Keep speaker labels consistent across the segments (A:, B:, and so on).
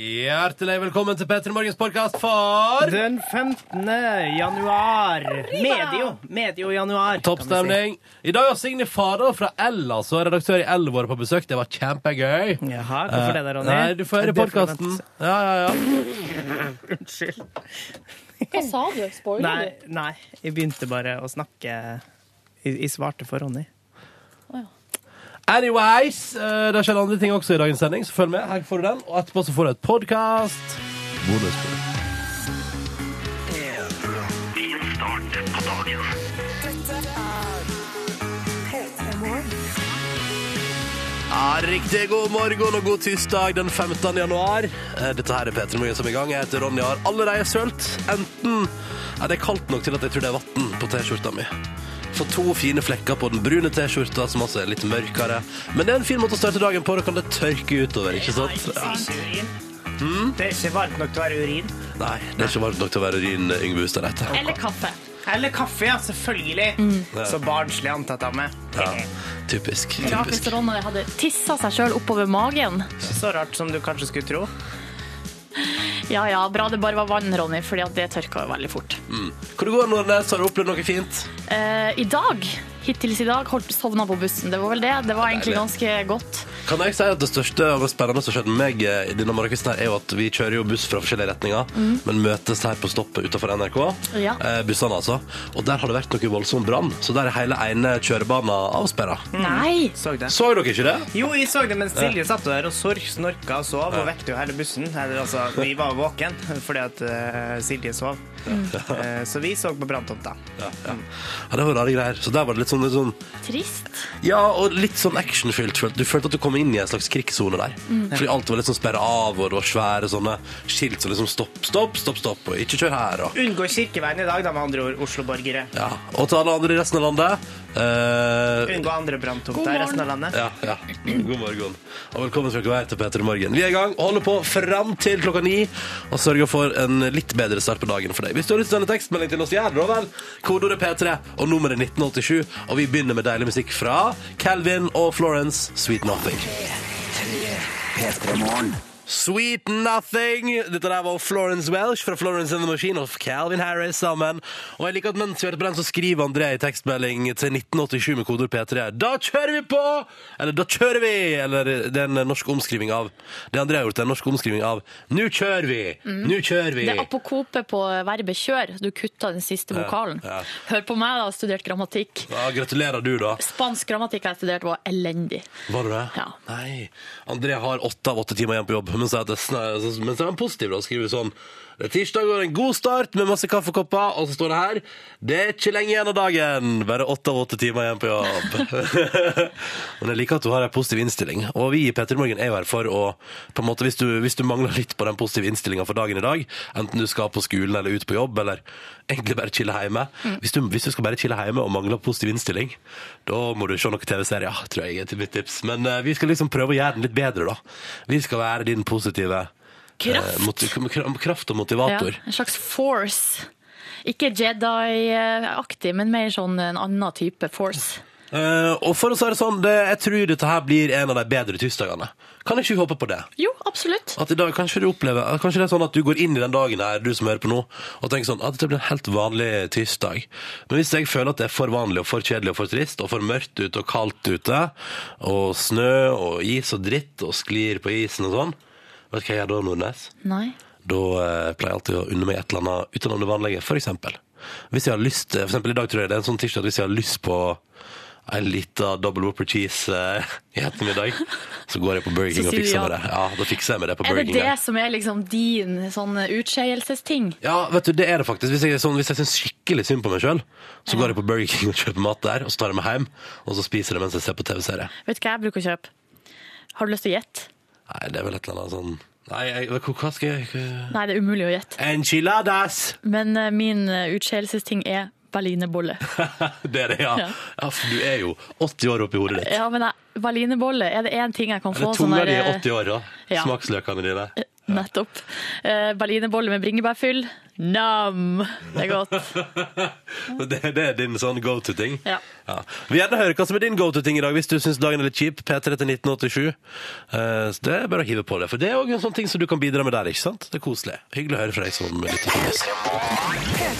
A: Hjertelig velkommen til Petter Morgens podkast for
B: Den 15. januar. Medio. Medio januar. kan vi si.
A: toppstemning. I dag har Signe Fardal fra Ella, så er redaktør i L vår på besøk. Det var kjempegøy.
B: Jaha, hvorfor det da, Ronny?
A: Eh, Nei, du får høre
B: Det får
A: podkasten.
B: vente.
A: Ja, ja, ja.
B: Unnskyld.
C: Hva sa du? Spoila
B: Nei,
C: du?
B: nei, jeg begynte bare å snakke Jeg, jeg svarte for Ronny.
A: Anyways, eh, det skjer andre ting også i dagens sending, så følg med. Her får du den. Og etterpå så får du et podkast. Bonusbord. Ja, riktig god morgen og god tirsdag den 15. januar. Eh, Dette her er Peter Morgen som er i gang. Jeg heter Ronny og har allerede sølt. Enten er det er kaldt nok til at jeg tror det er vann på T-skjorta mi. Få to fine flekker på den brune T-skjorta, som altså er litt mørkere. Men det er en fin måte å starte dagen på. Da kan det tørke utover, ikke sant? Ja.
B: Det er ikke varmt nok til å være urin.
A: Nei, det er ikke varmt nok til å være urin Yngve Hustad heter.
D: Eller kaffe.
B: Eller kaffe, ja. Selvfølgelig. Så barnslig antatt av meg.
A: Ja, typisk.
D: Rart hvis
A: typisk.
D: Ronny hadde tissa seg sjøl oppover magen.
B: Ikke så rart som du kanskje skulle tro.
D: Ja ja, bra det bare var vann, Ronny, fordi at det tørka jo veldig fort.
A: Hvordan går det når Nes har du opplevd noe fint?
D: Eh, I dag, hittils i dag, holdt sovna på bussen. Det var vel det. Det var egentlig ganske godt.
A: Kan jeg si at Det største og mest spennende som har skjedd med meg eh, i denne morgenkvisten, her er jo at vi kjører jo buss fra forskjellige retninger, men møtes her på stoppet utenfor NRK.
D: Ja.
A: Eh, bussene, altså. Og der har det vært noe voldsom brann, så der er hele ene kjørebanen avsperra.
D: Nei!
B: Så det.
A: Så dere ikke det?
B: Jo, jeg så det mens Silje satt der og sorg, snorka og sov, og vekte jo hele bussen. Eller, altså, vi var våken fordi at eh, Silje sov. Eh, så vi så på branntomta.
A: Ja, det var rare greier. Så der var det litt sånn, litt sånn
D: Trist.
A: Ja, og litt sånn actionfylt. følte- Du følte at du kom inn i en slags krigssone der. Fordi alt var litt sånn sperra av, og det var svære sånne skilt som liksom stopp, stopp, stopp, stopp, og ikke kjør her, og
B: Unngå kirkeveien i dag, da med andre ord Oslo-borgere.
A: Ja. Og til alle andre i resten av landet eh,
B: Unngå andre branntomter
D: God
B: i resten av
D: morgen.
B: landet.
A: ja, ja. God morgen. Og velkommen skal dere være til Peter i morgen. Vi er i gang og holder på fram til klokka ni og sørger for en litt bedre start på dagen for deg. Hvis du har lyst til å sende tekstmelding til oss, gjør det da vel. Kodeordet P3 og nummeret 1987. Og vi begynner med deilig musikk fra Calvin og Florence, Sweet Nothing. Sweet Nothing. Dette der var Florence Welsh fra Florence and the Machine og Calvin Harris sammen. Og jeg liker at mens vi hørte på den, så skriver André i tekstmelding til 1987 med kodeord P3. Da kjører vi på! Eller da kjører vi! Eller det er en norsk omskriving av Det André har gjort, det er en norsk omskriving av Nå kjører vi! Nå kjører vi!
D: Det er apokope på verbet kjør. Du kutta den siste vokalen.
A: ja.
D: Hør på meg, da. har Studert grammatikk.
A: Ja, gratulerer du, da.
D: Spansk grammatikk jeg studerte, var elendig.
A: Var det det?
D: Ja.
A: Nei. André har åtte av åtte timer igjen på jobb, men så er, det, sn- men så er han positiv da, og skriver sånn Det er tirsdag og en god start med masse kaffekopper, og så står det her Det er ikke lenge igjen av dagen, bare åtte av åtte timer igjen på jobb. men jeg liker at du har en positiv innstilling, og vi i Petter Morgen er jo her for å på en måte, hvis du, hvis du mangler litt på den positive innstillinga for dagen i dag, enten du skal på skolen eller ut på jobb, eller egentlig bare chille hjemme
D: Mm.
A: hvis, du, hvis du skal bare chille hjemme og mangler positiv innstilling, da må du se noen TV-serier, tror jeg er til mitt tips. Men eh, vi skal liksom prøve å gjøre den litt bedre, da. Vi skal være din positive
D: Kraft.
A: eh, moti- kra- kraft og
D: Ja,
A: motivator.
D: en slags force. Ikke Jedi-aktig, men mer sånn en annen type force.
A: Eh, og for å si det sånn, det, jeg tror dette her blir en av de bedre tirsdagene. Kan ikke vi håpe på det?
D: Jo, absolutt.
A: At i dag kanskje du opplever Kanskje det er sånn at du går inn i den dagen her, du som hører på nå, og tenker sånn at dette blir en helt vanlig tirsdag. Men hvis jeg føler at det er for vanlig og for kjedelig og for trist, og for mørkt ute og kaldt ute, og snø og is og dritt og sklir på isen og sånn, vet du hva jeg gjør da, Nordnes?
D: Nei.
A: Da eh, pleier jeg alltid å unne meg et eller annet utenom det vanlige, for eksempel. Hvis jeg har lyst, for eksempel i dag tror jeg det er en sånn tirsdag at hvis jeg har lyst på en liten double whopper cheese eh, i ettermiddag, så går jeg på Burger King
D: Så
A: og
D: sier du
A: fikser
D: ja.
A: meg det. Ja, da fikser jeg meg det på
D: Er
A: Burger
D: det
A: King. der.
D: det som er liksom din sånn utskeielsesting?
A: Ja, vet du, det er det faktisk. Hvis jeg, er sånn, hvis jeg syns skikkelig synd på meg sjøl, så går jeg på Burger King og kjøper mat der, og så tar jeg meg hjem, og så spiser jeg mens jeg ser på TV-serie.
D: Vet du hva jeg bruker å kjøpe? Har du lyst til å gjette?
A: Nei, det er vel et eller annet sånn Nei, jeg, hva- hva skal jeg
D: Nei, det er umulig å gjette.
A: Enchiladas!
D: Men eh, min eh, utskeielsesting er berlinerbolle.
A: det er det, ja.
D: Ja.
A: ja. For du er jo 80 år oppi hodet ditt.
D: Ja, men jeg- eh, berlinerbolle, er det én ting jeg kan
A: Eller
D: få sånn
A: tunga
D: der
A: di er
D: eh,
A: 80 år, da.
D: ja.
A: Smaksløkene dine.
D: Nettopp. Eh, Berlinerbolle med bringebærfyll. Nam! Det er godt.
A: Det, det er din sånn go to-ting.
D: Ja.
A: Vi vil gjerne høre hva som er din go to-ting i dag, hvis du syns dagen er litt kjip. P3 til 1987. Eh, så det er bare å hive på det. For det er òg en sånn ting som du kan bidra med der, ikke sant? Det er koselig. Hyggelig å høre fra deg som lytter på oss.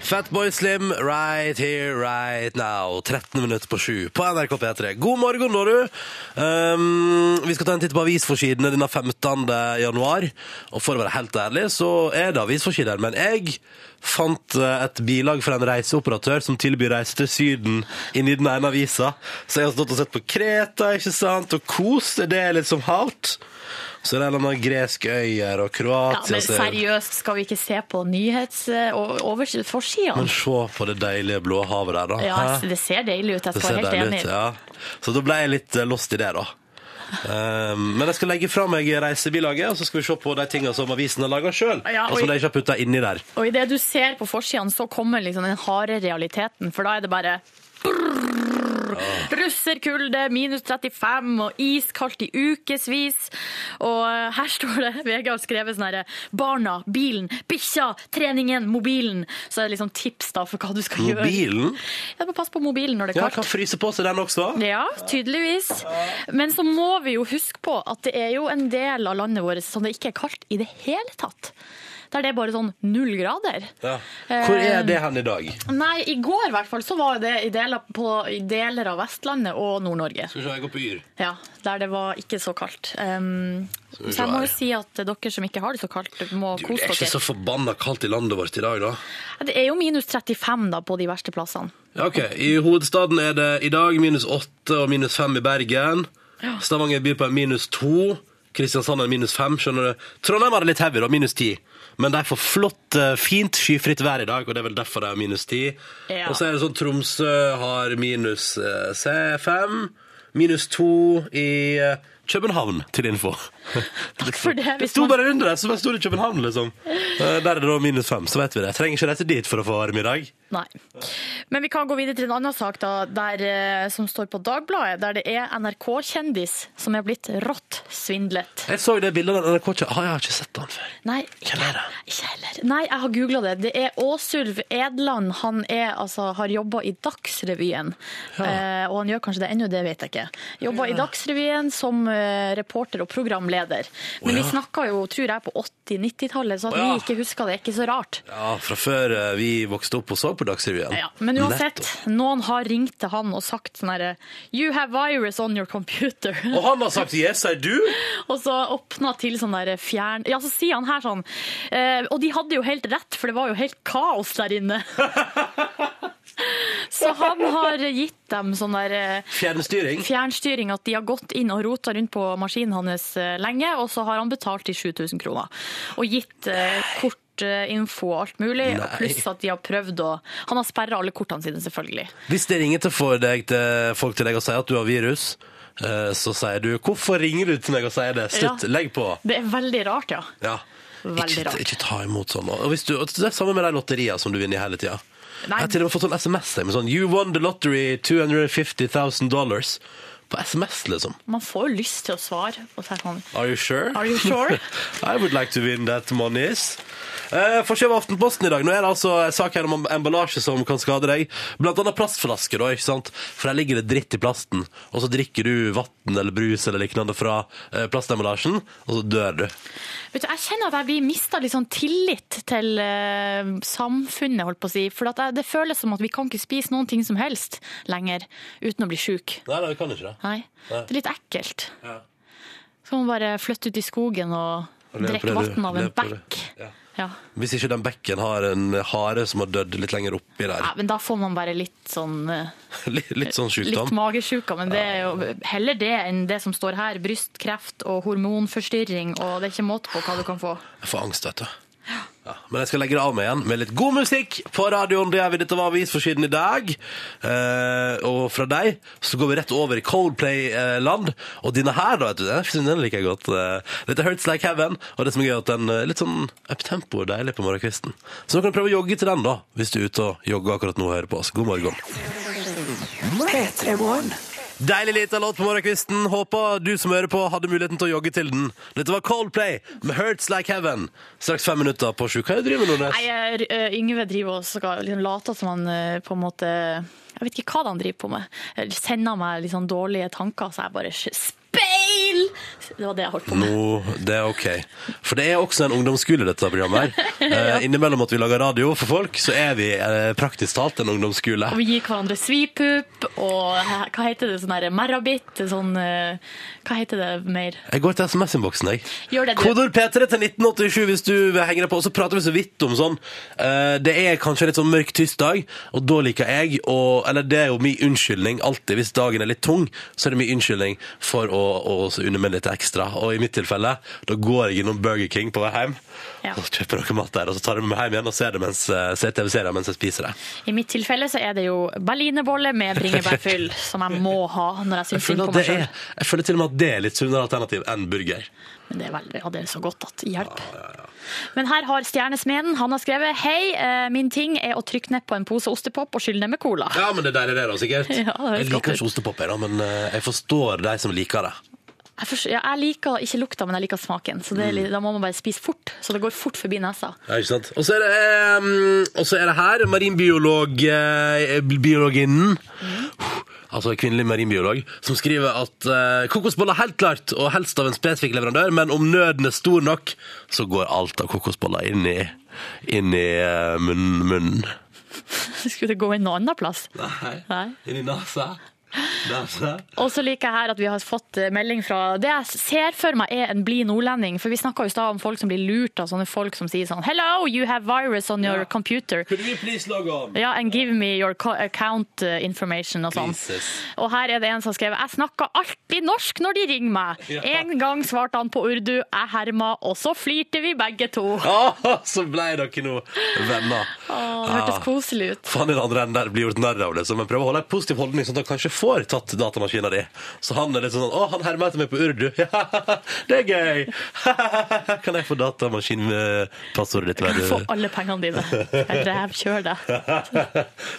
A: Fatboy Slim, right here, right now. 13 minutter på sju på NRK P3. God morgen, da, du. Um, vi skal ta en titt på avisforsidene denne 15. januar. Og for å være helt ærlig, så er det avisforsider. Men jeg fant eh, et bilag fra en reiseoperatør som tilbyr reise til Syden inni den ene avisa. Så jeg har stått og sett på Kreta, ikke sant, og kos. Det er litt som halvt. Så det er en eller annen gresk øy her, og
D: Ja,
A: Kroatia
D: men seriøst, skal vi ikke se på nyhets... Og overs-
A: Men
D: forsidene?
A: se på det deilige blå havet der, da.
D: Ja,
A: Hæ?
D: det ser deilig ut. Jeg
A: Det
D: skal
A: ser
D: være helt
A: deilig
D: enig.
A: ut, ja. Så da ble jeg litt eh, lost i det, da. Ehm, men jeg skal legge fra meg reisebilaget, og så skal vi se på de tingene som avisen har laga sjøl.
D: Ja,
A: og som
D: oi.
A: de ikke har putta inni der.
D: Og idet du ser på forsidene, så kommer liksom den harde realiteten, for da er det bare brrr, Russerkulde, minus 35 og iskaldt i ukevis. Og eh, her står det VG har skrevet sånn herre Barna, bilen, bikkja, treningen, mobilen. Så er det liksom tips da for hva du skal gjøre.
A: Mobilen
D: Ja, bare pass på mobilen når det er
A: ja,
D: kaldt.
A: kan fryse på seg, den også.
D: Ja, tydeligvis. Men så må vi jo huske på at det er jo en del av landet vårt som det ikke er kaldt i det hele tatt. Der det er bare sånn null grader.
A: Ja. Hvor
D: Eh,
A: er det hen i dag?
D: Nei, i går i hvert fall så var det i deler, på, i deler av Vestlandet og Nord-Norge.
A: Skal vi se, jeg går på Yr.
D: Ja, Der det var ikke så kaldt. Um,
A: vi
D: så jeg må
A: se
D: jo si at dere som ikke har det så kaldt, må
A: Du, det
D: kose
A: er ikke så
D: dere.
A: forbanna kaldt i landet vårt i dag, da.
D: Det er jo minus 35 da på de verste plassene.
A: Ja, ok. I hovedstaden er det i dag minus åtte og minus fem i Bergen. Stavanger byr på en minus to. Kristiansand er minus fem, skjønner du. Trondheim er det litt heavy, da. Minus ti. Men de får flott, eh, fint skyfritt vær i dag, og det er vel derfor de er minus ti.
D: Ja.
A: Og så er det sånn Tromsø har minus eh, se, fem. Minus to i eh, København, til info. Takk
D: for det,
A: sånn- Det
D: hvis
A: sto
D: man-
A: bare under der, så bare sto det København, liksom. Eh, Der er det da minus fem, så vet vi det. Trenger ikke reise dit for å få varme i dag.
D: Nei. Men vi kan gå videre til en annen sak da, der, eh, som står på Dagbladet, der det er NRK-kjendis som er blitt rått svindlet.
A: Jeg så det bildet av den NRK-kjøkken. Ah, jeg har ikke sett den før.
D: Nei,
A: Hvem er det?
D: ikke heller. Nei, jeg har googla det. Det er Åsulv Edland. Han er, altså, har jobba i Dagsrevyen. Eh, og han gjør kanskje det ennå, det vet jeg ikke. Jobba i Dagsrevyen som eh, reporter og programleder. Men
A: Å, ja.
D: vi snakka jo, tror jeg, på 80-90-tallet, så at
A: Å, ja.
D: vi ikke husker det, er ikke så rart.
A: Ja, fra før eh, vi vokste opp og så på Dagsrevyen.
D: Ja, men uansett,
A: Nettopp.
D: noen har ringt til han og sagt sånn herre You have virus on your computer.
A: Og han har sagt 'yes, I do'!
D: og så åpna til sånn der fjern... Ja, så sier han her sånn eh, Og de hadde jo helt rett, for det var jo helt kaos der inne. så han har gitt dem sånn der eh,
A: Fjernstyring.
D: fjernstyring at de har gått inn og rota rundt på maskinen hans eh, lenge, og så har han betalt de 7000 kroner. Og gitt eh, kort eh, info og alt mulig,
A: Nei.
D: pluss at de har prøvd å Han har sperra alle kortene sine, selvfølgelig.
A: Hvis det ringer til, for deg, til folk til deg og sier at du har virus, eh, så sier du 'hvorfor ringer du til meg og sier det'? Slutt,
D: Ja.
A: legg på.
D: Det er veldig rart, ja.
A: Ja.
D: Veldig
A: Ikke,
D: rart.
A: ikke ta imot sånn. Og hvis du, og det er samme med de lotteriene som du vinner i hele tida. Jeg
D: Nei.
A: har til og med fått sånn SMS med sånn 'You won the lottery 250 000 dollars'. På SMS, liksom.
D: Man får jo lyst til å svare. Og så er det sånn,
A: Are you sure?
D: Are you sure?
A: I would like to win that money. Uh, Forskjell av Aftenposten i dag. Nå er det altså en sak her om emballasje som kan skade deg. Blant annet plastflasker, da, ikke sant? For der ligger det dritt i plasten. Og så drikker du vann eller brus eller lignende fra eh, plastemballasjen, og så dør du.
D: vet du, jeg kjenner at jeg blir mista litt sånn tillit til eh, samfunnet, holdt på å si. For at jeg, det føles som at vi kan ikke spise noen ting som helst lenger uten å bli sjuk.
A: Nei, nei, vi kan ikke det.
D: Nei.
A: Nei.
D: Det er litt ekkelt.
A: Ja.
D: Så må man bare flytte ut i skogen og
A: Og leve på det
D: drikke
A: du-
D: vann av en
A: leve på det.
D: bekk.
A: Ja.
D: Ja.
A: Hvis ikke den bekken har en hare som har dødd litt lenger oppi der.
D: ja, Men da får man bare litt sånn eh,
A: Litt, litt sånn
D: Litt
A: sjukdom.
D: magesjuka, men det er jo heller det enn det som står her. Brystkreft og hormonforstyrring, og det er ikke måte på hva du kan få.
A: Jeg får angst, vet du. Ja, men jeg skal legge det av meg igjen med litt god musikk på radioen. Det gjør vi. Dette var avisforsiden i dag. Eh, og fra deg så går vi rett over i Coldplay-land. Og denne her, da, vet du. Den synes jeg liker jeg godt. Eh, Dette er Hurts Like Heaven. Og det som er gøy, er at den er litt sånn uptempo og deilig på morgenkvisten. Så nå kan du prøve å jogge til den, da, hvis du er ute og jogger akkurat nå og hører på oss. God morgen. Deilig lita låt på morgenkvisten. Håper du som hører på, hadde muligheten til å jogge til den. Dette var Coldplay med 'Hurts Like Heaven'. Straks fem minutter på sju. Hva er det du driver med,
D: Nei,
A: Nordnes?
D: jeg- eh, Yngve driver og skal liksom late som han eh, på en måte Jeg vet ikke hva han driver på med. Eller Sender meg litt sånn dårlige tanker, så jeg bare sk- Speil! Det var det jeg holdt på med.
A: Nå, det er ok. For det er også en ungdomsskole, dette programmet her. Eh, innimellom at vi lager radio for folk, så er vi eh, praktisk talt en ungdomsskole.
D: Og vi gir hverandre svipup og he- hva heter det, sånn der merrabitt, sånn eh, Hva heter det mer?
A: Jeg går til SMS-innboksen, jeg.
D: Gjør det, du.
A: Kodord P3 til 1987 hvis du vil henge deg på. Og så prater vi så vidt om sånn eh, Det er kanskje litt sånn mørk, tyst dag, og da liker jeg å Eller det er jo min unnskyldning alltid. Hvis dagen er litt tung, så er det min unnskyldning for å, å også unne meg litt ekstra. Og i mitt tilfelle, da går jeg innom Burger King på vei hjem.
D: Ja.
A: Og så kjøper noe mat der, og så tar jeg med meg hjem igjen og ser, det mens, eh, ser TV-serier mens jeg spiser det.
D: I mitt tilfelle så er det jo berlinerbolle med bringebærfyll, som jeg må ha når jeg
A: Jeg
D: syns synd
A: føler,
D: på
A: at det
D: meg sjøl.
A: er, jeg føler til og med at det er litt sunnere alternativ enn burger.
D: Men det er veldig, ja, det er så godt at hjelp. Men her har Stjernesmeden han har skrevet Hei, eh, min ting er å trykke ned på en pose ostepop og skylle ned med cola.
A: Ja, men det er deilig det da, sikkert.
D: Ja, det høres
A: jeg
D: godt
A: liker
D: ut.
A: ikke ostepop, jeg da, men eh, jeg forstår de som liker det.
D: Jeg, forstår, ja, jeg liker ikke lukta, men jeg liker smaken. Så det er, litt- Da må man bare spise fort, så det går fort forbi nesa.
A: Ja, ikke sant? Og så er det, eh, og så er det her, marinbiolog, eh, biologinnen, altså kvinnelig marinbiolog, som skriver at eh, kokosboller helt klart, og helst av en spesifikk leverandør, men om nøden er stor nok, så går alt av kokosboller inn i, inn i eh, munnen, munnen.
D: Skulle det gå inn noen annen plass?
A: Nei,
D: Nei.
A: inn i nasa. Nasa.
D: Og så liker jeg her at vi har fått eh, melding fra Det jeg ser for meg er en blid nordlending. For vi snakka i stad om folk som blir lurt av sånne folk som sier sånn Hello, you have virus on your computer.
A: Could we please log on?
D: Ja, and give me your co- account eh, information og sånn.
A: Jesus.
D: Og her er det en som har skrevet Jeg snakker alltid norsk når de ringer meg.
A: Ja.
D: En gang svarte han på urdu, jeg herma, og så flirte vi begge to.
A: Ah, så ble dere nå venner.
D: Å, Det
A: Ah.
D: hørtes koselig ut.
A: Faen, i den andre enden der blir gjort narr av, liksom. Men prøv å holde en positiv holdning, sånn at han kanskje får tatt datamaskinen di. Så han er litt sånn Å, han hermer etter meg på urdu. det er gøy! kan jeg få datamaskinpassordet ditt, vær
D: Få alle pengene dine. Jeg Rævkjør deg.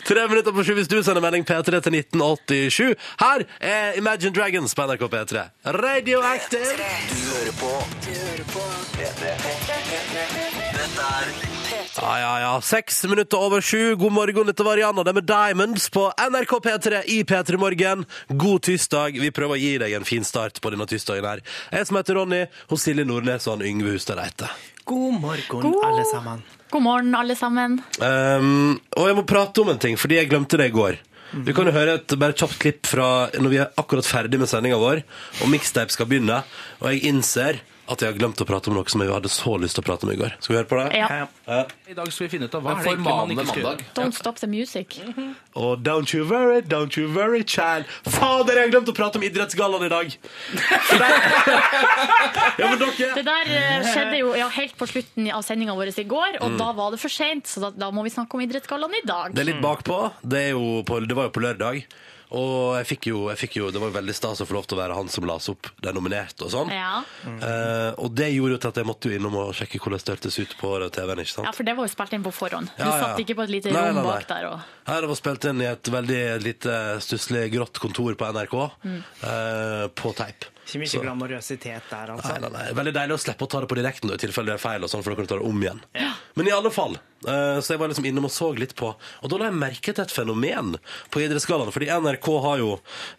A: Tre minutter på sju hvis du sender melding P3 til 1987. Her er Imagine Dragons på NRK P3. Radioactive!
E: Du hører på Du hører på P3. Dette er P3.
A: Ja, ja, ja. Seks minutter over sju. God morgen, dette var Rihanna. Det er med Diamonds på NRK P3 i P3 Morgen. God tirsdag. Vi prøver å gi deg en fin start på denne tirsdagen her. Jeg som heter Ronny, hos Silje Nordnes og han Yngve Hustad Reite.
B: God morgen,
D: God-
B: alle sammen.
D: God morgen, alle sammen.
A: Um, og jeg må prate om en ting, fordi jeg glemte det i går. Du kan jo høre et bare kjapt klipp fra når vi er akkurat ferdig med sendinga vår, og mixtape skal begynne, og jeg innser at jeg har glemt å prate om noe som jeg hadde så lyst til å prate om i går. Skal vi høre på det?
D: Ja.
F: I dag skal vi finne ut av hva er det egentlig man
G: Formane
F: ikke skal gjøre.
G: mandag.
D: Don't stop the music.
A: Og don't you worry, don't you worry, child. Fader, jeg har glemt å prate om idrettsgallaen i dag! For det- ja, men dere
D: Det der eh, skjedde jo ja, helt på slutten av sendinga vår i går, og da var det for seint, så da, da må vi snakke om Idrettsgallaen i dag.
A: Mm. Det er litt bakpå. Det, er jo på, det var jo på lørdag. Og jeg fikk, jo, jeg fikk jo Det var jo veldig stas å få lov til å være han som las opp de nominerte og sånn.
D: Ja.
A: Eh, og det gjorde jo til at jeg måtte jo innom og sjekke hvordan det hørtes ut på TV-en. ikke sant?
D: ja, for det var jo spilt inn på forhånd. Du
A: Ja, ja.
D: satt ikke på et lite
A: Nei,
D: rom
A: nei, nei.
D: bak der og
A: Her det var spilt inn i et veldig lite stusslig grått kontor på NRK.
D: Mm.
A: eh, på teip.
B: Ikke mye glamorøsitet der, altså.
A: Nei, nei, nei. Veldig deilig å slippe å ta det på direkten da, i tilfelle det er feil, og sånn, for da kan du ta det om igjen. Men i alle fall, eh, så jeg var liksom innom og så litt på, og da la jeg merke til et fenomen på idrettsgallaen, fordi NRK har jo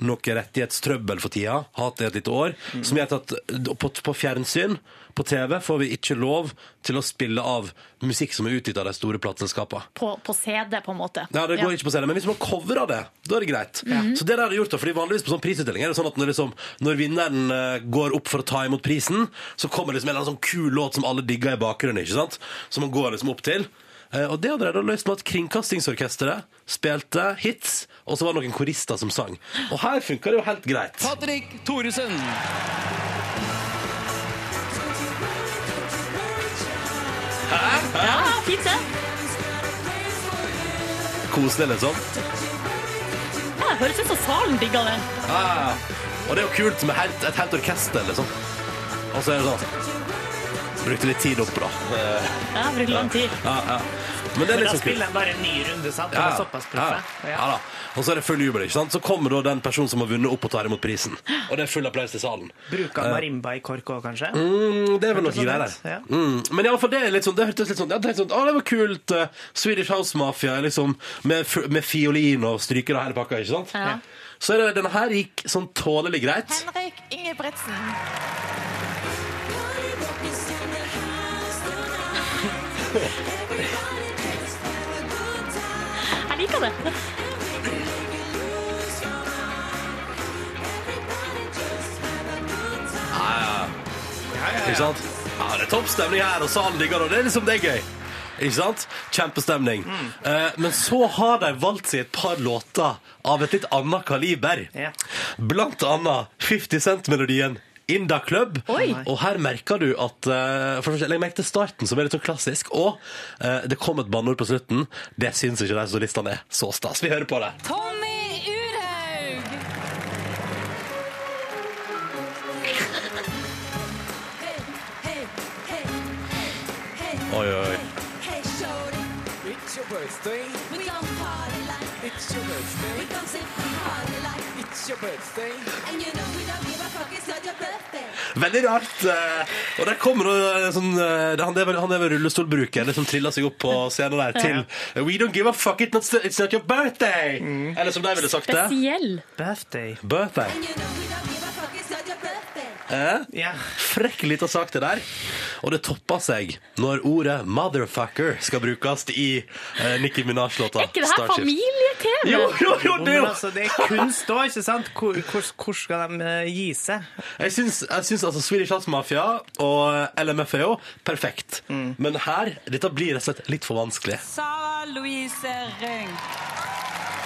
A: noe rettighetstrøbbel for tida, hatt det et lite år, som gjør at eh, på, på fjernsyn, på TV, får vi ikke lov til å spille av musikk som er utgitt av de store plateselskapene.
D: på, på CD, på en måte.
A: Ja, det går
D: Ja.
A: ikke på scenen, men hvis man coverer det, da er det greit. Så det der har gjort da, fordi vanligvis på sånn prisutdeling er det sånn at når, liksom, når vinneren eh, går opp for å ta imot prisen, så kommer liksom en eller annen sånn kul låt som alle digger i bakgrunnen, ikke sant? Som man går liksom opp til. Eh, Og det hadde de da løst med at Kringkastingsorkesteret spilte hits, og så var det noen korister som sang. Og her funka det jo helt greit.
F: Patrick Thoresen.
D: Ja, fint det.
A: Koselig, liksom.
D: Ja, det høres ut som salen digger det.
A: Og det er jo kult med helt, et helt orkester, liksom. Og så er det sånn Brukte litt tid oppå, da.
D: Jeg har brukt lang tid.
A: Ja, ja. Men det er
B: Men da
A: liksom kult.
B: spiller de bare en ny runde, sant? De
A: Ja,
B: er såpass proffe.
A: Ja, ja. ja da. Og så er det full jubel. ikke sant? Så kommer da den personen som har vunnet, opp og tar imot prisen. Og det er full applaus til salen.
B: Bruk av marimba i kork òg, kanskje?
A: Mm, det er vel noe
B: sånn
A: greier der.
B: ut, ja.
A: Mm. Men iallfall det er litt sånn, det hørtes litt sånn, jeg tenkte sånn, å det var kult, eh, Swedish House Mafia, liksom, med, f- med fiolin og stryker og hele pakka, ikke sant?
D: Ja.
A: Så er det, denne her gikk sånn tålelig greit.
G: Henrik Ingebretsen.
D: Jeg liker det.
A: Ikke sant? Ja, det er topp stemning her, og salen digger det, og det er liksom det er gøy. Ikke sant? Kjempestemning. Eh, men så har de valgt seg et par låter av et litt annet kaliber.
B: Ja.
A: Blant annet 50 Cent-melodien Inda Club.
D: Oi.
A: Og her merker du at eh, for det første, Jeg merket starten, som er litt sånn klassisk, og eh, det kom et banneord på slutten. Det syns ikke de som listene er så stas. Vi hører på det.
G: Tommy Urhaug.
A: Oi, oi, oi. Veldig rart. eh, Og der kommer det en sånn eh, det- Han er vel, han er vel rullestolbrukeren som triller seg opp på scenen der til We don't give a fuck it, not- it's not your birthday!
D: Mm.
A: Eller som de ville sagt det.
D: Spesiell.
B: Birthday.
A: Birthday. Eh?
B: Ja.
A: Frekk lita sak, det der. Og det topper seg når ordet 'motherfucker' skal brukes i eh, Nicki Minaj-låta
D: Er ikke det her familie-TV?
A: Jo, jo, jo, det er
B: Men
A: jo
B: altså, det er kunst òg, ikke sant? Hvor, hvor, hvor skal de eh, gi seg?
A: Jeg syns, jeg syns altså Swedish House Mafia og eh, LMFAO perfekt.
D: Mm.
A: Men her Dette blir rett og slett litt for vanskelig.
G: Sara Louise Rønk.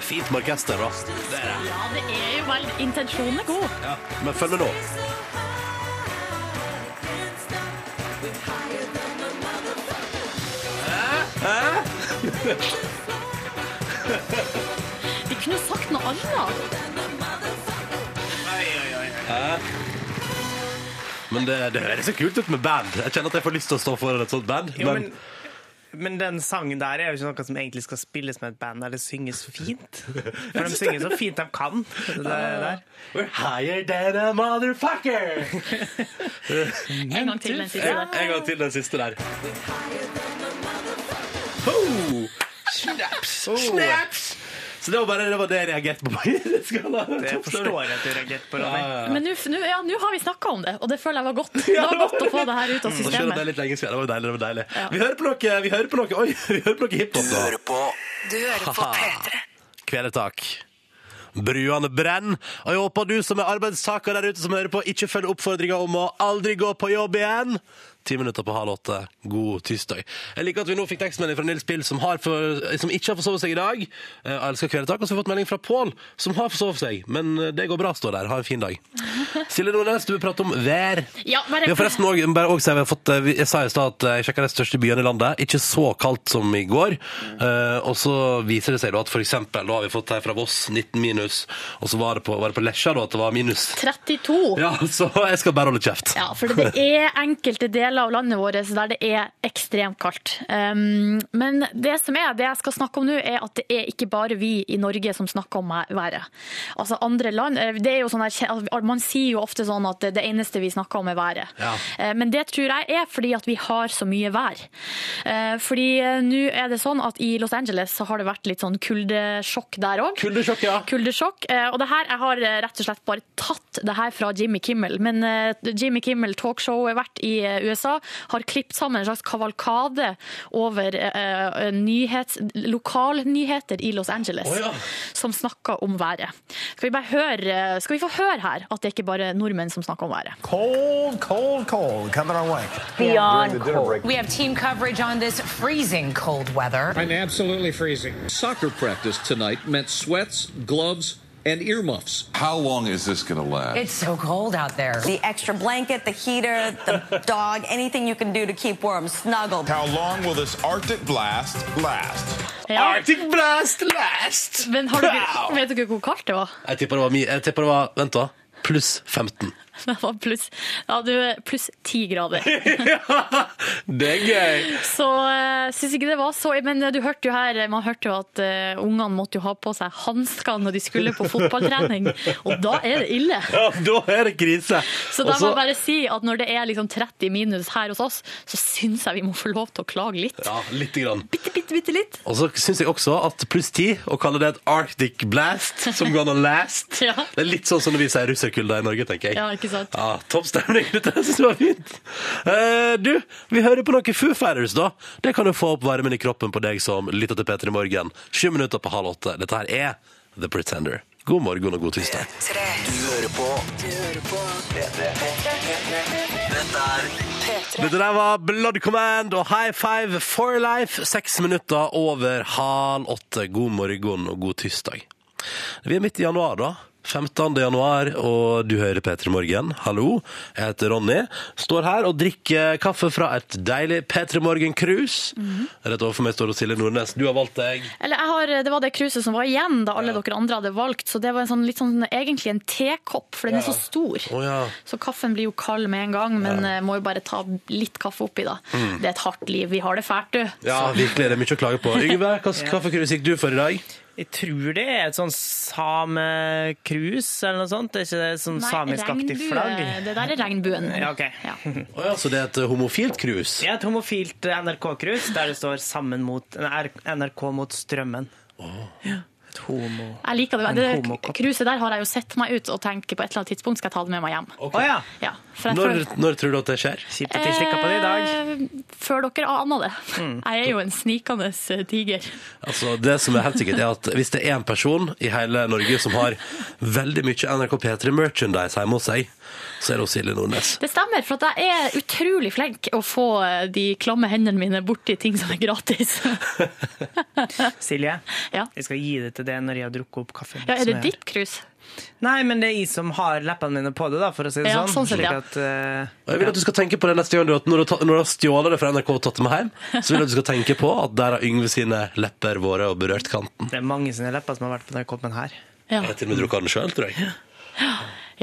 A: Fint med orkester, da. Det er det.
D: Ja, det er jo vel intensjonen er god.
A: Ja. Men følg med nå.
D: De kunne jo sagt noe annet.
A: Men det, det høres så kult ut med band. Jeg kjenner at jeg får lyst til å stå foran et sånt band.
B: Jo,
A: men,
B: men, men den sangen der er jo ikke noe som egentlig skal spilles med et band eller synges fint. For de synger så fint de kan. Det der.
A: We're higher than a motherfucker!
D: En gang til. mens vi
A: En,
D: sier det.
A: en gang til den siste der. Ho! Snaps! Snaps! Så det var bare det, var det jeg reagerte på. Det skal da-
B: Det forstår jeg at du reagerte på, Ronny.
D: Men nå nå- ja, nå har vi snakka om det, og det føler jeg var godt. Det var godt å få det her ut
A: Mm.
D: av
A: Nå skjønner jeg det er
D: systemet.
A: litt lenge siden. Det var jo deilig. det var deilig
D: Ja.
A: Vi hører på noe, vi hører på noe Oi, vi hører på noe hiphop nå.
E: Hør på
G: Du hører på P3.
A: Kveletak. Bruene brenn. Og jeg håper du som er arbeidstaker der ute som hører på, ikke følger oppfordringa om å aldri gå på jobb igjen. Ti minutter på halv åtte. God tirsdag. Jeg liker at vi nå fikk tekstmelding fra Nils Pill, som, har for, som ikke har forsovet seg i dag. Eh, Jeg elsker Kveletak. Og så har vi fått melding fra Pål, som har forsovet seg. Men eh, det går bra, står der. Ha en fin dag. Silje Nordnes, du vil prate om vær.
D: Ja, bare-
A: Vi har forresten også, bare også, si, vi har fått, eh, vi- jeg sa i stad at eh, jeg sjekka de største byene i landet. Ikke så kaldt som i går. Eh, og så viser det seg da at for eksempel, da har vi fått her fra Voss 19 minus, og så var det på, var det på Lesja da at det var minus.
D: 32.
A: Ja, så jeg skal bare holde kjeft.
D: Ja, for det er enkelte deler av landet vårt der det er ekstremt kaldt. Um, men det som er, det jeg skal snakke om nå, er at det er ikke bare vi i Norge som snakker om været. Altså andre land, eh, det er jo sånn her, Man sier jo ofte sånn at det eneste vi snakker om, er været.
A: Ja.
D: Eh, Men det tror jeg er fordi at vi har så mye vær. Eh, Fordi eh, nå er det sånn at i Los Angeles så har det vært litt sånn kuldesjokk der òg.
A: Kuldesjokk, ja.
D: Kuldesjokk. Eh, Og det her, jeg har eh, rett og slett bare tatt det her fra Jimmy Kimmel. Men eh, Jimmy Kimmel, talkshow-vert i eh, USA, har klippet sammen en slags kavalkade over eh, nyhets, lokalnyheter i Los Angeles
A: Å, ja.
D: som snakker om været. Skal vi, bare høre, eh, skal vi få høre her at det ikke bare er nordmenn som snakker om været?
H: Cold, cold, cold coming our way.
I: beyond cold.
G: We have team coverage on this freezing cold weather.
J: I'm absolutely freezing.
F: Soccer practice tonight meant sweats, gloves,
I: and earmuffs.
J: How long is this going to last?
G: It's so cold out there.
K: The extra blanket, the heater, the dog, anything you can do to keep warm, snuggle.
L: How long will this Arctic blast last?
D: Arctic blast last! Men har du, vet dere hvor kaldt det var?
A: Jeg tipper det var mye. Jeg tipper det var Vent, da. Pluss 15.
D: Det var pluss ja, du, pluss ti grader.
A: Det er gøy!
D: Så uh, syns ikke det var så Men eh, du hørte jo her Man hørte jo at eh, ungene måtte jo ha på seg hansker når de skulle på fotballtrening, og da er det ille.
A: Ja, da er det krise.
D: Så da må jeg bare si at når det er liksom 30 minus her hos oss, så syns jeg vi må få lov til å klage litt.
A: Ja, lite grann.
D: Bitte, bitte, bitte litt.
A: Og så syns jeg også at pluss 10, å kalle det et Arctic blast, som gonna last
D: Ja.
A: Det er litt sånn som når vi sier russerkulda i Norge, tenker jeg.
D: Ja, ikke sant?
A: Ja, Topp stemning. Dette syns jeg var fint. Eh, du, vi hører på noe Foo Fighters, da. Det kan jo få opp varmen i kroppen på deg som lytter til P3 Morgen. Sju minutter på halv åtte. Dette her er The Pretender. God morgen og god tirsdag.
E: Du hører på Du hører på Dette Dette er P3
A: Dette der var Blood Command og High Five for Life. Seks minutter over halv åtte. God morgen og god tirsdag. Vi er midt i januar, da. 15. januar, og du hører P3 Morgen. Hallo, jeg heter Ronny. Står her og drikker kaffe fra et deilig P3 Morgen-krus. Rett overfor meg står Silje Nordnes. Du har valgt deg
D: Eller jeg har, Det var det kruset som var igjen da alle dere andre hadde valgt. Så det var en sånn, litt sånn, egentlig en tekopp, for den er så stor.
A: Å ja.
D: Så kaffen blir jo kald med en gang, men eh, må jo bare ta litt kaffe oppi, da. Det er et hardt liv. Vi har det fælt, du.
A: Mm. Ja, virkelig, det er mye å klage på. Yngve, hva
B: Ja.
A: kaffekrus gikk du for i dag?
B: Jeg tror det er et sånn samekrus eller noe sånt. Det er ikke det sånn
D: Nei, eh.
B: samiskaktig
D: regnbue.
B: flagg?
D: Det der er regnbuen.
B: Ja, ok.
A: Å ja, så det er et homofilt krus?
B: Jeg er et homofilt eh, NRK-krus der det står sammen mot, nei, NRK mot strømmen. Ja. Et homo...
D: Jeg liker det.
B: En
D: det
B: homokopp.
D: kruset der har jeg jo sett meg ut og tenker på et eller annet tidspunkt skal jeg ta det med meg hjem.
B: Å ja!
D: Ja, for jeg
A: Når,
D: føler-
A: når tror du at det skjer?
B: Kjipt at de slikka på det i dag. Mm.
D: Eh, Før dere aner det. Jeg er jo en snikende eh, tiger.
A: Altså, det som er helt sikkert er at Hvis det er en person i hele Norge som har veldig mye NRK P3 merchandise hjemme hos seg, så er det hos Silje Nordnes.
D: Det stemmer, for at jeg er utrolig flink å få eh, de klamme hendene mine borti ting som er gratis.
B: Silje,
D: Ja.
B: jeg skal gi det til deg når jeg har drukket opp kaffen.
D: Ja, er
B: som
D: det
B: jeg-
D: ditt krus?
B: Nei, men det er jeg som har leppene mine på det, da, for å si det
D: Ja,
B: sånn.
D: sånn sett,
B: Slik
D: ja.
B: at, eh,
A: Og jeg vil at du skal tenke på det neste gang du, at når du, ta- når du har stjålet det fra NRK og tatt det med hjem, så vil jeg at du skal tenke på at der har Yngve sine lepper vært og berørt kanten.
B: det er mange sine lepper som har vært på den koppen her.
D: Ja.
A: Jeg har til og med drukket den sjøl, tror jeg.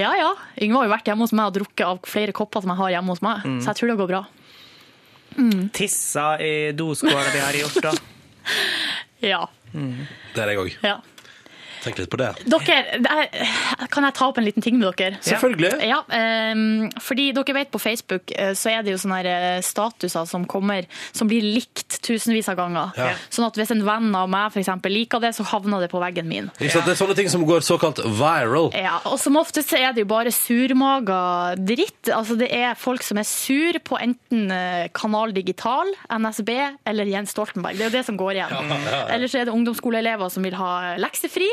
D: ja ja. Yngve har jo vært hjemme hos meg og drukket av flere kopper som jeg har hjemme hos meg,
B: Mm.
D: så jeg tror det går bra.
B: Tissa i doskåla de har i Orta.
D: Ja.
A: Det er jeg òg.
D: ja.
A: Tenk litt på det.
D: Dere, det er- kan jeg ta opp en liten ting med dere?
A: Selvfølgelig.
D: Ja, ehm, fordi dere vet på Facebook eh, så er det jo sånne her, eh, statuser som kommer som blir likt tusenvis av ganger.
A: Ja.
D: Sånn at hvis en venn av meg for eksempel liker det, så havner det på veggen min.
A: Ikke sant? Det er sånne ting som går såkalt viral.
D: Ja, og som ofte så er det jo bare surmaga dritt. Altså det er folk som er sur på enten eh, Kanal Digital, NSB eller Jens Stoltenberg. Det er jo det som går igjen. Eller så er det ungdomsskoleelever som vil ha leksefri.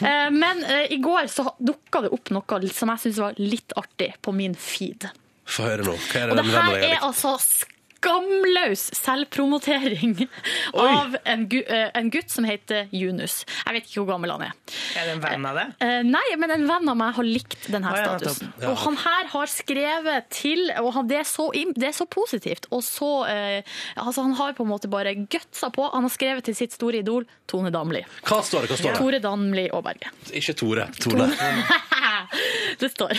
D: Eh, Men eh, i går så dukka det opp noe som jeg syns var litt artig på min feed.
A: Få høre nå. Hva er det
D: Og det
A: den
D: her
A: vennen jeg
D: er
A: har likt?
D: altså skamløs selvpromotering av en, gu eh, en gutt som heter Junus. Jeg vet ikke hvor gammel han er.
B: Er det en venn av det?
D: Eh, Nei, men en venn av meg har likt denne
B: Å, ja,
D: statusen. Og han her har skrevet til Og han, det, er så, im- det er så positivt. Og så eh, Altså, han har på en måte bare gutsa på. Han har skrevet til sitt store idol Tone Damli.
A: Hva står det? Hva står det?
D: Tore Damli Aaberge.
A: Ikke Tore. Tone.
D: Det står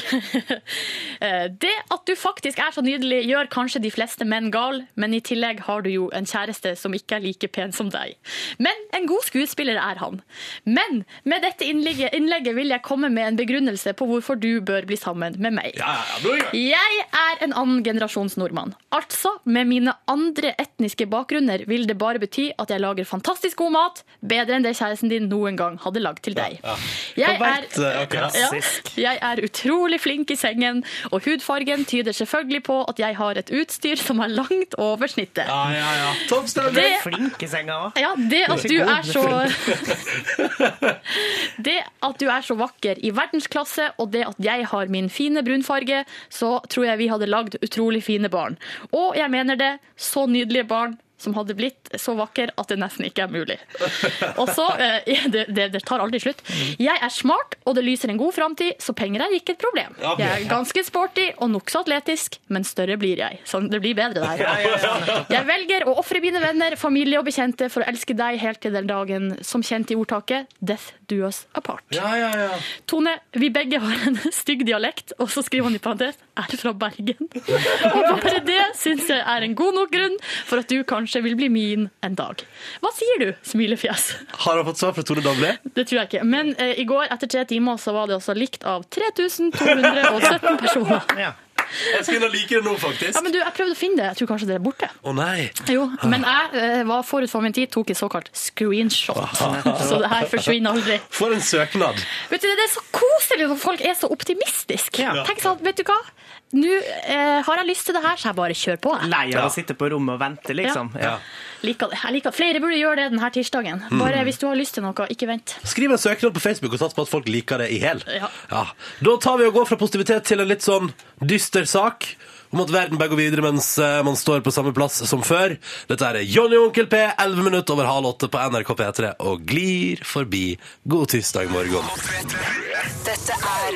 D: eh, Det at du faktisk er så nydelig, gjør kanskje de fleste menn gal, men i tillegg har du jo en kjæreste som ikke er like pen som deg. Men en god skuespiller er han. Men med dette innlegget, innlegget vil jeg komme med en begrunnelse på hvorfor du bør bli sammen med meg.
A: Ja, ja, bra, Yngve.
D: Jeg er en annen generasjons nordmann. Altså, med mine andre etniske bakgrunner vil det bare bety at jeg lager fantastisk god mat, bedre enn det kjæresten din noen gang hadde lagd til deg. Jeg er,
A: Vet, eh, ok.
D: ja, jeg er utrolig flink i sengen, og hudfargen tyder selvfølgelig på at jeg har et utstyr som er langt over snittet.
A: Ja, ja, ja. Topp stemning.
D: Det,
B: Flink i senga òg.
D: ja, det at du er så Det at du er så vakker i verdensklasse, og det at jeg har min fine brunfarge, så tror jeg vi hadde lagd utrolig fine barn. Og jeg mener det, så nydelige barn som hadde blitt så vakker at det nesten ikke er mulig. Og så, eh, det, det, det tar aldri slutt. Jeg er smart, og det lyser en god framtid, så penger er ikke et problem.
E: Ja,
D: Jeg er ganske sporty og nokså atletisk, men større blir jeg. Så det blir bedre der.
E: Ja, ja, ja.
D: Jeg velger å ofre mine venner, familie og bekjente for å elske deg helt til den dagen som kjent i ordtaket 'Death do us apart'. Tone, vi begge har en stygg dialekt, og så skriver han i parentes 'er fra Bergen'. Og bare det syns jeg er en god nok grunn for at du kanskje vil bli min en dag. Hva sier du, smilefjes?
A: Har han fått svar fra Tone Damli?
D: Det tror jeg ikke. Men eh, i går, etter tre timer, så var det altså likt av 3217 personer.
A: Jeg skulle like det nå, faktisk.
D: Ja, men du, Jeg prøvde å finne det. Jeg tror kanskje det er borte.
A: Å nei!
D: Jo, men jeg eh, var forut for min tid, tok et såkalt screenshot. Så det her forsvinner aldri.
A: For en søknad.
D: Vet du, Det er så koselig når folk er så optimistiske. Tenk sånn, vet du hva? Nå eh, har jeg lyst til det her, så jeg bare kjører på. jeg.
B: Lei av å sitte på rommet og vente, liksom. Ja.
D: Liker det. Jeg liker det. Flere burde gjøre det denne tirsdagen. Bare
A: Mm.
D: hvis du har lyst til noe, ikke vent.
A: Skriv en søknad på Facebook og sats på at folk liker det i hel.
D: Ja.
A: Da tar vi og går fra positivitet til en litt sånn dyster sak om at verden bare går videre mens eh, man står på samme plass som før. Dette er Jonny og Onkel P, 11 minutter over halv åtte på NRK P3 og glir forbi. God tirsdag morgen.
E: Dette er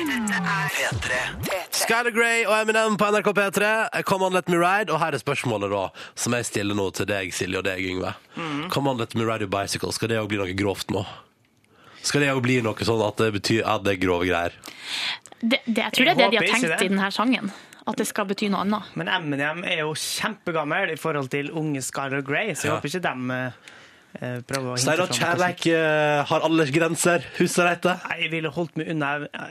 E: P3.
A: Skyler Grey og Eminem på NRK P3. Come on, let me ride. Og her er spørsmålet da, som jeg stiller nå til deg, Silje, og deg, Yngve.
E: Mm.
A: Come on, let me ride your bicycle. Skal det òg bli noe grovt nå? Skal det òg bli noe sånn at det betyr at det er grove greier?
D: Det, det, jeg tror
B: Jeg
D: det er det de
B: håper
D: har
B: ikke
D: tenkt
B: det.
D: i denne sangen. At det skal bety noe annet.
B: Men Eminem er jo kjempegammel i forhold til unge Scarlett Grey, så jeg
A: Ja.
B: håper ikke dem eh, prøver å hinte
A: Sier du at
B: fram noe sånt.
A: kjærleik eh, har alle grenser? Husker dette?
B: Nei, Jeg ville holdt meg unna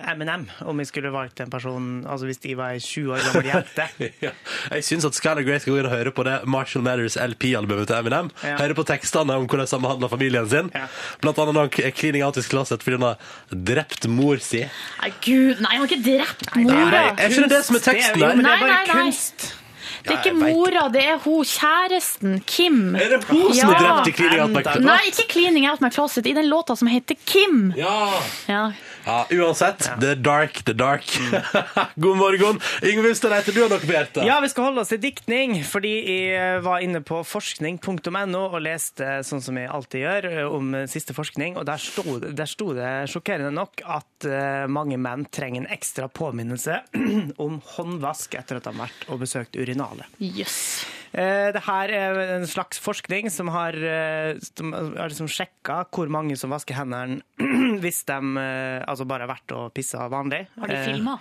B: Eminem om jeg skulle valgt en person Altså hvis de var ei 20 år gammel jente.
A: ja. Jeg syns at Skylar Grey skal gå inn og høre på det Marshall Mathers LP-albumet til Eminem.
B: Ja.
A: Høre på tekstene om hvordan han behandler familien sin. Blant annet når han er cleaning out his closet fordi han har drept mor si.
D: Nei, gud, nei, han har ikke drept
A: Nei,
D: mora!
A: er ikke det det som er teksten der?
D: Nei, nei, nei. Det er
A: Ja,
D: ikke
A: jeg vet
D: mora, det er hun kjæresten, Kim. Er det
A: hun som er drept i Cleaning Out My Closet?
D: Nei, ikke Cleaning Out My Closet, i den låta som heter Kim.
A: Ja.
D: Ja.
A: Ja, uansett, the dark, the dark. God morgen. Yngve Ustad heter du, har noe på hjertet?
B: Ja, vi skal holde oss til diktning, fordi jeg var inne på forskning.no og leste sånn som jeg alltid gjør, eh, om siste forskning, og der sto, der sto det sjokkerende nok at eh, mange menn trenger en ekstra påminnelse om håndvask etter at de har vært og besøkt urinalet.
D: Yes.
B: Eh, Det her er en slags forskning som har, eh, som har liksom sjekka hvor mange som vasker hendene hvis de eh, altså bare har vært og pissa vanlig.
D: Har de
B: Eh,
D: filma?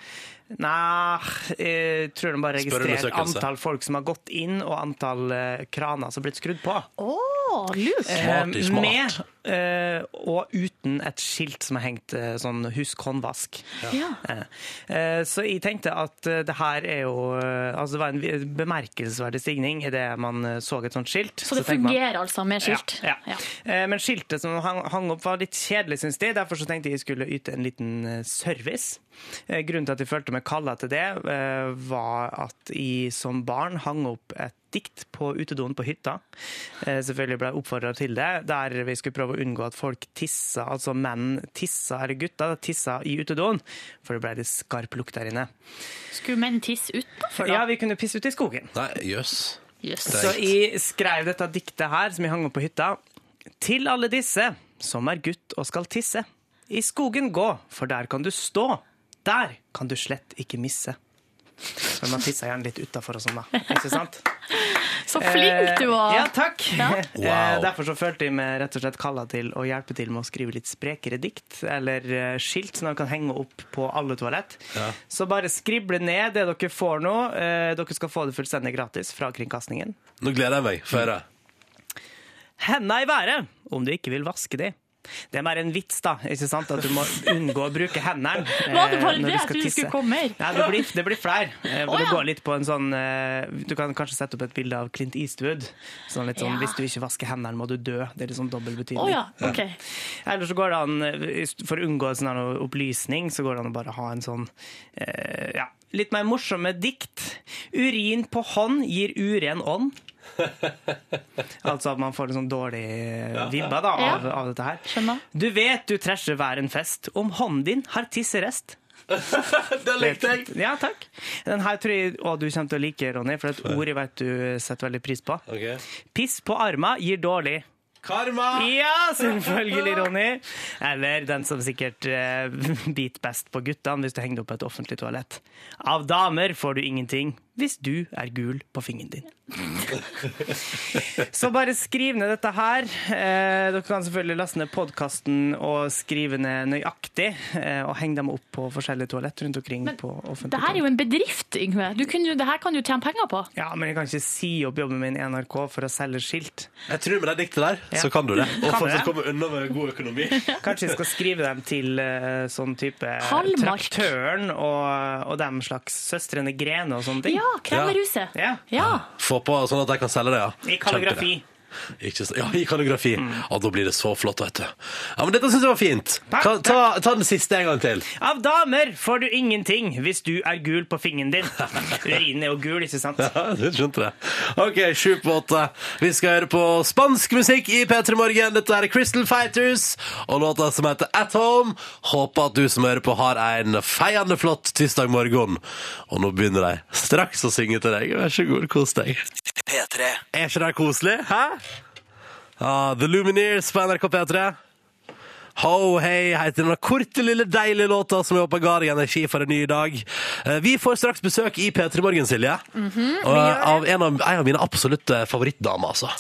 B: Nei, jeg eh, tror de bare registrerte
A: Spørreundersøkelse.
B: antall folk som har gått inn, og antall eh, kraner som har blitt skrudd på.
D: Oh, lurt.
B: Eh, Med eh, og uten et skilt som er hengt eh, sånn 'husk håndvask'.
E: Ja.
B: Eh, eh, Så jeg tenkte at eh, det her er jo eh, Altså det var en vi- bemerkelsesverdig stigning idet man eh, så et sånt skilt.
D: Så det
B: tenker man-
D: fungerer altså med skilt?
B: Ja, ja. Eh, Men skiltet som hang, hang opp var litt kjedelig, syns de. Derfor så tenkte jeg jeg skulle yte en liten eh, service. Eh, Grunnen til at jeg følte meg kalla til det, eh, var at jeg som barn hang opp et dikt på utedoen på hytta. Eh, Selvfølgelig ble jeg oppfordra til det, der vi skulle prøve å unngå at folk tissa, altså menn tissa, eller gutta tissa i utedoen, for det ble litt skarp lukt der inne.
D: Skulle menn tisse utafor, da?
B: Ja, vi kunne pisse ut i skogen.
A: Nei, jøss.
D: Yes.
B: Så jeg skrev dette diktet her, som jeg hang opp på hytta. Til alle disse som er gutt og skal tisse. I skogen gå, for der kan du stå. Der kan du slett ikke misse. Men man tisser gjerne litt utafor og sånn, da. Ikke sant?
D: Så flink du var!
B: Eh, ja, takk.
D: Ja.
B: Eh, Derfor så følte jeg meg rett og slett kalla til å hjelpe til med å skrive litt sprekere dikt, eller eh, skilt som dere kan henge opp på alle toalett. Så bare skrible ned det dere får nå. Eh, Dere skal få det fullstendig gratis fra Kringkastingen.
A: Nå gleder jeg meg. Få høre.
B: Henda i været om du ikke vil vaske de. Det er mer en vits, da. ikke sant? At du må unngå å bruke hendene. eh,
D: Var det
B: når
D: bare det?
B: du
D: Jeg
B: skal
D: trodde det
B: tisse.
D: skulle komme mer.
B: Nei, det blir, det blir flere. Eh, for
D: Å,
B: det
D: ja.
B: går litt på en sånn eh, Du kan kanskje sette opp et bilde av Clint Eastwood. Sånn litt sånn
D: Ja.
B: Hvis du ikke vasker hendene, må du dø. Det er litt sånn dobbel betydning.
D: Å ja, ok.
B: Eller så går det an, eh, for å unngå sånn her noe opplysning, så går det an å bare ha en sånn eh, ja, litt mer morsomme dikt. Urin på hånd gir uren ånd. altså at man får en sånn dårlig eh, vibba da, av,
E: Ja.
B: av dette her. Du vet du trasher hver en fest om hånden din har tisserest.
A: Den likte jeg.
B: Ja, takk. Den her tror jeg å, du kommer til å like, Ronny, for det er et ord jeg vet du setter veldig pris på.
A: Ok.
B: Piss på arma gir dårlig.
A: Karma!
B: Ja, selvfølgelig, Ronny. Eller den som sikkert eh, biter best på guttene hvis du henger deg opp på et offentlig toalett. Av damer får du ingenting hvis du er gul på fingeren din. Så bare skriv ned dette her. Eh, dere kan selvfølgelig laste ned podkasten og skrive ned nøyaktig, eh, og henge dem opp på forskjellige toalett rundt omkring. på offentlige
D: Det her er jo en bedrift, Yngve. Du kunne, jo- det her kan du tjene penger på.
B: Ja, men jeg kan ikke si opp jobben min i NRK for å selge skilt.
A: Jeg tror med det diktet der,
B: Ja.
A: så kan du det. Og
B: Kan
A: fortsatt
B: det?
A: komme unna med god økonomi.
B: Kanskje jeg skal skrive dem til eh, sånn type
D: Hallmark.
B: Traktøren og, og dem slags Søstrene Grene og sånne ting.
D: Ja, Kremmerhuset.
B: Ja.
A: Få på sånn at jeg kan selge det, ja.
B: I kalligrafi. Mm.
A: Kjempebra. Ikke, så- ja, i kalligrafi. Og da blir det så flott, vet du. Ja, men Dette syns jeg var fint.
B: Takk,
A: Ta, ta, ta den siste en gang til.
B: Av damer får du ingenting hvis du er gul på fingeren din. Urinen er jo gul, ikke sant?
A: Ja, du skjønte det. OK, sju på åtte. Vi skal høre på spansk musikk i P3 Morgen. Dette er Crystal Fighters og låta som heter At Home. Håper at du som hører på, har en feiende flott tirsdag morgen. Og nå begynner de straks å synge til deg. Vær så god, kos deg.
E: P3.
A: Er ikke det koselig? Hæ? Ja, The Lumineers på NRK P3. Ho hei heter denne korte, lille, deilige låta som jeg håper ga deg energi for en ny dag. Eh, Vi får straks besøk i P3 Morgen, Silje. Og, eh, av en av, en av mine absolutte favorittdamer, altså.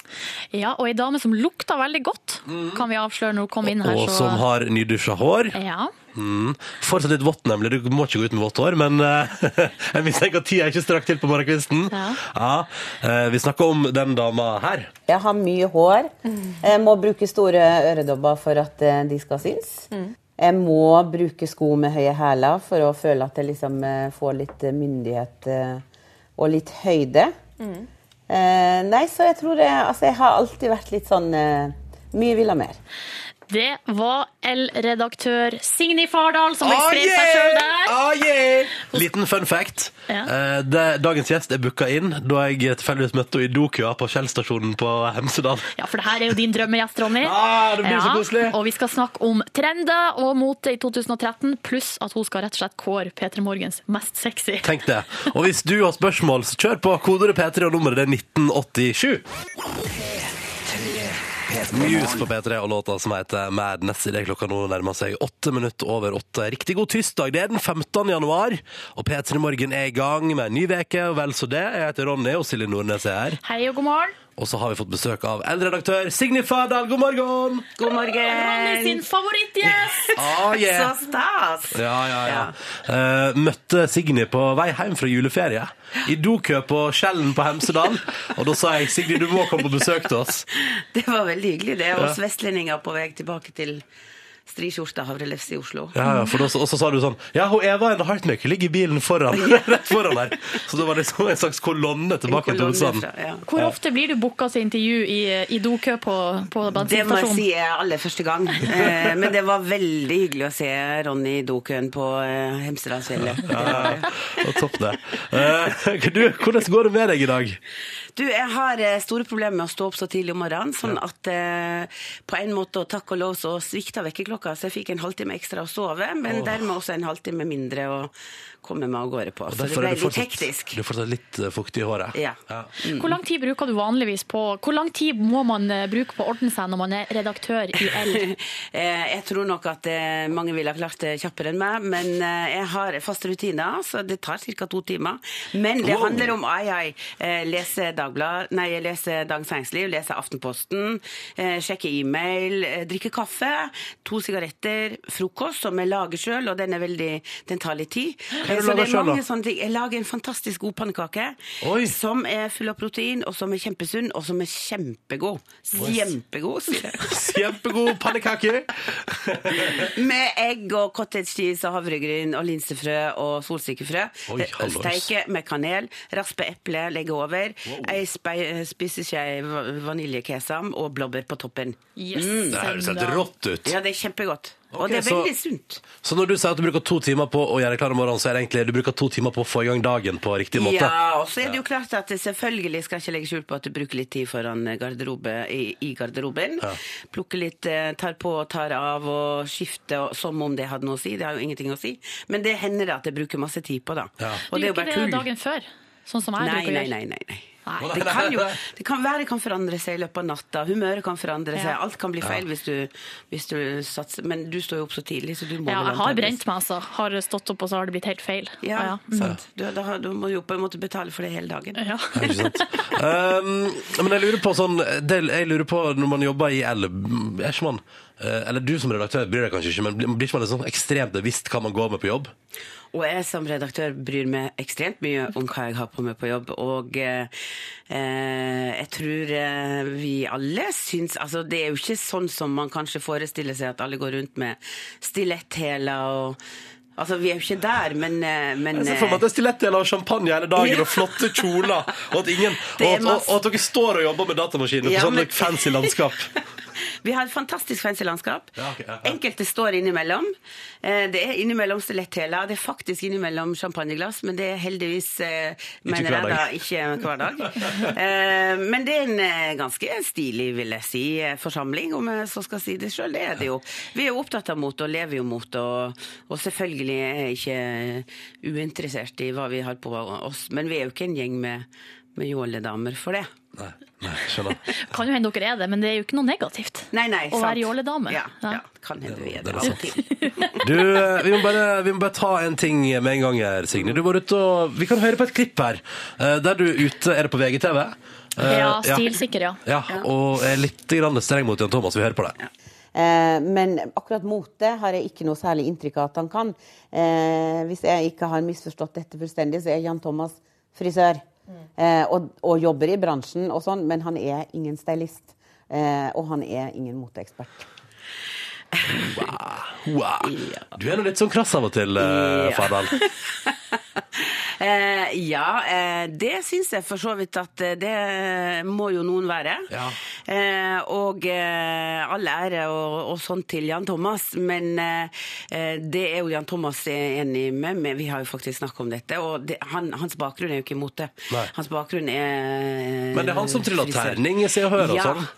D: Ja, og ei dame som lukta veldig godt,
B: Mhm.
D: kan vi avsløre når hun kom inn her.
A: Og som har nydusja hår.
D: Ja.
A: Mm. Fortsatt litt vått, nemlig. Du må ikke gå ut med vått hår, men eh, jeg mistenker at tida ikke strakk til på morgenkvisten.
I: Ja.
A: Ja, eh, vi snakker om den dama her.
I: Jeg har mye hår.
M: Mm.
I: Jeg må bruke store øredobber for at eh, de skal synes.
M: Mm.
I: Jeg må bruke sko med høye hæler for å føle at jeg liksom eh, får litt eh, myndighet eh, og litt høyde.
M: Mm.
I: Eh, nei, så jeg tror jeg, altså, jeg har alltid vært litt sånn eh, Mye ville ha mer.
D: Det var L-redaktør Signy Fardal som
A: Ah,
D: beskrev
A: yeah!
D: seg sjøl der.
A: Ah, yeah! Liten fun fact. Eh, det, dagens gjest er booka inn da jeg tilfeldigvis møtte henne i dokøa på Kjell-stasjonen på Hemsedal.
D: Ja, for det her er jo din drømmegjest, Ronny.
A: Ah, det blir så koselig.
D: Og vi skal snakke om trender og mote i 2013, pluss at hun skal rett og slett kåre P3 Morgens mest sexy.
A: Tenk det. Og hvis du har spørsmål, så kjør på. Kodeordet P3 og nummeret det er 1987. Muse på P3 og låta som heter Madness idet klokka nå nærmer seg åtte minutter over åtte. Riktig god tirsdag. Det er den 15. januar, og P3 Morgen er i gang med en ny uke. og Vel så det. Jeg heter Ronny, og Silje Nordnes er her.
D: Hei og god morgen.
A: Og så har vi fått besøk av eldreredaktør Signe Fardal. God morgen!
M: God
D: Ronny sin favorittgjest!
A: Ah, yeah.
M: Så stas!
A: Ja, ja, ja. Eh, møtte Signe på vei hjem fra juleferie. I dokø på Skjellen på Hemsedal. Og da sa jeg Signe, du må komme på besøk til oss.
M: Det var veldig hyggelig, det.
A: Ja.
M: Oss vestlendinger på vei tilbake til Strikjorta havrelefse i Oslo.
A: Ja, ja, for da, og så sa du sånn Ja, hun Eva and the Heartmaker ligger i bilen foran. Rett foran her. Så da var det liksom en slags kolonne tilbake til hovedstaden.
D: Hvor ofte blir du booka til intervju i, i dokø på, på
M: Det må jeg
D: bensinstasjonen?
M: si er aller første gang. Eh, Men det var veldig hyggelig å se Ronny i dokøen på eh, Hemsedalsfjellet. Det
A: Ja, ja,
M: var det.
A: ja. Og topp det. Eh, du, hvordan går det med deg i dag?
M: Du, jeg har eh, store problemer med å stå opp så tidlig om morgenen, sånn at eh, på en måte, og takk og lov, så svikta vekkerklokka, så jeg fikk en halvtime ekstra å sove, men
A: Åh.
M: dermed også en halvtime mindre å komme meg av gårde på.
A: Og
M: Så det
A: derfor
M: ble
A: er du
M: litt
A: fortsatt,
M: hektisk.
A: du er fortsatt litt eh, fuktig i håret.
M: Ja. Mm.
D: Hvor lang tid bruker du vanligvis på Hvor lang tid må man eh, bruke på å ordne seg når man er redaktør i L?
M: Eh, Jeg tror nok at eh, mange ville ha klart det kjappere enn meg, men eh, jeg har faste rutiner, så det tar ca. to timer. Men det
N: Wow.
M: handler om ai, ai. Eh, Lese Dagblad, nei, jeg leser Dagens Næringsliv, lese Aftenposten, eh, sjekke e-mail, eh, drikke kaffe, to sigaretter, frokost, som jeg lager sjøl, og den er veldig Den tar litt tid.
A: Hva er det
M: Eh,
A: du
M: Så det
A: lager
M: er
A: selv, da?
M: mange sånne ting. Jeg lager en fantastisk god pannekake som er full av protein, og som er kjempesunn, og som er kjempegod.
A: Oi.
M: Kjempegod, sier jeg.
A: Kjempegod pannekake!
M: Med egg og cottage cheese og havregryn og linsefrø og solsikkefrø. Eh,
A: Oi, hallois.
M: Steike med kanel, raspe eple, legge over. Ei eh, spe- spiseskje va- vaniljekesam og blåbær på toppen.
A: Det høres helt rått ut.
M: Ja, det er kjempegodt.
A: Ok,
M: og det er
A: så-
M: veldig sunt.
A: Så når du sier at du bruker to timer på å gjøre klar om morgenen, så er det egentlig du bruker to timer på å få i gang dagen på riktig måte?
M: Ja, og så er det jo klart at det selvfølgelig skal jeg ikke legge skjul på at du bruker litt tid foran garderobe, i, i garderoben. Plukker litt, eh, tar på og tar av og skifter og, som om det hadde noe å si. Det har jo ingenting å si. Men det hender at jeg bruker masse tid på, da.
D: Du gjør ikke det dagen før, sånn som jeg
M: Nei,
D: bruker å
M: nei,
D: gjøre.
M: nei, nei, nei. Det kan jo det kan, Været kan forandre seg i løpet av natta, humøret kan forandre seg.
D: Ja.
M: Alt kan bli
D: Ja.
M: feil hvis du, hvis du satser. Men du står jo opp så tidlig, så du må
D: Ja,
M: vel
D: jeg har
M: antageligvis-
D: brent meg, altså. Har stått opp, og så har det blitt helt feil.
M: Ja,
D: Mm.
M: sant. Du, da, har- du må jo på en måte betale for det hele dagen.
A: Um, men jeg lurer på sånn det, Jeg lurer på når man jobber i L Er ikke man eh, Eller du som redaktør bryr deg kanskje ikke, men blir blir ikke man litt sånn ekstremt bevisst hva man går med på jobb?
M: Og jeg som redaktør bryr meg ekstremt mye om hva jeg har på meg på jobb. Og eh, eh, jeg tror eh, vi alle syns Altså, det er jo ikke sånn som man kanskje forestiller seg at alle går rundt med stiletthæler og Altså, vi er jo ikke der, men, eh, men
A: Jeg ser for meg at det er stiletthæler og champagne hele dagen, og flotte kjoler, og at, ingen, og,
M: Det er
A: at, og, og at dere står og jobber med datamaskiner på
M: Ja,
A: sånn
M: men-
A: fancy landskap.
M: Vi har et fantastisk fancy landskap.
A: Ja, ok, ja, ja.
M: Enkelte står innimellom. Eh, Det er innimellom stiletthæler, det er faktisk innimellom champagneglass, men det er heldigvis eh, mener
E: hver
M: jeg da
E: dag.
M: ikke hver dag. Eh, Men det er en eh, ganske stilig, vil jeg si, eh, forsamling, om jeg så skal si det sjøl. Det er det jo. Vi er jo opptatt av mot og lever jo mot, og, og selvfølgelig er jeg ikke uinteressert i hva vi har på oss, men vi er jo ikke en gjeng med, med jåledamer for det.
A: Nei, skjønner.
D: Kan jo hende dere er det, men det er jo ikke noe negativt. å
M: sant.
D: være jåledame.
M: Ja, ja, kan hende vi er det.
A: det er
M: Sånn. av og
A: sant.
M: til.
A: Du, eh, vi må, bare, vi må bare ta en ting med en gang her, Signe. Du var ute og, vi kan høre på et klipp her, eh, der du er ute Er det på VGTV? Eh,
D: Ja, stilsikker, ja.
A: Ja, og er litt grann streng mot Jan Thomas. Vi hører på det.
I: Eh, men akkurat mote har jeg ikke noe særlig inntrykk av at han kan. Eh, hvis jeg ikke har misforstått dette fullstendig, så er Jan Thomas frisør. Eh, og, og jobber i bransjen og sånn, men han er ingen stylist. Eh, og han er ingen moteekspert.
A: Wow. Du er nå litt sånn krass av og til, eh, Fardal.
M: Eh, ja, eh, det syns jeg for så vidt at eh, det må jo noen være. Eh, og eh, all ære og, og sånn til Jan Thomas, men eh, eh, det er jo Jan Thomas enig med, men vi har jo faktisk snakket om dette. Og det, han, hans bakgrunn er jo ikke imot det.
A: Nei.
M: Hans bakgrunn er eh,
A: Men det er han som triller
M: frisør.
A: terning i Se og Hør og
M: ja.
A: sånn.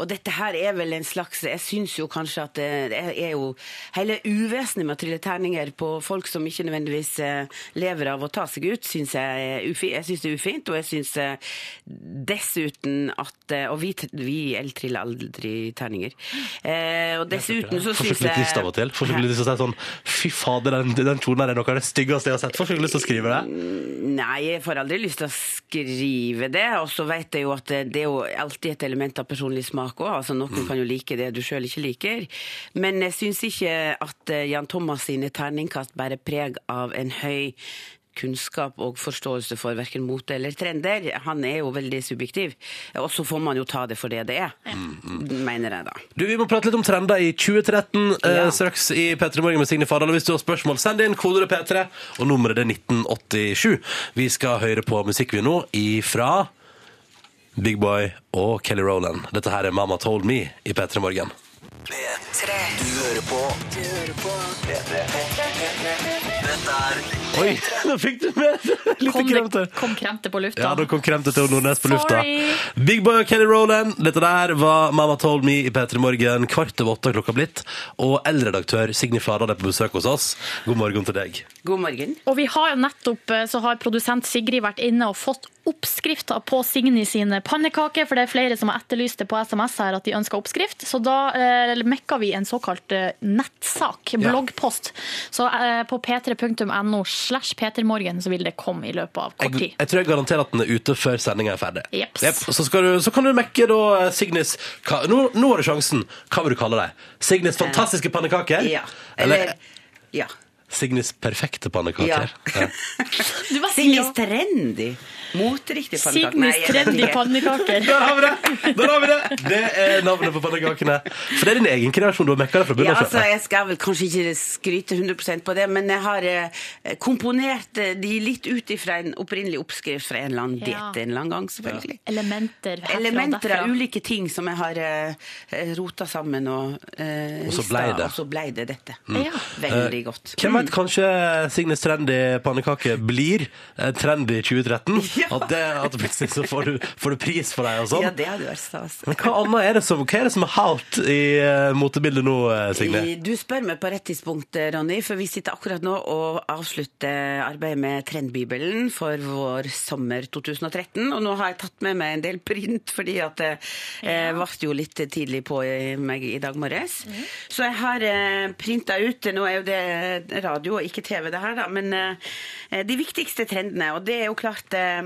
M: Og dette her er vel en slags Jeg syns jo kanskje at det det er jo Hele uvesenet med å trille terninger på folk som ikke nødvendigvis eh, lever av å ta seg ut, syns jeg, er ufi- jeg synes det er ufint. Og jeg syns eh, dessuten at eh, Og vi, t- vi eltriller aldri terninger. Eh, og dessuten så
A: Får
M: syns
A: skikkelig
M: jeg
A: lyst av og til. Får skikkelig lyst til å si sånn Fy fader, den, den kjolen her er noe av det styggeste jeg har sett. Får skikkelig lyst til å skrive det.
M: Nei, jeg får aldri lyst til å skrive det. Og så vet jeg jo at det er jo alltid et element av personlig smak òg. Altså,
A: Mm.
M: noen kan jo like det du sjøl ikke liker. Men jeg syns ikke at eh, Jan Thomas sine terningkast bærer preg av en høy kunnskap og forståelse for verken mote eller trender. Han er jo veldig subjektiv. Og så får man jo ta det for det det er, mener jeg da.
A: Du, Vi må prate litt om trender i 2013 eh, straks i P3 Morgen med Signe Fardal. Og hvis du har spørsmål, send inn kodeordet P3, og nummeret er 1987. Vi skal høre på musikk vi nå ifra Big Boy og Kelly Rowland. Dette her er Mama Told Me i P3 Morgen.
E: P3. Du hører på. Du hører på. P3. Dette er
A: Oi, da fikk du med
D: Kom, det, kom kremte på lufta.
A: Ja, da kom kremtet til Nordnes på lufta.
D: Sorry.
A: Big Boy og Kelly Rowland, dette der var Mama Told Me i P3 Morgen. Kvart over åtte er klokka blitt. Og eldredaktør Signe Fardal er på besøk hos oss. God morgen til deg.
M: God morgen.
D: Og vi har jo nettopp, eh, så har produsent Sigrid vært inne og fått oppskrifter på Signy sine pannekaker, for det er flere som har etterlyst det på SMS her at de ønsker oppskrift. Så da eh, mekka vi en såkalt eh, nettsak,
N: Ja.
D: bloggpost. Så eh, på p3.no slash p3morgen så vil det komme i løpet av kort
A: Jeg,
D: tid.
A: jeg tror jeg garanterer at den er ute før sendinga er ferdig.
D: Jeps.
A: Jep, og Så, skal du, så kan du mekke da eh, Signes hva, nå, nå har du sjansen. Hva vil du kalle dem? Signes fantastiske pannekaker?
M: Ja.
A: Eller,
M: Eller, ja.
A: Signis perfekte pannekaker. Ja.
M: Signis trendy. Moteriktig pannekake. Nei, jeg vet ikke.
A: Der har vi det! Der har vi det! Det er navnet på pannekakene. For det er din egen kreasjon. Du har mekka det fra
M: Ja,
A: bunnen av.
M: altså, jeg skal vel kanskje ikke skryte 100 på det, men jeg har eh, komponert eh, de litt ut ifra en opprinnelig oppskrift fra en eller annen
D: Ja.
M: diett en eller annen gang, selvfølgelig.
D: Elementer herfra og
M: Elementer av
D: derfra.
M: ulike ting som jeg har eh, rota sammen og eh,
A: Og så
M: rista,
A: blei det.
M: Og så blei det dette.
A: Mm.
M: Veldig
A: Eh,
M: godt. Mm.
A: Hvem vet, kanskje Signes trendy pannekake blir eh, trendy i 2013? At, det, at plutselig så får du, får du pris for deg og sånn.
M: Ja, det hadde vært stas.
A: Men hva annet er det som, hva er det som er hot i eh, motebildet nå, eh, Signe?
M: I- Du spør meg på rett tidspunkt, eh, Ronny, for vi sitter akkurat nå og avslutter arbeidet med Trendbibelen for vår sommer 2013. Og nå har jeg tatt med meg en del print, fordi at jeg eh, vart jo litt tidlig på i- meg i dag morges. Så jeg har eh, printa ut Nå er jo det radio og ikke TV, det her, da. Men eh, de viktigste trendene, og det er jo klart eh,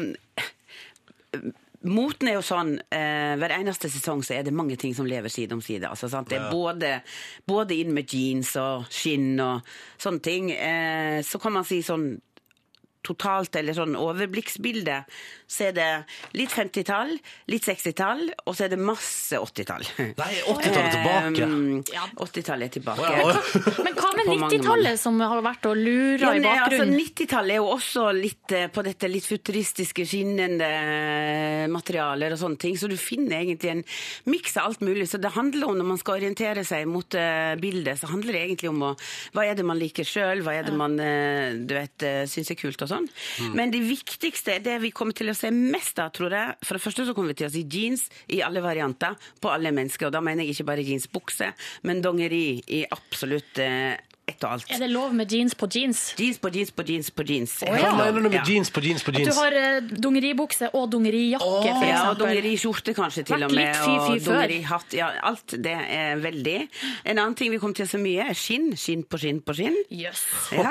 M: Moten er jo sånn, eh, Hver eneste sesong så er det mange ting som lever side om side. Altså, sant? Det er
N: Ja.
M: både, både inn med jeans og skinn og sånne ting. Eh, så kan man si sånn totalt eller sånn overblikksbilde, så er det litt 50-tall, litt 60-tall, og så er det masse 80-tall. Nei,
A: 80-tallet er tilbake.
M: 80-tallet er tilbake.
D: Men hva med
M: På mange måter.
D: 90-tallet som har vært og lura i
M: Ja, nei,
D: bakgrunnen?
M: Altså, 90-tallet er jo også litt eh, på dette litt futuristiske, skinnende eh, materialer og sånne ting, så du finner egentlig en miks av alt mulig. Så det handler om, når man skal orientere seg mot eh, bildet, så handler det egentlig om å, hva er det man liker sjøl, hva er det man eh, du vet, eh, syns er kult og sånn.
N: Mm.
M: Men det viktigste, det vi kommer til å se mest av, tror jeg For det første så kommer vi til å se jeans i alle varianter, på alle mennesker, og da mener jeg ikke bare jeansbukse, men dongeri i absolutt eh, ett og alt.
D: Er det lov med jeans på jeans?
M: Jeans på jeans på jeans på jeans.
D: Å,
A: Hva
D: ja.
A: mener du med jeans på jeans på
D: At du
A: jeans?
D: har eh, dungeribukse og dungerijakke, for eksempel.
M: ja, og dongeriskjorte kanskje til
D: Vært
M: og med.
D: litt fy-fy
M: Og
D: før.
M: dongerihatt. Ja, alt det er veldig. En annen ting vi kommer til å se mye, er skinn. Skinn på skinn på skinn. Ja.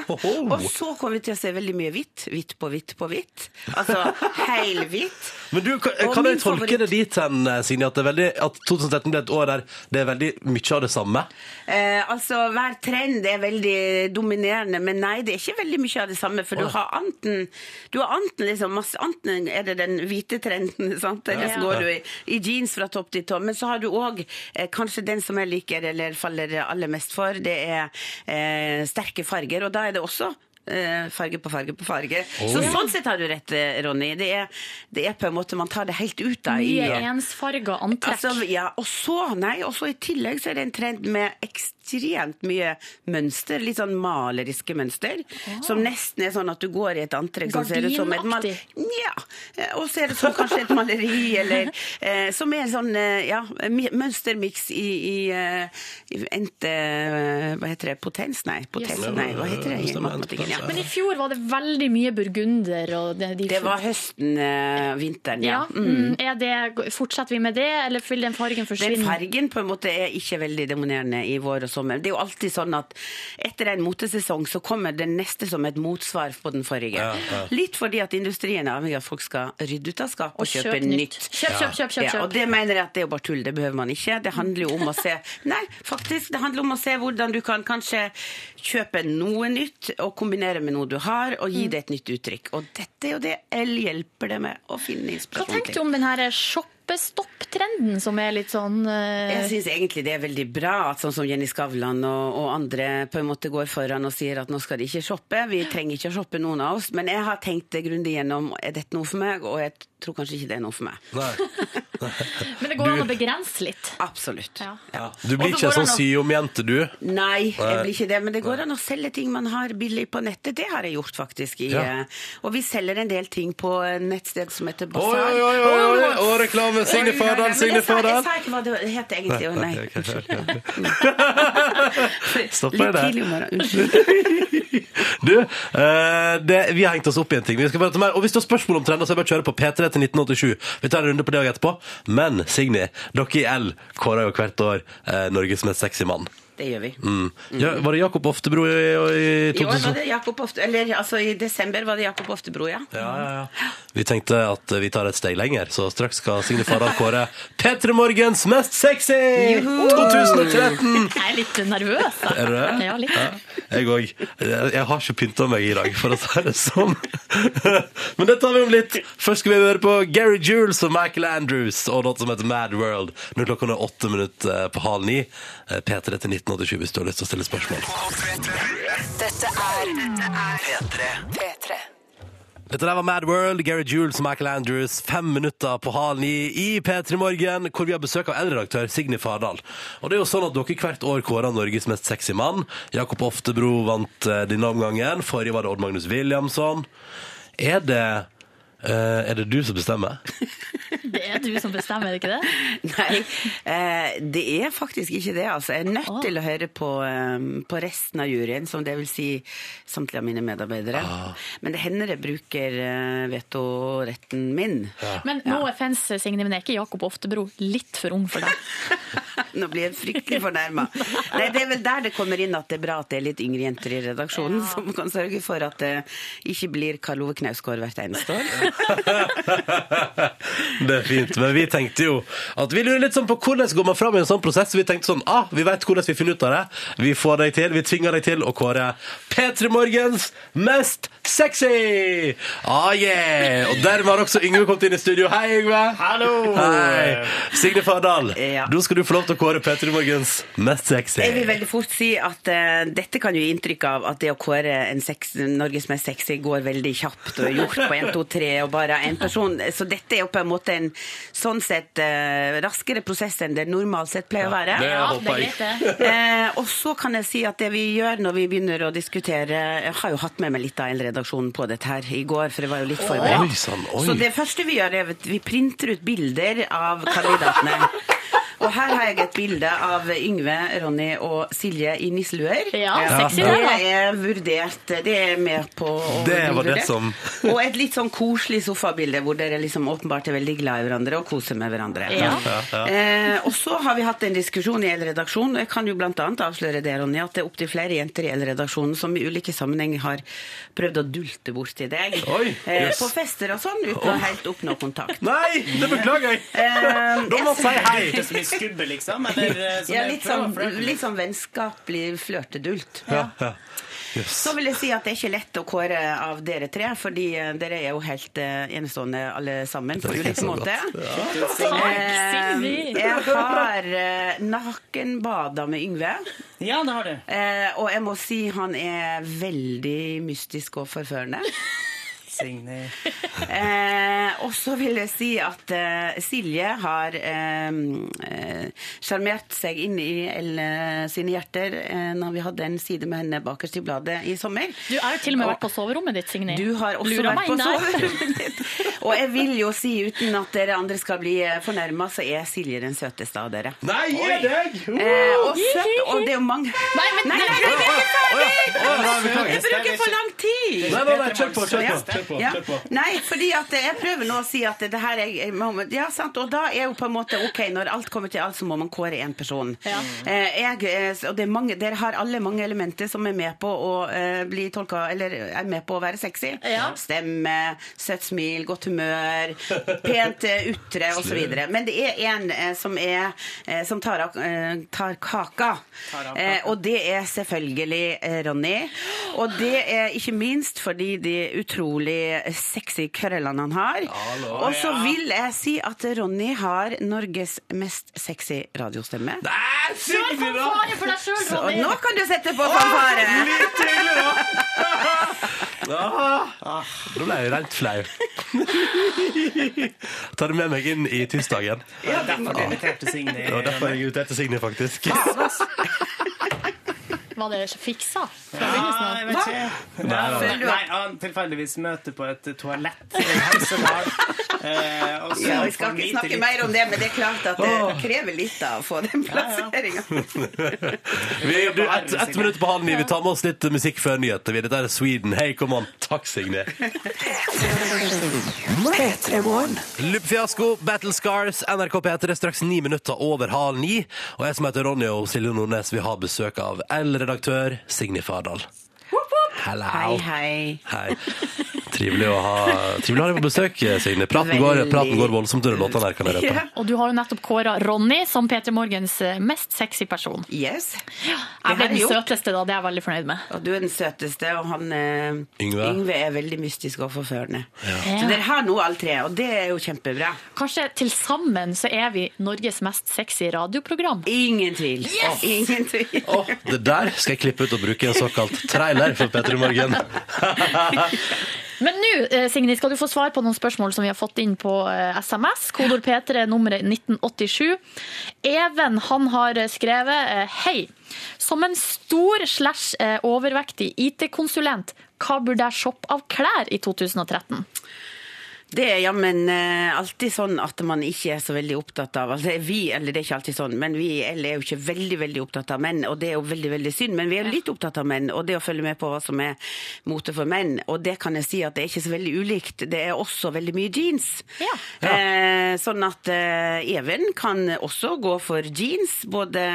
M: Og så kommer vi til å se veldig mye hvitt. Hvitt på hvitt på hvitt. Altså helhvitt.
A: Men du, kan,
M: Og
A: kan jeg
M: min
A: tolke det dit hen, eh, Signe, at, det er veldig, at 2013 ble et år der det er veldig mye av det samme?
M: Eh, altså, Hver trend er veldig dominerende, men nei, det er ikke veldig mye av det samme. For
A: Åh.
M: du har anten du har anten liksom masse, anten er det den hvite trenden, sant? eller
N: Ja.
M: så går du i, i jeans fra topp til tå. Men så har du òg eh, kanskje den som jeg liker eller faller aller mest for, det er eh, sterke farger. Og da er det også eh, farge på farge på farge.
D: Åh.
M: Så sånn sett har du rett, eh, Ronny. Det er, det er på en måte Man tar det helt ut da. i-
D: Mye ensfarga antrekk.
M: Altså, ja, og så, nei, og så i tillegg så er det en trend med ekstremt mye mønster, litt sånn maleriske mønster, som nesten er sånn at du går i et antrekk som ser ut som et mal... Ja, eh, og ser ut som kanskje et maleri, eller eh, som er en sånn, eh, ja, mi- mønstermiks i, i, eh, i ente, eh, hva heter det, potens, nei, potens,
D: Yes.
M: nei, hva heter det i matematikken, ja.
D: Men i fjor var det veldig mye burgunder. Og de, de
M: Det var høsten, eh, vinteren,
D: Ja.
M: ja.
D: Mm. Er det, fortsetter vi med det, eller vil den fargen forsvinne?
M: Den fargen på en måte er ikke veldig demonerende i vår og sommer. Det er jo alltid sånn at etter en motesesong så kommer den neste som et motsvar på den forrige.
N: Ja, ja.
M: Litt fordi at industrien er avhengig av at folk skal rydde ut av skapet og,
N: Og
M: kjøpe
N: kjøp
M: nytt.
N: nytt. Kjøp, kjøp, kjøp, kjøp,
M: Ja,
N: kjøp.
M: og det mener jeg at det er jo bare tull, det behøver man ikke. Det handler jo om å se Nei, faktisk, det handler om å se hvordan du kan kanskje kjøpe noe nytt og kombinere med noe du har, og gi det et nytt uttrykk. Og dette er jo det El hjelper det med å finne
D: Hva
M: inspirasjon til.
D: tenker du om den her shoppestopp-trenden, som er litt sånn eh,
M: Jeg syns egentlig det er veldig bra at sånn som Jenny Skavlan og, og andre på en måte går foran og sier at nå skal de ikke shoppe. Vi trenger ikke å shoppe noen av oss. Men jeg har tenkt det grundig gjennom. Er dette noe for meg? Og jeg tror kanskje ikke det er noe for meg.
D: Men det går
A: Du-
D: an å begrense litt.
M: Absolutt.
A: Du blir ikke
M: Og så går
A: en sånn
M: han og-
A: syomjente, du?
M: Nei, jeg
A: Nei.
M: blir ikke det. Men det går an å selge ting man har billig på nettet. Det har jeg gjort, faktisk. I,
A: Ja.
M: eh, Og vi selger en del ting på et nettsted som heter
A: Oi,
M: Bazaar.
A: oi, oi, oi, oi, oi, og reklame! Signe
M: Oi, oi, oi,
A: Fardal,
M: men
A: Signe
M: jeg sa-
A: Fardal!
M: Jeg sa ikke hva det het egentlig. Å, nei.
A: Stopper jeg
M: Litt
A: det?
M: tidlig om morgenen. Unnskyld.
A: Du, eh, det, vi har hengt oss opp i en ting. Vi skal prate mer. Og hvis du har spørsmål om trender, så er det bare å kjøre på P3 til 1987. Vi tar en runde på det også etterpå. Men Signy, dere i L kårer jo hvert år eh, Norges mest sexy mann.
M: Det gjør vi.
A: Mm. Ja, var det Jakob Oftebro i, i, i
M: I år var
A: 2000?
M: det Jakob Ofte, eller altså i desember var det Jakob Oftebro, ja.
A: Vi tenkte at vi tar et steg lenger, så straks skal Signe Fardal kåre P3 Morgens mest sexy 2013!
D: Jeg er litt nervøs. da.
A: Er du det?
D: Ja, litt.
A: Jeg òg. Jeg jeg har ikke pynta meg i dag, for å si det sånn. Men det tar vi om litt. Først skal vi høre på Gary Jules og Michael Andrews og noe som heter Mad World. Nå er klokken er åtte minutter på halv ni. Eh, P3 til 1987 hvis du har lyst til å stille spørsmål.
E: Dette er P3. P3.
A: Dette der var Mad World, Gary Jules og Michael Andrews. Fem minutter på halv ni i P3 Morgen, hvor vi har besøk av eldredaktør Signe Fardal. Og det er jo sånn at dere hvert år kårer Norges mest sexy mann. Jakob Oftebro vant eh, denne omgangen. Forrige var det Odd Magnus Williamson. Er det eh, Er det du som bestemmer?
D: Det er du som bestemmer, er det ikke det?
M: Nei, eh, det er faktisk ikke det. Altså. Jeg er nødt til å høre på, eh, på resten av juryen, som det vil si samtlige av mine medarbeidere. Men det hender jeg bruker eh, vetoretten min.
D: Men no offense, Signe, men er ikke Jakob Oftebro litt for ung for deg?
M: Nå blir jeg fryktelig fornærma. Nei, det er vel der det kommer inn at det er bra at det er litt yngre jenter i redaksjonen, som kan sørge for at det ikke blir Karl Ove Knausgård hvert eneste år.
A: Det er fint, men vi tenkte jo at vi lurer litt sånn på hvordan går man fram i en sånn prosess. Vi tenkte sånn, ah, vi vet hvordan vi finner ut av det. Vi får deg til, vi tvinger deg til å kåre P3 Morgens mest sexy! Ah, yeah! Og dermed har også Yngve kommet inn i studio. Hei, Yngve! Hallo! Hei! Signe Fardal,
M: Ja.
A: da skal du få lov til å kåre P3 Morgens mest sexy.
M: Jeg vil veldig fort si at eh, dette kan jo gi inntrykk av at det å kåre en sex, Norges mest sexy går veldig kjapt og er gjort på 1, 2, 3 og bare én person. Så dette er jo på en måte en sånn sett eh, raskere prosess enn det normalt sett pleier å være.
E: det Ja, håper det er jeg. greit, det.
M: Eh, og så kan jeg si at det vi gjør når vi begynner å diskutere Jeg har jo hatt med meg litt av en redaksjon på dette her i går, for jeg var jo litt forberedt.
A: Oi, sann, oi.
M: Så det første vi gjør, er at vi printer ut bilder av kandidatene. Og her har jeg et bilde av Yngve, Ronny og Silje i nisseluer. Ja,
A: sexy det, da.
M: Det er vurdert, det er med på å
A: Det var
M: vurdere.
A: det som-
M: Og et litt sånn koselig sofabilde hvor dere liksom åpenbart er veldig glad i hverandre og koser med hverandre.
E: Ja. Ja, ja.
M: Eh, og så har vi hatt en diskusjon i Elredaksjonen, og jeg kan jo blant annet avsløre det, Ronny, at det er opptil flere jenter i Elredaksjonen som i ulike sammenheng har prøvd å dulte bort til deg. Eh,
E: Oi, jøss.
M: På fester og sånn, uten
E: Oi.
M: å helt oppnå kontakt.
A: Nei, det beklager jeg!
M: Da må jeg si hei.
B: Som i skubbe, liksom? Eller, eh, som
M: Ja,
B: jeg
M: litt
B: prøver
M: sånn,
B: å flørte med.
M: litt sånn vennskapelig flørtedult.
A: Ja, ja. Yes.
M: Så vil jeg si at det er ikke lett å kåre av dere tre, fordi eh, dere er jo helt eh, enestående alle sammen på
E: Det er
M: ulike
E: så godt.
M: måter.
E: Ja.
M: Eh,
E: Sigrid.
M: Jeg har eh, nakenbada med Yngve.
B: Ja, det har du.
M: Eh, og jeg må si han er veldig mystisk og forførende.
B: Signe.
M: Eh, og så vil jeg si at eh, Silje har sjarmert eh, sjarmert seg inn i El, eh, sine hjerter eh, når vi hadde en side med henne bakerst i bladet i sommer.
D: Du er jo til og med vært på soverommet ditt, Signe.
M: Du har også vært på soverommet ditt. Og jeg vil jo si, uten at dere andre skal bli fornærma, så er Silje den søteste av dere.
E: Nei, gi
M: Oi.
E: deg!
M: Eh, og søt, og det er jo mange Nei,
E: men-
M: nei, nei, jeg er ikke ferdig! Jeg bruker for lang tid!
E: Nei, nei, nei, kjør på, kjør på, kjør på,
M: Ja.
E: kjør på.
M: Nei, fordi at jeg prøver nå å si at det her er jeg må- Ja, sant, og da er jo på en måte OK, når alt kommer til alt, så må man kåre én person. Eh, Jeg, eh, og det er mange, dere har alle mange elementer som er med på å eh, bli tolka Eller er med på å være sexy. Stemme, søtt smil, godt humør, pent eh, ytre osv. Men det er én eh, som er eh, Som tar, av, eh, tar kaka.
E: Tar av
M: Eh,
E: kaka.
M: og det er selvfølgelig eh, Ronny. Og det er ikke minst fordi de utrolig sexy krøllene han har.
E: Hallo,
M: Og så
E: ja.
M: vil jeg si at Ronny har Norges mest sexy radiostemme.
E: Kjør
D: fanfare for deg selv,
M: Så
E: Ronny.
M: nå kan du sette på fanfare!
E: Å, litt hyggelig,
A: Ah, da ble jeg rent flau. Ta det med meg inn i tirsdagen.
B: Det var derfor du inviterte Signe.
A: Det var derfor jeg inviterte Signe, faktisk.
D: Var det fiksa? fra
B: Ja,
D: begynnelsen av?
B: jeg vet ikke.
A: Nei,
B: Ja,
A: nei, nei.
B: Nei, han tilfeldigvis møter på et toalett i en helsedal.
A: Altså,
B: Eh, og så
M: Ja, vi
B: får
M: skal
B: han
M: ikke
B: vite
M: snakke
B: litt-
M: mer om det, men det er klart at det
B: Åh.
M: krever litt da, å få den plasseringa.
A: Vi, du, ett et minutt på halv ni. Vi tar med oss litt musikk før nyheter. Vi- Dette er Sweden. Hei, kom an. Takk, Signe. Luppfiasko, Battle Scars, NRK P3 er straks ni minutter over halv ni. Og jeg som heter Ronny og Silje Nordnes, vi har besøk av L-redaktør Signe Fardal. Hello.
M: Hei, hei.
A: Hei. Trivelig å ha Trivelig å ha deg på besøk, Signe. Praten går,
D: Veldig.
A: praten går voldsomt under låtene her, kan jeg røpe.
D: Og du har jo nettopp kåra Ronny som P3 Morgens eh, mest sexy person.
M: Yes.
D: Jeg ble
M: har
D: den
M: jeg gjort.
D: søteste, da. Det er jeg veldig fornøyd med.
M: Og du er den søteste, og han eh,
A: Yngve.
M: Yngve er veldig mystisk og forførende.
D: Ja.
M: Så dere har nå alle tre, og det er jo kjempebra.
D: Kanskje til sammen så er vi Norges mest sexy radioprogram?
M: Ingen tvil.
D: Yes!
M: Ingen tvil.
A: Det der skal jeg klippe ut og bruke i en såkalt trailer for P3 Morgen.
D: Men nå, eh, Signe, skal du få svar på noen spørsmål som vi har fått inn på eh, SMS. Kodord P3, nummeret 1987. Even han har eh, skrevet eh, Hei. Som en stor slash eh, overvektig IT-konsulent, hva burde jeg shoppe av klær i 2013?
M: Det er jammen eh, alltid sånn at man ikke er så veldig opptatt av altså vi, eller det er ikke alltid sånn, men vi i L er jo ikke veldig veldig opptatt av menn, og det er jo veldig veldig synd, men vi er jo litt opptatt av menn, og det å følge med på hva som er mote for menn, og det kan jeg si at det er ikke så veldig ulikt. Det er også veldig mye jeans. Eh, sånn at eh, Even kan også gå for jeans, både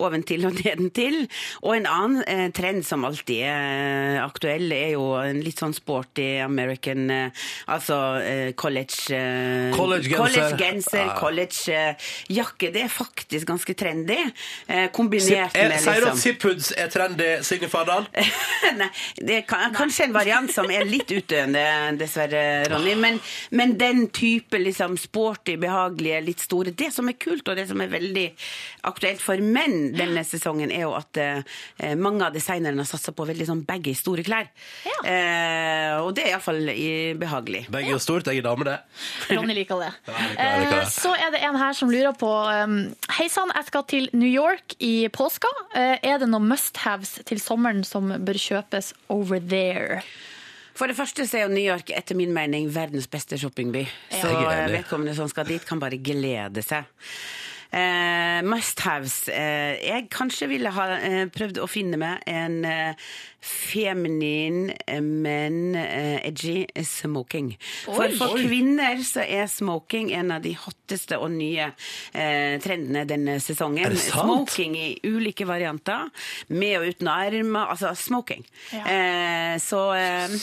M: oventil og nedentil. Og en annen eh, trend som alltid er eh, aktuell, er jo en litt sånn sporty American eh, Altså eh, college eh,
A: Collegegenser.
M: collegegenser,
A: Ja.
M: collegejakke. eh, det er faktisk ganske trendy. Eh, kombinert med liksom
A: Sier du at Zipphuds er trendy, Signe Fardal?
M: Nei, det er ka- kanskje en variant som er litt utdøende, dessverre, Ronny. Men, men den type liksom sporty, behagelige, litt store Det som er kult, og det som er veldig aktuelt for menn denne sesongen, er jo at eh, mange av designerne har satsa på veldig sånn baggy, store klær. Eh, og det er iallfall behagelig.
A: Begge er stort, jeg er dame, det.
D: Ronny liker det.
A: jeg liker det.
D: Eh, Så er det en her som lurer på um, Hei sann, jeg skal til New York i påska. Eh, Er det noen must-haves til sommeren som bør kjøpes over there?
M: For det første så er jo New York etter min mening verdens beste shoppingby.
D: Ja.
M: Så eh,
D: Jeg er enig.
M: vedkommende som skal dit, kan bare glede seg. Eh, Must-haves. Eh, jeg kanskje ville ha eh, prøvd å finne meg en eh, feminin, eh, men eh, edgy smoking. For,
E: Oi.
M: for
E: Oi.
M: kvinner så er smoking en av de hotteste og nye eh, trendene denne sesongen.
E: Er det sant?
M: Smoking i ulike varianter. Med og uten armer. Altså smoking. Eh, så eh,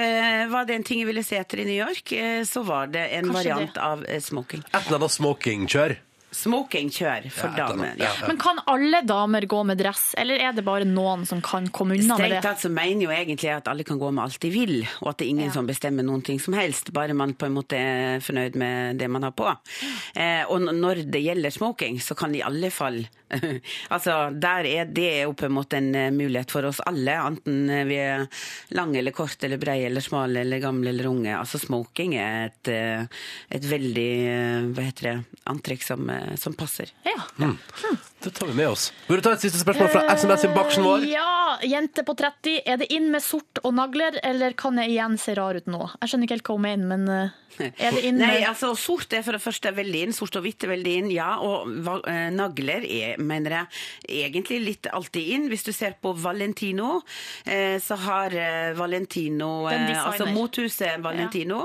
M: eh, var det en ting jeg ville se etter i New York, eh, så var det en
A: Kanskje
M: variant
A: det.
M: av eh, smoking.
A: Et eller annet smoking-kjør.
M: Smoking kjør for
A: Ja, et eller
M: damer.
A: annet. Ja, ja.
D: Men kan alle damer gå med dress, eller er det bare noen som kan komme unna med
M: Strengt
D: det?
M: tatt så mener jo egentlig jeg at alle kan gå med alt de vil, og at det er ingen som bestemmer noen ting som helst, bare man på en måte er fornøyd med det man har på. Eh, og n- når det gjelder smoking, så kan de i alle fall Altså, der er det er jo på en måte en eh, mulighet for oss alle, enten eh, vi er lange eller korte eller breie eller smale eller gamle eller unge. Altså, smoking er et, eh, et veldig eh, Hva heter det Antrekk som, eh, som passer.
A: Mm. Det tar vi med oss. Burde du ta et siste spørsmål fra SMS-innboksen vår?
D: Eh, Ja, jente på 30. Er det inn med sort og nagler, eller kan jeg igjen se rar ut nå? Jeg skjønner ikke helt hva hun mener, men eh, er det inn
M: Nei,
D: med
M: altså sort er for det første veldig inn, sort og hvitt er veldig inn, ja, og va- eh, nagler er, mener jeg, egentlig litt alltid inn. Hvis du ser på Valentino, eh, så har eh, Valentino,
E: Den
M: eh, altså
E: designer.
M: mothuset Valentino,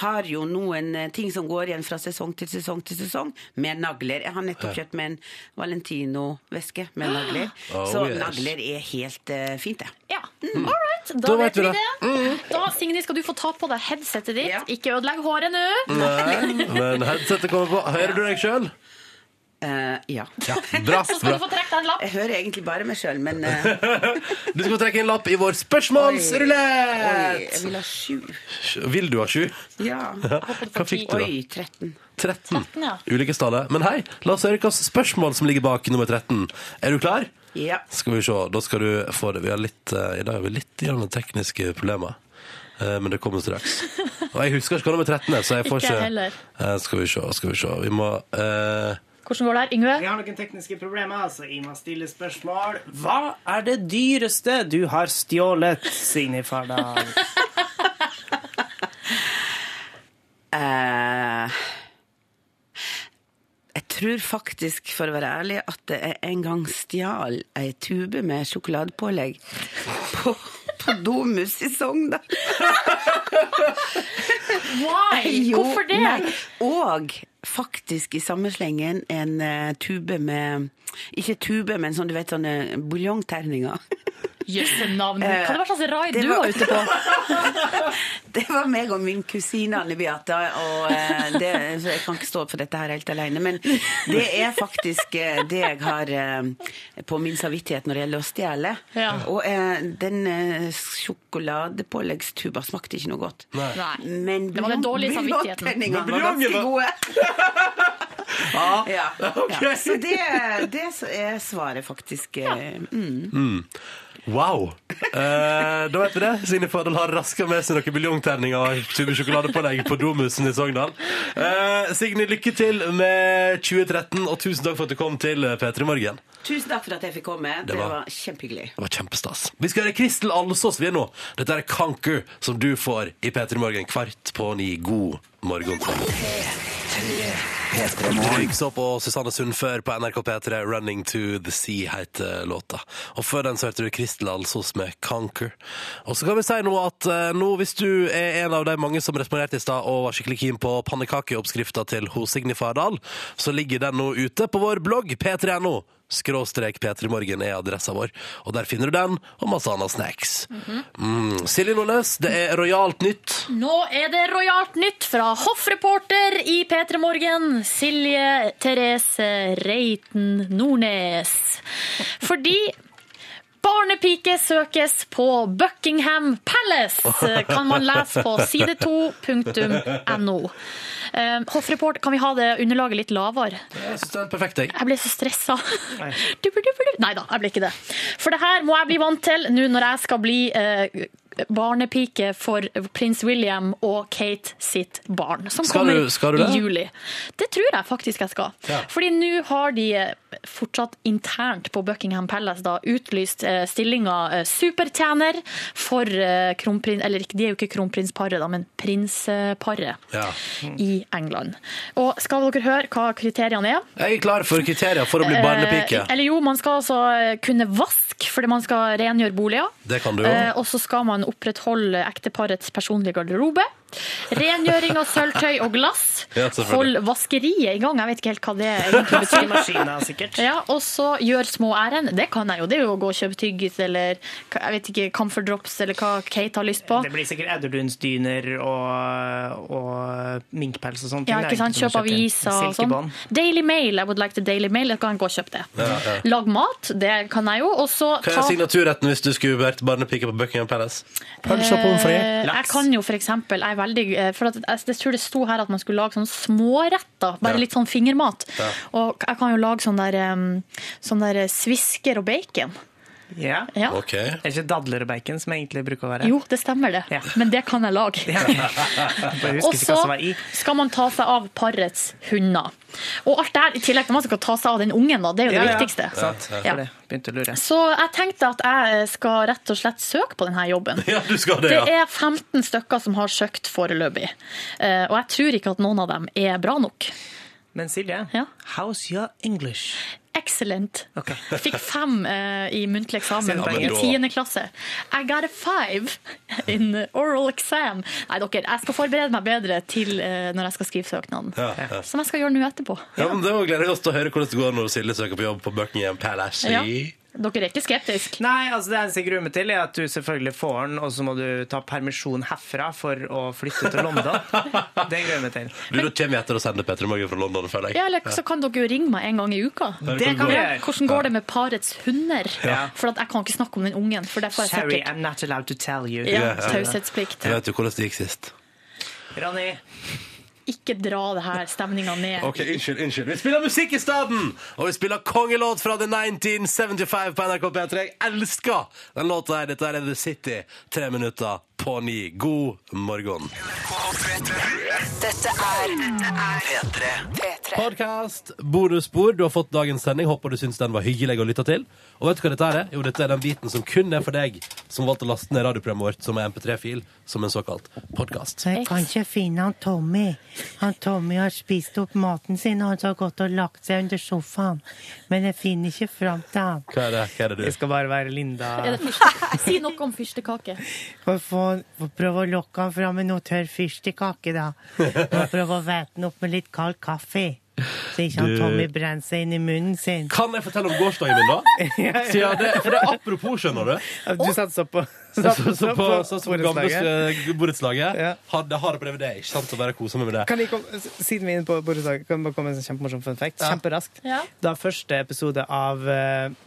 M: har jo noen eh, ting som går igjen fra sesong til sesong til sesong, med nagler. Jeg har nettopp
E: Ja.
M: kjøpt med en Valentino-veske med nagler,
E: Oh,
M: så
E: yes.
M: nagler er helt eh, fint det.
D: All right, da,
M: Da
D: vet
M: vet vi
D: vi
M: det.
D: det. Da, Signe, skal du få ta på deg headsetet ditt. Ikke ødelegg håret nå.
A: Nei, men headsetet kommer på. Hører du deg sjøl?
M: Eh, ja.
A: Bra.
M: Så skal
A: bra.
M: du få
D: trekke deg en lapp.
M: Jeg hører egentlig bare meg sjøl, men eh,
A: Du skal få trekke en lapp i vår
M: Oi, jeg
A: spørsmålsrulett!
M: vil ha sju.
A: Vil du ha sju?
M: Ja.
A: Hva fikk du, da?
M: Oi, 13.
A: 13.
M: Ja.
A: Ulike staller. Men hei, la oss høre hvilke spørsmål som ligger bak nummer 13. Er du klar?
M: Ja.
A: Skal vi se, da skal du få det. Vi har litt, eh, I dag har vi litt grann tekniske problemer. Eh, Men det kommer straks. Og jeg husker ikke hva nummer 13 er, så jeg får
D: Ikke jeg heller.
A: Eh, Skal vi se, skal vi se. Vi må eh,
D: Hvordan går det her, Yngve?
B: Jeg har noen tekniske problemer, så jeg må stille spørsmål. Hva er det dyreste du har stjålet, Signe Fardal?
M: Eh, jeg tror faktisk, for å være ærlig, at jeg en gang stjal ei tube med sjokoladepålegg på, på Domus i Sogndal.
D: Why?
M: Jo,
D: Hvorfor det?
M: nei, og faktisk i samme slengen en eh, tube med Ikke tube, men sånn du vet, sånne buljongterninger.
D: Jøsse navn.
M: Eh,
D: Hva var slags raid
M: det
D: du
M: var-
D: var ute på?
M: Det var meg og min kusine Anne Beata, og eh, det, så jeg kan ikke stå for dette her helt alene. Men det er faktisk eh, det jeg har eh, på min samvittighet når det gjelder å stjele. Og eh, den eh, sjokoladepåleggstuba smakte ikke noe godt.
A: Nei.
M: Men
D: Det var den dårlige
M: buljong-
D: samvittigheten. Men
M: buljongterningene var ganske
D: buljongen
M: gode.
A: Ja,
M: Ja,
A: ok.
M: ja. Så det, det er svaret, faktisk. eh, Mm.
A: Mm. Wow! Eh, da vet vi det. Signe Fadel har raska med seg noen buljongterninger og 20 sjokoladepålegg på Domusen i Sogndal. Eh, Signe, lykke til med 2013, og tusen takk for at du kom til P3 Morgen.
M: Tusen takk for at jeg fikk komme.
A: Det
M: Det
A: var-
M: var kjempehyggelig.
A: Det var kjempestas. Vi skal høre Kristel Alsås vi er nå. Dette er Conquer, som du får i P3 Morgen kvart på ni. God morgen. Røyk så på Susanne Sundfør på NRK P3. 'Running to the Sea' heter låta. Og før den så hørte du Kristel Alsås med 'Conquer'. Og så kan vi si nå at eh, nå, hvis du er en av de mange som responderte i stad og var skikkelig keen på pannekakeoppskrifta til ho Signy Fardal, så ligger den nå ute på vår blogg p3.no. Skråstrek P3morgen er adressa vår, og der finner du den og masse annet snacks. Mm. Silje Nordnes, det er rojalt nytt.
D: Nå er det rojalt nytt fra hoffreporter i P3 Morgen, Silje Therese Reiten Nordnes. Fordi Barnepike søkes på Buckingham Palace, kan man lese på side2.no. Eh, Hoffreporter, kan vi ha det underlaget litt lavere?
A: Jeg syns det er perfekt, jeg.
D: Jeg ble så stressa. Nei da, jeg ble ikke det. For det her må jeg bli vant til nå når jeg skal bli eh, barnepike for prins William og Kate sitt barn. Som
A: Skal
D: kommer
A: du- skal du det?
D: i juli. Det tror jeg faktisk jeg skal.
A: Ja.
D: Fordi nå har de eh, fortsatt internt på Buckingham Palace da, utlyst eh, stillinga eh, supertjener for eh, kronprins... Eller de er jo ikke kronprinsparet, da, men prinsparet
A: Ja.
D: i England. Og skal dere høre hva kriteriene er?
A: Jeg er klar for kriterier for å bli barnepike.
D: Eh, Eller jo, man skal altså eh, kunne vaske, fordi man skal rengjøre boliger.
A: Det kan du jo.
D: Eh, Og så skal man opprettholde ekteparets personlige garderobe. Rengjøring av sølvtøy og glass.
B: Ja, selvfølgelig.
D: Hold vaskeriet i gang. Jeg vet ikke helt hva det egentlig betyr.
B: Vaskemaskiner, sikkert.
D: Ja, og så gjør små ærend. Det kan jeg jo. Det er jo å gå og kjøpe tyggis eller jeg vet ikke, Comfort Drops eller hva Kate har lyst på.
B: Det blir sikkert edderdunsdyner og, og minkpels og sånne
D: Ja,
B: ting.
D: ikke sant? Kjøp aviser og sånn. Daily Mail. I would like the Daily Mail. Jeg kan gå og kjøpe det.
A: Ja, ja.
D: Lag mat. Det kan jeg jo. Og så
A: Hva er signaturretten hvis du skulle vært barnepike på Buckingham Palace?
D: Eh, Jeg kan jo for eksempel, jeg er veldig, eh, for at, jeg, jeg tror det sto her at man skulle lage sånne småretter, bare
A: Ja.
D: litt sånn fingermat.
A: Ja.
D: Og jeg kan jo lage sånn der, em, sånn der eh, svisker og bacon.
B: Ja.
D: sånn. Ja.
B: Er det ikke dadler og bacon som egentlig bruker å være?
D: Jo, det stemmer det, men det kan jeg lage.
B: Jeg
D: Og
B: husker ikke
D: så
B: hva som var i.
D: skal man ta seg av parets hunder. Og alt det her i tillegg når man skal ta seg av den ungen, da. Det er jo
B: Ja,
D: det
B: ja.
D: viktigste.
B: Sant.
D: Ja.
B: For det begynte å lure.
D: Så jeg tenkte at jeg skal rett og slett søke på denne jobben.
A: Ja, du skal det, ja.
D: er 15 stykker som har søkt foreløpig. Eh, Og jeg tror ikke at noen av dem er bra nok.
B: Men Silje, how's your English?
D: Excellent. Fikk fem eh, i muntlig eksamen
B: Send
D: i
B: penger.
D: tiende klasse. I got a five in oral exam. Nei, dere, jeg skal forberede meg bedre til eh, når jeg skal skrive søknaden.
A: Ja, ja.
D: Som jeg skal gjøre nå etterpå.
A: Ja, men Det var gleder jeg oss til å høre hvordan det går når Silje søker på jobb på Buckingham Palace.
D: Ja. Dere er ikke skeptiske?
B: Nei, altså det eneste jeg gruer meg til, er at du selvfølgelig får den, og så må du ta permisjon herfra for å flytte til London. Det gruer jeg meg til.
A: Du, Da kommer vi etter å sende Petter Morgen fra London, føler jeg.
D: Ja, eller så kan dere jo ringe meg en gang i uka.
A: Det Det kan vi gjøre.
D: Hvordan går det med parets hunder?
A: Ja.
D: For at jeg kan ikke snakke om den ungen. For der får jeg
B: Sorry,
D: sikkert
B: I'm not allowed to tell you.
D: Ja, taushetsplikt.
A: Jeg vet jo hvordan det gikk sist.
B: Ronny,
D: Ikke dra det her stemninga ned.
A: Ok, Unnskyld, unnskyld. Vi spiller musikk i stedet! Og vi spiller kongelåt fra The 1975 på NRK P3. Jeg elsker den låta her. Dette her er The City. Tre minutter på ni. God morgen.
E: Dette er P3.
A: P3. Podcast, bonusbord. Du har fått dagens sending. Håper du syns den var hyggelig å lytte til. Og vet du hva dette her er? Jo, dette er den biten som kun er for deg som valgte å laste ned radioprogrammet vårt som er MP3-fil, som en såkalt podkast.
N: Jeg kan ikke finne han Tommy. Han Tommy har spist opp maten sin, og han har gått og lagt seg under sofaen. Men jeg finner ikke fram til han.
A: Hva er det, hva er det du
B: Jeg skal bare være Linda.
D: Er det fyrste- Si noe om fyrstekake.
N: Får få- får prøve å lokke han fram med noe tørr fyrstekake, da. Og prøve å væte han opp med litt kald kaffe. Så ikke han
A: Du-
N: Tommy brenner seg inn i munnen sin.
A: Kan jeg fortelle om gårsdagen min, da? Siden det, for det er apropos, skjønner du.
B: Du satsa på
A: Så, så, så på, så, så på gamle
B: borettslaget.
A: eh, borettslaget. Har, det har det på DVD, ikke sant? Å bare kose meg med det.
B: Kan jeg komme, siden vi er inne på borettslaget, kan det bare komme med en sånn kjempemorsom fun fact? Kjemperaskt. Da første episode av eh,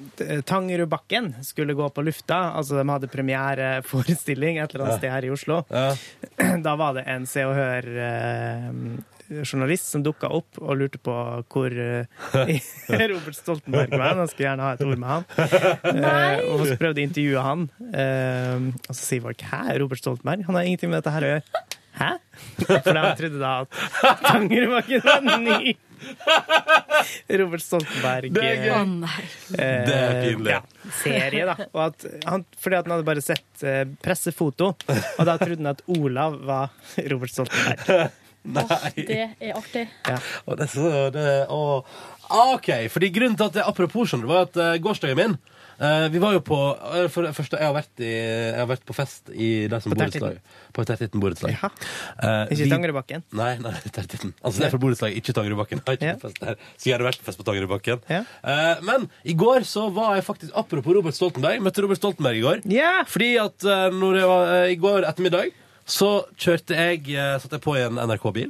B: Tangerudbakken skulle gå på lufta, altså de hadde premiereforestilling et eller annet
A: Ja.
B: sted her i Oslo, da var det en Se og Hør eh, journalist som dukka opp og lurte på hvor eh, Robert Stoltenberg var. Han skulle gjerne ha et ord med han. Eh, og så prøvde jeg å intervjue han, eh, og så sier folk 'hæ, Robert Stoltenberg? Han har ingenting med dette her å gjøre'. Hæ? For de trodde da at Tangerudbakken var ny. Robert Stoltenberg
E: Det er gøy.
B: eh,
E: Å, nei.
B: eh,
E: Det er pinlig.
B: Ja, serie, da. Og at han, fordi at han hadde bare sett eh, pressefoto, og da trodde han at Olav var Robert Stoltenberg.
A: Nei.
D: Det er artig.
A: Og det, er så, det, og, Ah, OK. fordi grunnen til at det apropos skjønner du, var at eh, gårsdagen min eh, Vi var jo på eh, For det første, jeg har vært, i, jeg har vært på fest i de som
B: På
A: bor i
B: Tertitten.
A: slag. På Tertitten borettslag. Eh,
B: Ikke
A: vi-
B: Tangerudbakken.
A: Nei, nei, Tertitten. Altså, det er fra borettslaget, ikke Tangerudbakken. Jeg har ikke vært på fest der. Så jeg hadde vært på fest på Tangerudbakken. Eh, men i går så var jeg faktisk Apropos Robert Stoltenberg. Møtte Robert Stoltenberg i går. Fordi at eh, når jeg var, eh, i går ettermiddag så kjørte jeg, eh, satt jeg på i en NRK-bil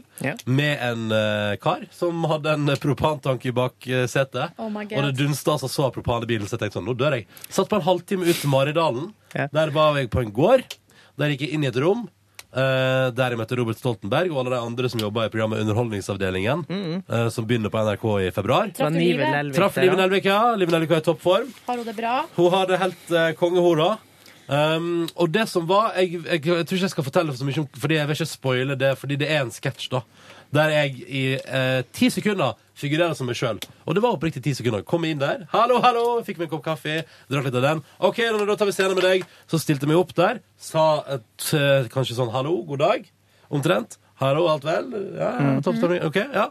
A: med en eh, kar som hadde en propantank i bak eh, setet.
E: Oh my God.
A: og det dunsta altså så av propan i bilen, så jeg tenkte sånn, nå dør jeg. Satt på en halvtime ut til Maridalen. Der var jeg på en gård. Der gikk jeg inn i et rom. eh, der jeg møtte Robert Stoltenberg og alle de andre som jobba i programmet Underholdningsavdelingen, eh, som begynner på NRK i februar.
D: Traff du Live Nelvik
A: Traff
D: der,
A: Live
D: da?
A: Nelvik, ja. Live Nelvik var i toppform.
D: Har hun det bra?
A: Hun har det helt uh, kongehora. Um, og det som var jeg, jeg, jeg tror ikke jeg skal fortelle så mye om Fordi jeg vil ikke spoile det, fordi det er en sketsj, da. Der jeg i eh, ti sekunder figurerer som meg sjøl. Og det var oppriktig ti sekunder. Kom inn der. Hallo, hallo! Fikk meg en kopp kaffe. Drakk litt av den. OK, Ronny, da tar vi scenen med deg. Så stilte jeg meg opp der. Sa et, eh, kanskje sånn hallo, god dag. Omtrent. Hallo, alt vel? Ja,
E: Mm.
A: topp stemning. OK, ja.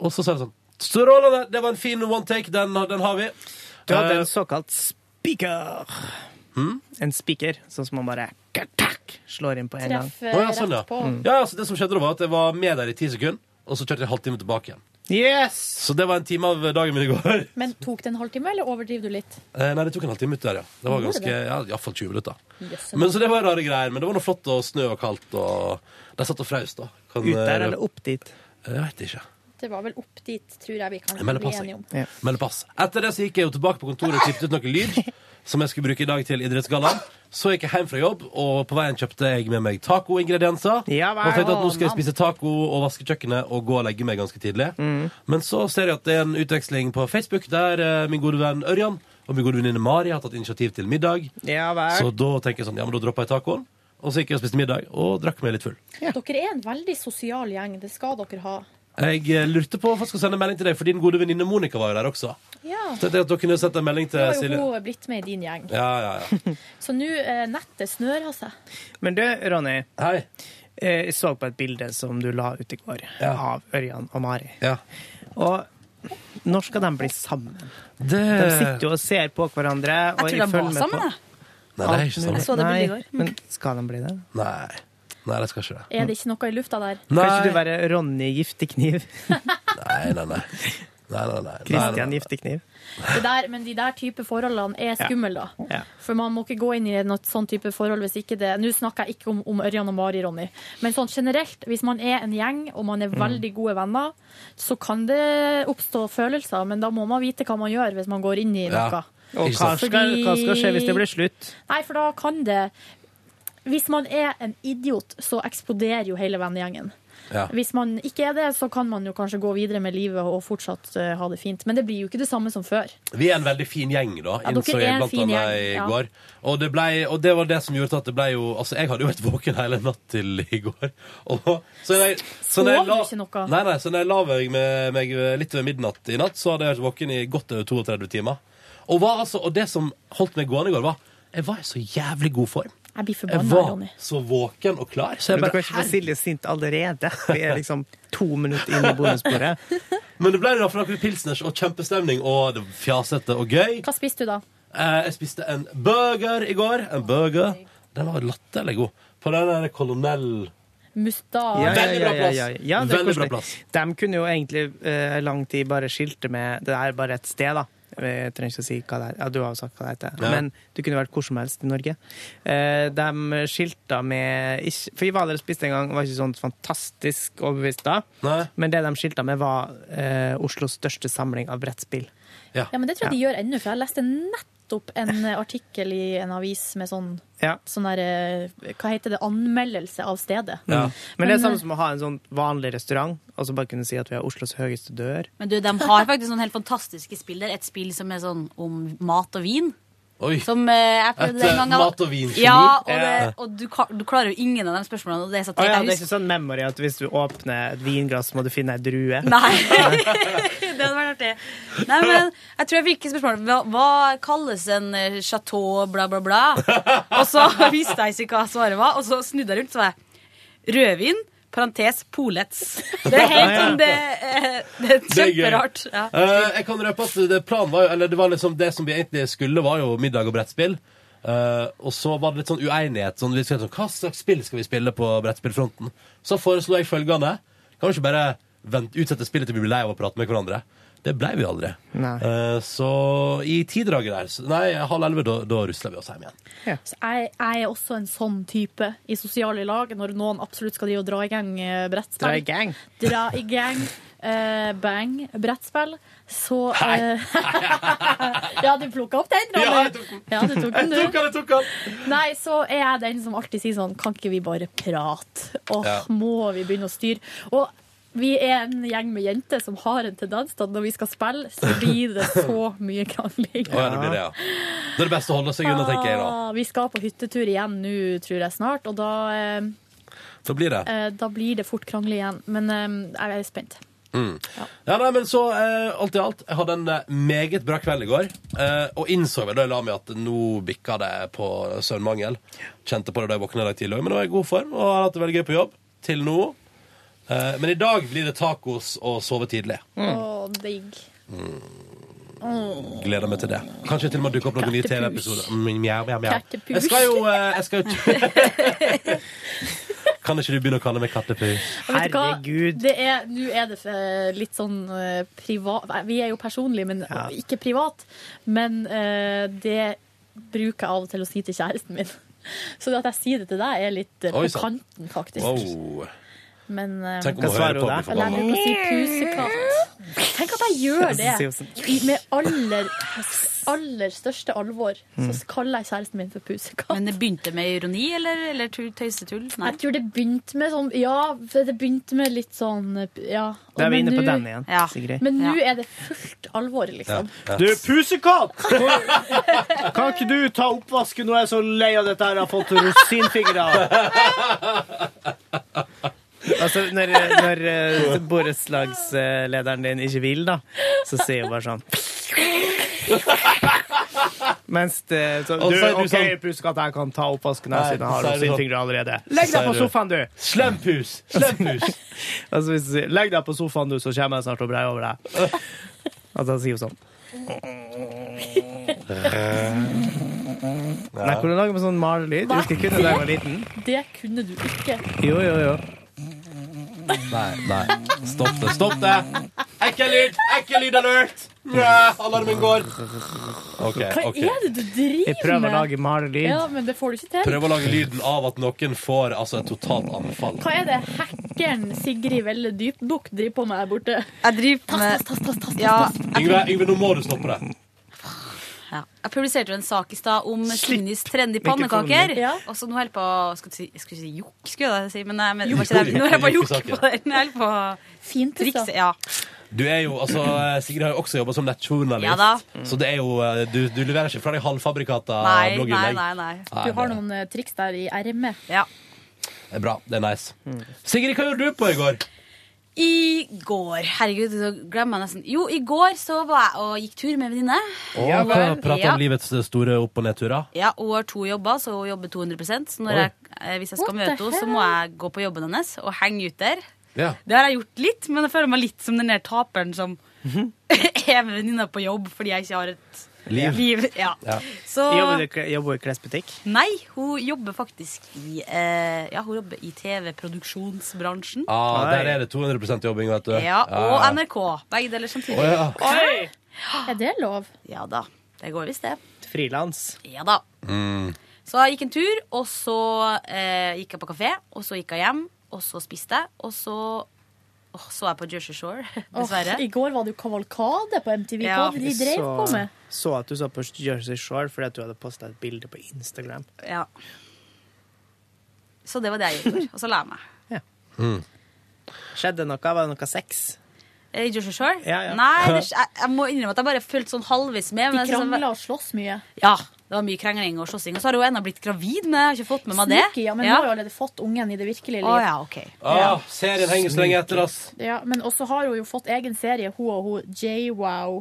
A: Og så sa jeg sånn Strålende! Det var en fin one take. Den, den har vi.
B: Du hadde
A: Eh,
B: en såkalt speaker.
A: Hmm?
B: En speaker, sånn som man bare katak, slår inn på en gang.
D: eh,
A: Å, ja, sånn, ja. Mm. ja, altså Det som skjedde da var at jeg var med der i ti sekunder, og så kjørte jeg halvtime tilbake igjen.
B: Yes!
A: Så det var en time av dagen min i går.
D: Men tok det en halvtime, eller overdriver du litt?
A: Eh, Nei, det tok en halvtime ut der, ja. Det var
D: Gjorde
A: ganske,
D: det?
A: ja, iallfall 20 minutter. Men så det var rare greier. Men det var noe flott og snø og kaldt, og de satt og frøs, da. Kan,
B: Ut der
A: eh,
B: eller opp dit?
A: Jeg veit ikke.
D: Det var vel opp dit, tror jeg vi kan
A: Jeg melder
D: bli
A: pass,
D: enige om.
A: jeg. Melder pass. Etter det så gikk jeg jo tilbake på kontoret og klippet ut noe lyd som jeg skulle bruke i dag til Idrettsgallaen. Så gikk jeg hjem fra jobb, og på veien kjøpte jeg med meg tacoingredienser.
B: Ja, vel.
A: og tenkte at nå skal jeg
B: Å,
A: spise taco og vaske kjøkkenet og gå og legge meg ganske tidlig.
B: Mm.
A: Men så ser jeg at det er en utveksling på Facebook der eh, min gode venn Ørjan og min gode venninne Mari har tatt initiativ til middag.
B: Ja
A: Så
B: vel.
A: da tenker jeg sånn, ja, men da dropper jeg tacoen. Og så gikk jeg og spiste middag og drakk meg litt full.
D: Dere er en veldig sosial gjeng. Det skal dere ha.
A: Jeg eh, lurte på om jeg skulle sende en melding til deg, for din gode venninne Monica var jo der også.
D: Ja.
A: Så tenkte jeg at dere kunne sendt en melding
D: Nå
A: til
D: har
A: Silje.
D: jo hun blitt med i din gjeng.
A: Ja, ja, ja.
D: Så nå eh, nettet snører seg.
B: Men du, Ronny. eh,
A: Hei.
B: Jeg så på et bilde som du la ut i går, av Ørjan og Mari.
A: Ja.
B: Og når skal de bli sammen? De sitter jo og ser på hverandre. Og
M: tror de var
B: følger med
M: sammen,
B: på-
M: jeg.
A: Nei, det er ikke
B: Alt
A: sånn.
B: mulig.
D: Jeg så det bildet i går.
B: Nei, Men skal de bli det?
A: Nei. Nei, det skal ikke det.
D: Er det ikke noe i lufta der?
B: Kan ikke du være Ronny Giftekniv?
A: Nei, nei, nei. Nei, nei, nei.
B: Kristian Giftekniv?
D: Det der, men de der type forholdene er
B: Ja.
D: skumle, da.
B: Ja.
D: For man må ikke gå inn i noe sånn type forhold hvis ikke det Nå snakker jeg ikke om, om Ørjan og Mari, Ronny, men sånn generelt, hvis man er en gjeng og man er
B: Mm.
D: veldig gode venner, så kan det oppstå følelser, men da må man vite hva man gjør hvis man går inn i noe.
B: Og hva skal, hva skal skje hvis det blir slutt?
D: Nei, for da kan det Hvis man er en idiot, så eksploderer jo hele vennegjengen.
A: Ja.
D: Hvis man ikke er det, så kan man jo kanskje gå videre med livet og fortsatt eh, ha det fint. Men det blir jo ikke det samme som før.
A: Vi er en veldig fin gjeng, da,
D: Ja, dere
A: innså
D: er
A: jeg
D: en
A: blant
D: fin
A: annet
D: gjeng,
A: i
D: ja.
A: går. Og det, ble, og det var det som gjorde at det ble jo Altså, jeg hadde jo vært våken hele natt til i går. Og så når jeg, så når jeg
D: Sov du ikke noe?
A: Nei, nei, så når jeg la meg, med, meg litt ved midnatt i natt, så hadde jeg vært våken i godt over 32 timer. Og, var, altså, og det som holdt meg gående i går, var jeg var i så jævlig god form.
D: Jeg blir
A: Jeg
D: forbanna,
A: var
D: Ronny.
A: så våken og klar. Så jeg
B: Men du
A: bare,
B: kan ikke få
A: "Herre
B: Silje sint allerede. Vi er liksom to minutter inn i bonusbordet.
A: Men det ble det da for noen pilsners og kjempestemning og det var fjasete og gøy.
D: Hva spiste du da?
A: Eh, jeg spiste en burger i går. En burger. Den var latterlig god. På den der kolonell...
D: Mustad?
B: Ja, ja,
A: Veldig bra
B: ja,
A: plass.
B: ja, ja. Ja, det er
A: Veldig bra
B: koselig.
A: plass.
B: De kunne jo egentlig eh, lang tid bare skilte med Det er bare et sted, da. Jeg trenger ikke å si hva det er. Ja, du har jo sagt hva det heter.
A: Ja.
B: Men det kunne vært hvor som helst i Norge. Eh, de skilta med ikke, For i Hvaler spiste en gang, var ikke sånn fantastisk overbevist da. Men det de skilta med, var eh, Oslos største samling av brettspill.
A: Ja.
D: Ja, men det tror jeg de gjør ennå, for jeg leste nettopp en eh, artikkel i en avis med sånn,
B: Ja.
D: sånn der, eh, hva heter det, anmeldelse av stedet.
B: Men, det
D: Mm. Men, eh,
B: er samme som å ha en sånn vanlig restaurant og så bare kunne si at vi har Oslos høyeste dør.
O: Men du, de har faktisk sånne helt fantastiske spill der. Et spill som er sånn om mat og vin.
A: Oi.
O: Som eh, jeg
A: Et,
O: prøvde en
A: eh,
O: gang. jeg var-
A: mat- og vingeni.
O: Ja, og, det,
A: Eh,
B: Ja.
O: og du, ka- du klarer jo ingen av de spørsmålene. Og det er så
B: Å
O: teit.
B: ja,
O: Jeg
B: det er ikke
O: husker-
B: sånn memory at hvis du åpner et vinglass, må du finne ei drue.
O: det hadde vært artig. Nei, men jeg tror jeg fikk spørsmålet hva, hva kalles en eh, chateau, bla, bla, bla. Og så visste jeg ikke hva svaret var, og så snudde jeg rundt, så var jeg rødvin. Parentes Polets. Det er helt sånn det, eh, det er
A: Det er gøy.
O: kjemperart. Ja.
A: Eh, jeg kan røpe at det planen var jo Eller det var liksom det som vi egentlig skulle, var jo middag og brettspill. Eh, og så var det litt sånn uenighet. Sånn, vi skulle, sånn, hva slags spill skal vi spille på brettspillfronten? Så foreslo jeg følgende. Kan vi ikke bare vente, utsette spillet til vi blir lei av å prate med hverandre? Det blei vi aldri. Eh, så i tidraget der så, Nei, halv elleve, da, da rusla vi oss hjem igjen.
D: Så eh, jeg, jeg er også en sånn type i sosiale lag, når noen absolutt skal drive og dra i gang eh, brettspill.
B: Dra i gang.
D: Dra i gang, eh, bang, brettspill. Så eh, Ja, du plukka opp den, Ronny.
A: Ja, jeg tok den.
D: Ja, du
A: Jeg
D: tok den, du.
A: tok den, jeg tok den.
D: Nei, så er jeg den som alltid sier sånn Kan ikke vi bare prate? Åh,
A: Ja.
D: må vi begynne å styre? Og vi er en gjeng med jenter som har en tendens til at når vi skal spille, så blir det så mye krangling.
A: Å, ja, det blir det, ja. Det er det beste å holde seg unna, tenker jeg da.
D: Ah, Vi skal på hyttetur igjen nå, tror jeg snart, og da, eh,
A: Så blir det.
D: eh, da blir det fort krangling igjen. Men eh, jeg er spent.
A: Mm. Ja. nei, men så eh, alt i alt, jeg hadde en eh, meget bra kveld i går. Eh, og innså vel da jeg la meg at nå bikka det på søvnmangel. Kjente på det da jeg våkna i dag tidlig òg, men nå er jeg i god form og har hatt det veldig gøy på jobb. Til nå. Eh, men i dag blir det tacos og sove tidlig.
D: Åh, digg. Åh.
A: Gleder meg til det. Kanskje til og med dukker opp noen nye
D: Kattepus.
A: TV-episoder. Mm, mjau, mjau, mjau.
D: Kattepus.
A: Jeg skal jo eh, jeg skal jo- Kan ikke du begynne å kalle meg kattepus?
D: Og vet du hva? Det er, nå er det eh, litt sånn privat Vi er jo personlige, men
A: Ja.
D: ikke privat. Men eh, det bruker jeg av og til å si til kjæresten min. Så det at jeg sier det til deg, er litt
A: Oi,
D: eh, på
A: sant.
D: kanten, faktisk.
A: Wow.
D: Men eh,
A: Tenk om hun Hva hører svarer på hun og blir da?
D: Eller Jeg bruker å si pusekatt. Tenk at jeg gjør det!
A: Så sier
D: I- Med aller, aller største alvor så kaller jeg kjæresten min for pusekatt.
O: Men det begynte med ironi, eller, eller tu- tøysetull? Nei.
D: Jeg tror det begynte med sånn Ja, det begynte med litt sånn ja.
B: Da er vi
D: Men
B: inne på
D: nå-
B: den igjen, Ja. Sigrid.
D: Men nå
B: Ja.
D: er det fullt alvor, liksom.
B: Du, pusekatt! Kan ikke du ta oppvasken? Nå er jeg så lei av dette her. Jeg har fått rosinfingre. Altså, når, når eh, borettslagslederen din ikke vil, da, så sier hun bare sånn Mens det så,
A: Og
B: Du,
A: så er du
B: OK,
A: sånn-
B: pusekatt, jeg kan ta oppvasken her
A: Nei,
B: siden jeg
A: så
B: har
A: er du sånn-
B: rosinfingre allerede.
A: så
B: Legg
A: sier
B: deg på
A: du,
B: sofaen, du!
A: Slempus! Slempus!
B: altså, hvis du sier 'legg deg på sofaen, du, så kommer jeg snart og breier over deg', altså, da sier hun sånn Nei, hvordan lager man sånn malelyd? Jeg husker kun da jeg var liten.
D: Det kunne du ikke.
B: Jo, jo, jo.
A: Nei, nei. Stopp det. Stopp det! Ekkel lyd! Ekkel lyd alert! Ja, alarmen går. Ok,
D: Hva
A: ok.
D: er det du driver med?
A: Jeg prøver å lage malelyd.
D: Ja, men det får du ikke til.
A: Prøv å lage lyden av at noen får altså, et totalt anfall.
D: Hva er det hackeren Sigrid Velle Dypdukk driver på med her borte?
O: Jeg driver
D: Tass,
O: med
D: tass, tass, tass, tass,
O: Ja.
D: tass.
A: Yngve, Yngve, nå må du stoppe det.
O: Ja. Jeg publiserte jo en sak i stad om Sunnys trendy
E: mikrofonen
O: pannekaker.
E: din. Ja.
O: Og så nå holder jeg på å Skal du si, jeg skulle si jokk, skulle jeg da si, men nei, men det
A: Jo,
O: var ikke det.
A: jo,
O: Nå holder jeg på å
A: jo,
O: jokke
A: saken.
O: på den. Jeg holder på å trikse. Ja.
A: Du er jo, altså, eh, Sigrid har jo også jobba som nettjournalist.
O: Ja da.
A: Så det er jo, eh, du, du leverer ikke fra deg halvfabrikata
D: Nei, nei,
A: blogginnlegg.
D: nei, nei. Du har noen eh, triks der i ermet.
O: Ja.
A: Det er bra. Det er nice. Sigrid, hva gjorde du på i går?
O: I går Herregud, så glemmer jeg nesten. Jo, i går så var jeg og gikk tur med en venninne.
A: Ja,
O: Hun var-
A: Prate
O: ja.
A: om livets store opp- og nedturer.
O: Ja, hun har to jobber, så hun jobber 200 Så når
A: Oi.
O: jeg, eh, hvis jeg skal
D: What the
O: møte henne, så
D: hell?
O: må jeg gå på jobben hennes og henge ut der.
A: Ja.
O: Det har jeg gjort litt, men jeg føler meg litt som den der taperen som
A: Mhm.
O: er med venninna på jobb fordi jeg ikke har et
B: Liv.
O: Ja.
B: Jobber
O: Så
B: du ikke- jobber du i klesbutikk?
O: Nei, hun jobber faktisk i eh, Ja, hun jobber i TV-produksjonsbransjen.
A: Ah, der er det 200 jobbing, vet du.
O: Ja, og
A: Ja.
O: NRK. Begge deler samtidig.
A: Å, ja.
O: Er det lov? Ja da. Det går visst, det.
B: Frilans.
O: Ja da.
A: Mm.
O: Så jeg gikk en tur, og så eh, gikk jeg på kafé, og så gikk jeg hjem, og så spiste jeg, og så åh, så jeg på Jersey Shore, dessverre.
D: Åh, I går var det jo kavalkade på MTV. Hva
O: Ja.
D: var det de drev på med?
B: så at du så på Jersey Shore fordi at du hadde posta et bilde på Instagram.
O: Ja. Så det var det jeg gjorde, og så la jeg meg.
B: Skjedde noe? Var det noe sex?
O: Eh, I Jersey Shore?
B: Ja, ja.
O: Nei, det, jeg, jeg må innrømme at jeg bare fulgte sånn halvvis med.
D: De
O: men jeg synes det var-
D: krangla og sloss mye.
O: Ja, det var mye krangling og slåssing. Og så har hun ennå blitt gravid, men jeg har ikke fått med meg det.
D: Sneaky, ja, men nå har jo allerede fått ungen i det virkelige liv.
O: Å, ja, ok.
A: Ah, serien henger så lenge etter, ass.
D: Ja, men også har hun jo fått egen serie, hun og hun. J-Wow.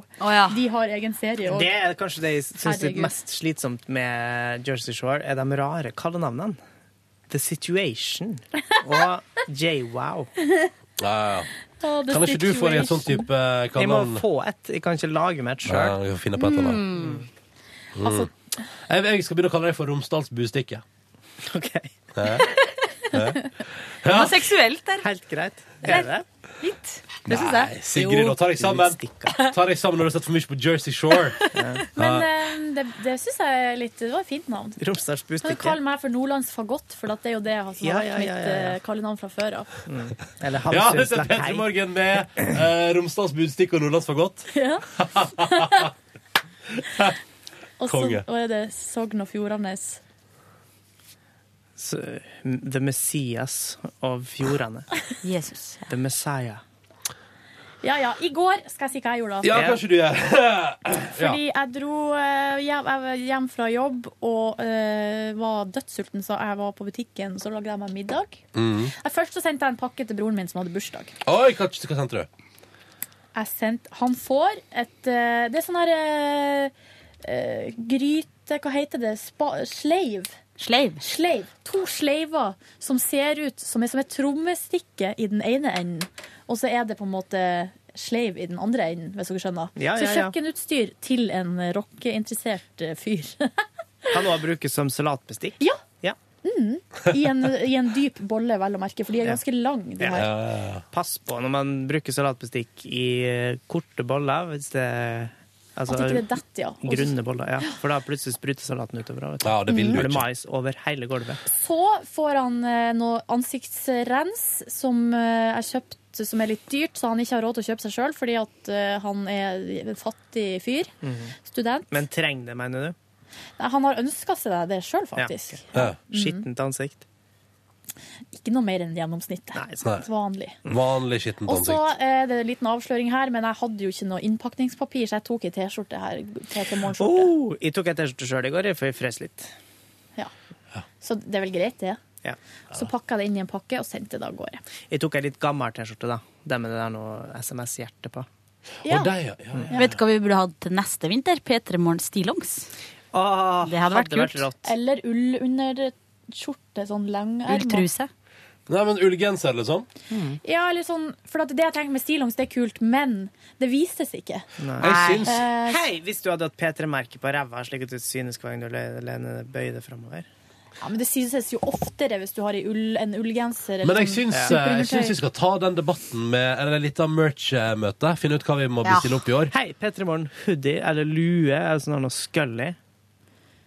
D: De har egen serie. Og
B: Det er kanskje det jeg syns er
D: Herregud.
B: mest slitsomt med Jersey Shore, er de rare kallenavnene. The Situation og J-Wow.
A: Ja, ja. Kan ikke du få deg et sånt type eh,
B: Jeg må
A: kallenavn?
B: få et. Jeg kan ikke lage meg et
A: Ja, vi får finne på et eller annet. Mm.
B: Altså-
A: Jeg, jeg skal begynne å kalle deg for Romsdalsbustikke. OK.
O: Det var seksuelt der.
B: Helt greit.
A: Er
B: det?
O: Litt. Det syns
A: Nei,
O: jeg.
A: Sigrid,
O: Jo.
A: nå tar deg sammen. Ta deg sammen når du har sett for mye på Jersey Shore.
D: Men
A: Ja.
D: eh, det, det syns jeg er litt Det var et fint navn. Kan du
B: Romsdalsbustikke.
D: kalle meg for Nordlands fagott, for at det er jo det som
B: Ja,
D: har
B: ja,
D: vært
B: ja,
D: mitt
B: ja, ja.
D: eh, kallenavn fra før av.
B: Mm. Eller
A: Ja, det
B: Hamsuns
A: er Petter
B: lakei.
A: Morgen med eh, Romsdals Budstikke og Nordlands Fagott.
D: Og så
A: Konge.
D: og er det Sogn og Fjordanes.
B: Så, mm, The Messias av fjordene.
O: Jesus.
B: The Messiah.
D: Ja ja. I går skal jeg si hva jeg gjorde. da.
B: Ja, kanskje du
A: gjør.
D: Fordi jeg dro eh, hjem, jeg var hjem fra jobb og eh, var dødssulten, så jeg var på butikken, så lagde jeg meg middag.
A: Mm.
D: Jeg først så sendte jeg en pakke til broren min som hadde bursdag.
A: Oi, hva, hva sendte du?
D: Jeg sendt, han får et eh, Det er sånn her eh, eh, gryte Hva heter det? Spa, sleiv.
O: Sleiv.
D: To sleiver som ser ut som er som et trommestikke i den ene enden, og så er det på en måte sleiv i den andre enden, hvis dere skjønner.
B: Ja,
D: så
B: ja, ja.
D: kjøkkenutstyr til en eh, rockeinteressert eh, fyr.
B: Kan også brukes som salatbestikk.
D: ja.
B: Ja.
D: Mm. I, en, I en dyp bolle, vel å merke, for de er ganske lang, de her.
B: Pass på når man bruker salatbestikk i eh, korte boller. Hvis det, altså,
D: At ikke det detter, ja. Og så-
B: Grunne boller, ja. For da plutselig spruter salaten utover. vet du.
A: Ja, det vil du
B: Da er
A: ikke.
B: mais over hele gulvet.
D: Så får han eh, noe ansiktsrens som eh, er kjøpt som er litt dyrt, så han ikke har råd til å kjøpe seg sjøl fordi at eh, han er en fattig fyr. Student.
B: Mhm. Men trenger det, mener du?
D: Nei, han har ønska seg det sjøl, faktisk.
B: Ja, ok. Ja. Skittent ansikt.
D: Ikke noe mer enn gjennomsnittet. Vanlig.
A: Vanlig skittent
D: Og så
A: ansikt.
D: er det en liten avsløring her, men jeg hadde jo ikke noe innpakningspapir, så jeg tok ei T-skjorte her. Til til morgenskjorte.
B: Oh, jeg tok en T-skjorte sjøl i går, jeg, for jeg frøs litt.
D: Så det er vel greit, det.
B: Ja.
D: Så pakka jeg det inn i en pakke og sendte det av gårde.
B: Jeg tok ei litt gammel T-skjorte, da. Den med det der noe SMS-hjerte på.
D: Ja.
B: Og deg, ja.
O: Vet du hva vi burde hatt til neste vinter? P3 Morgen stillongs. det hadde vært
A: hadde vært
O: kult.
A: rått.
D: Eller ull under skjorte, sånn langerma.
A: Ulltruse. Nei, men ullgenser, liksom.
D: Ja, eller sånn, for at det jeg tenker med stillongs, det er kult, men det vises ikke.
A: Mm.
B: Nei.
D: Eh,
B: Hei, hvis du hadde hatt P3-merke på ræva, slik at du synes hver gang du le- lener bøyer det framover.
D: Ja, men det synes jo oftere hvis du har i ull, en ullgenser. eller
A: Men jeg
D: sånn
A: syns, eh,
D: superundertøy.
A: jeg syns vi skal ta den debatten med eller litt av merch-møte. Finne ut hva vi må
B: Ja.
A: bestille opp i år.
B: Hei, P3 Morgen, hoodie eller lue eller sånn noe scully.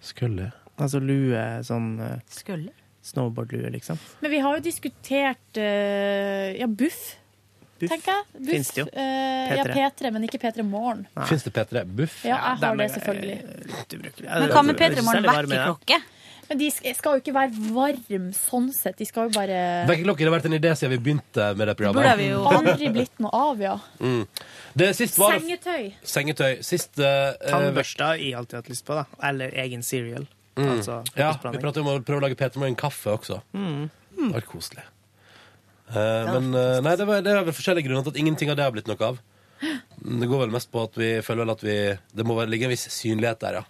A: Scully?
B: Altså lue, sånn eh,
O: Scully?
B: snowboardlue, liksom.
D: Men vi har jo diskutert eh, ja, buff. tenker jeg. Buff.
A: Finnes det jo.
D: Eh, ja,
A: P3.
D: P3, men ikke P3 Morgen.
A: Fins det eh, P3 Buff?
D: Ja, jeg har det
B: Altså,
D: selvfølgelig.
A: Men hva med P3 Morgen
D: vekkerklokke? Men de sk- skal jo ikke være varm sånn sett. De skal jo bare
A: Vekkerklokken har vært en idé siden vi begynte med det programmet.
D: Aldri blitt noe av, ja.
A: Mm. Det sist var
D: Sengetøy.
A: Sengetøy. Sist eh,
B: Tannbørste har jeg alltid hatt lyst på, da. Eller egen cereal.
A: Mm.
B: Altså,
A: ja, vi
B: frokostblanding.
A: prater om å prøve å lage Peter Morgen kaffe også.
B: Mm.
A: Det var koselig. Eh, men eh, nei, det, var, det er vel forskjellige grunner til at ingenting av det har blitt noe av. Mm, Det går vel mest på at vi føler vel at vi Det må vel ligge en viss synlighet der, ja.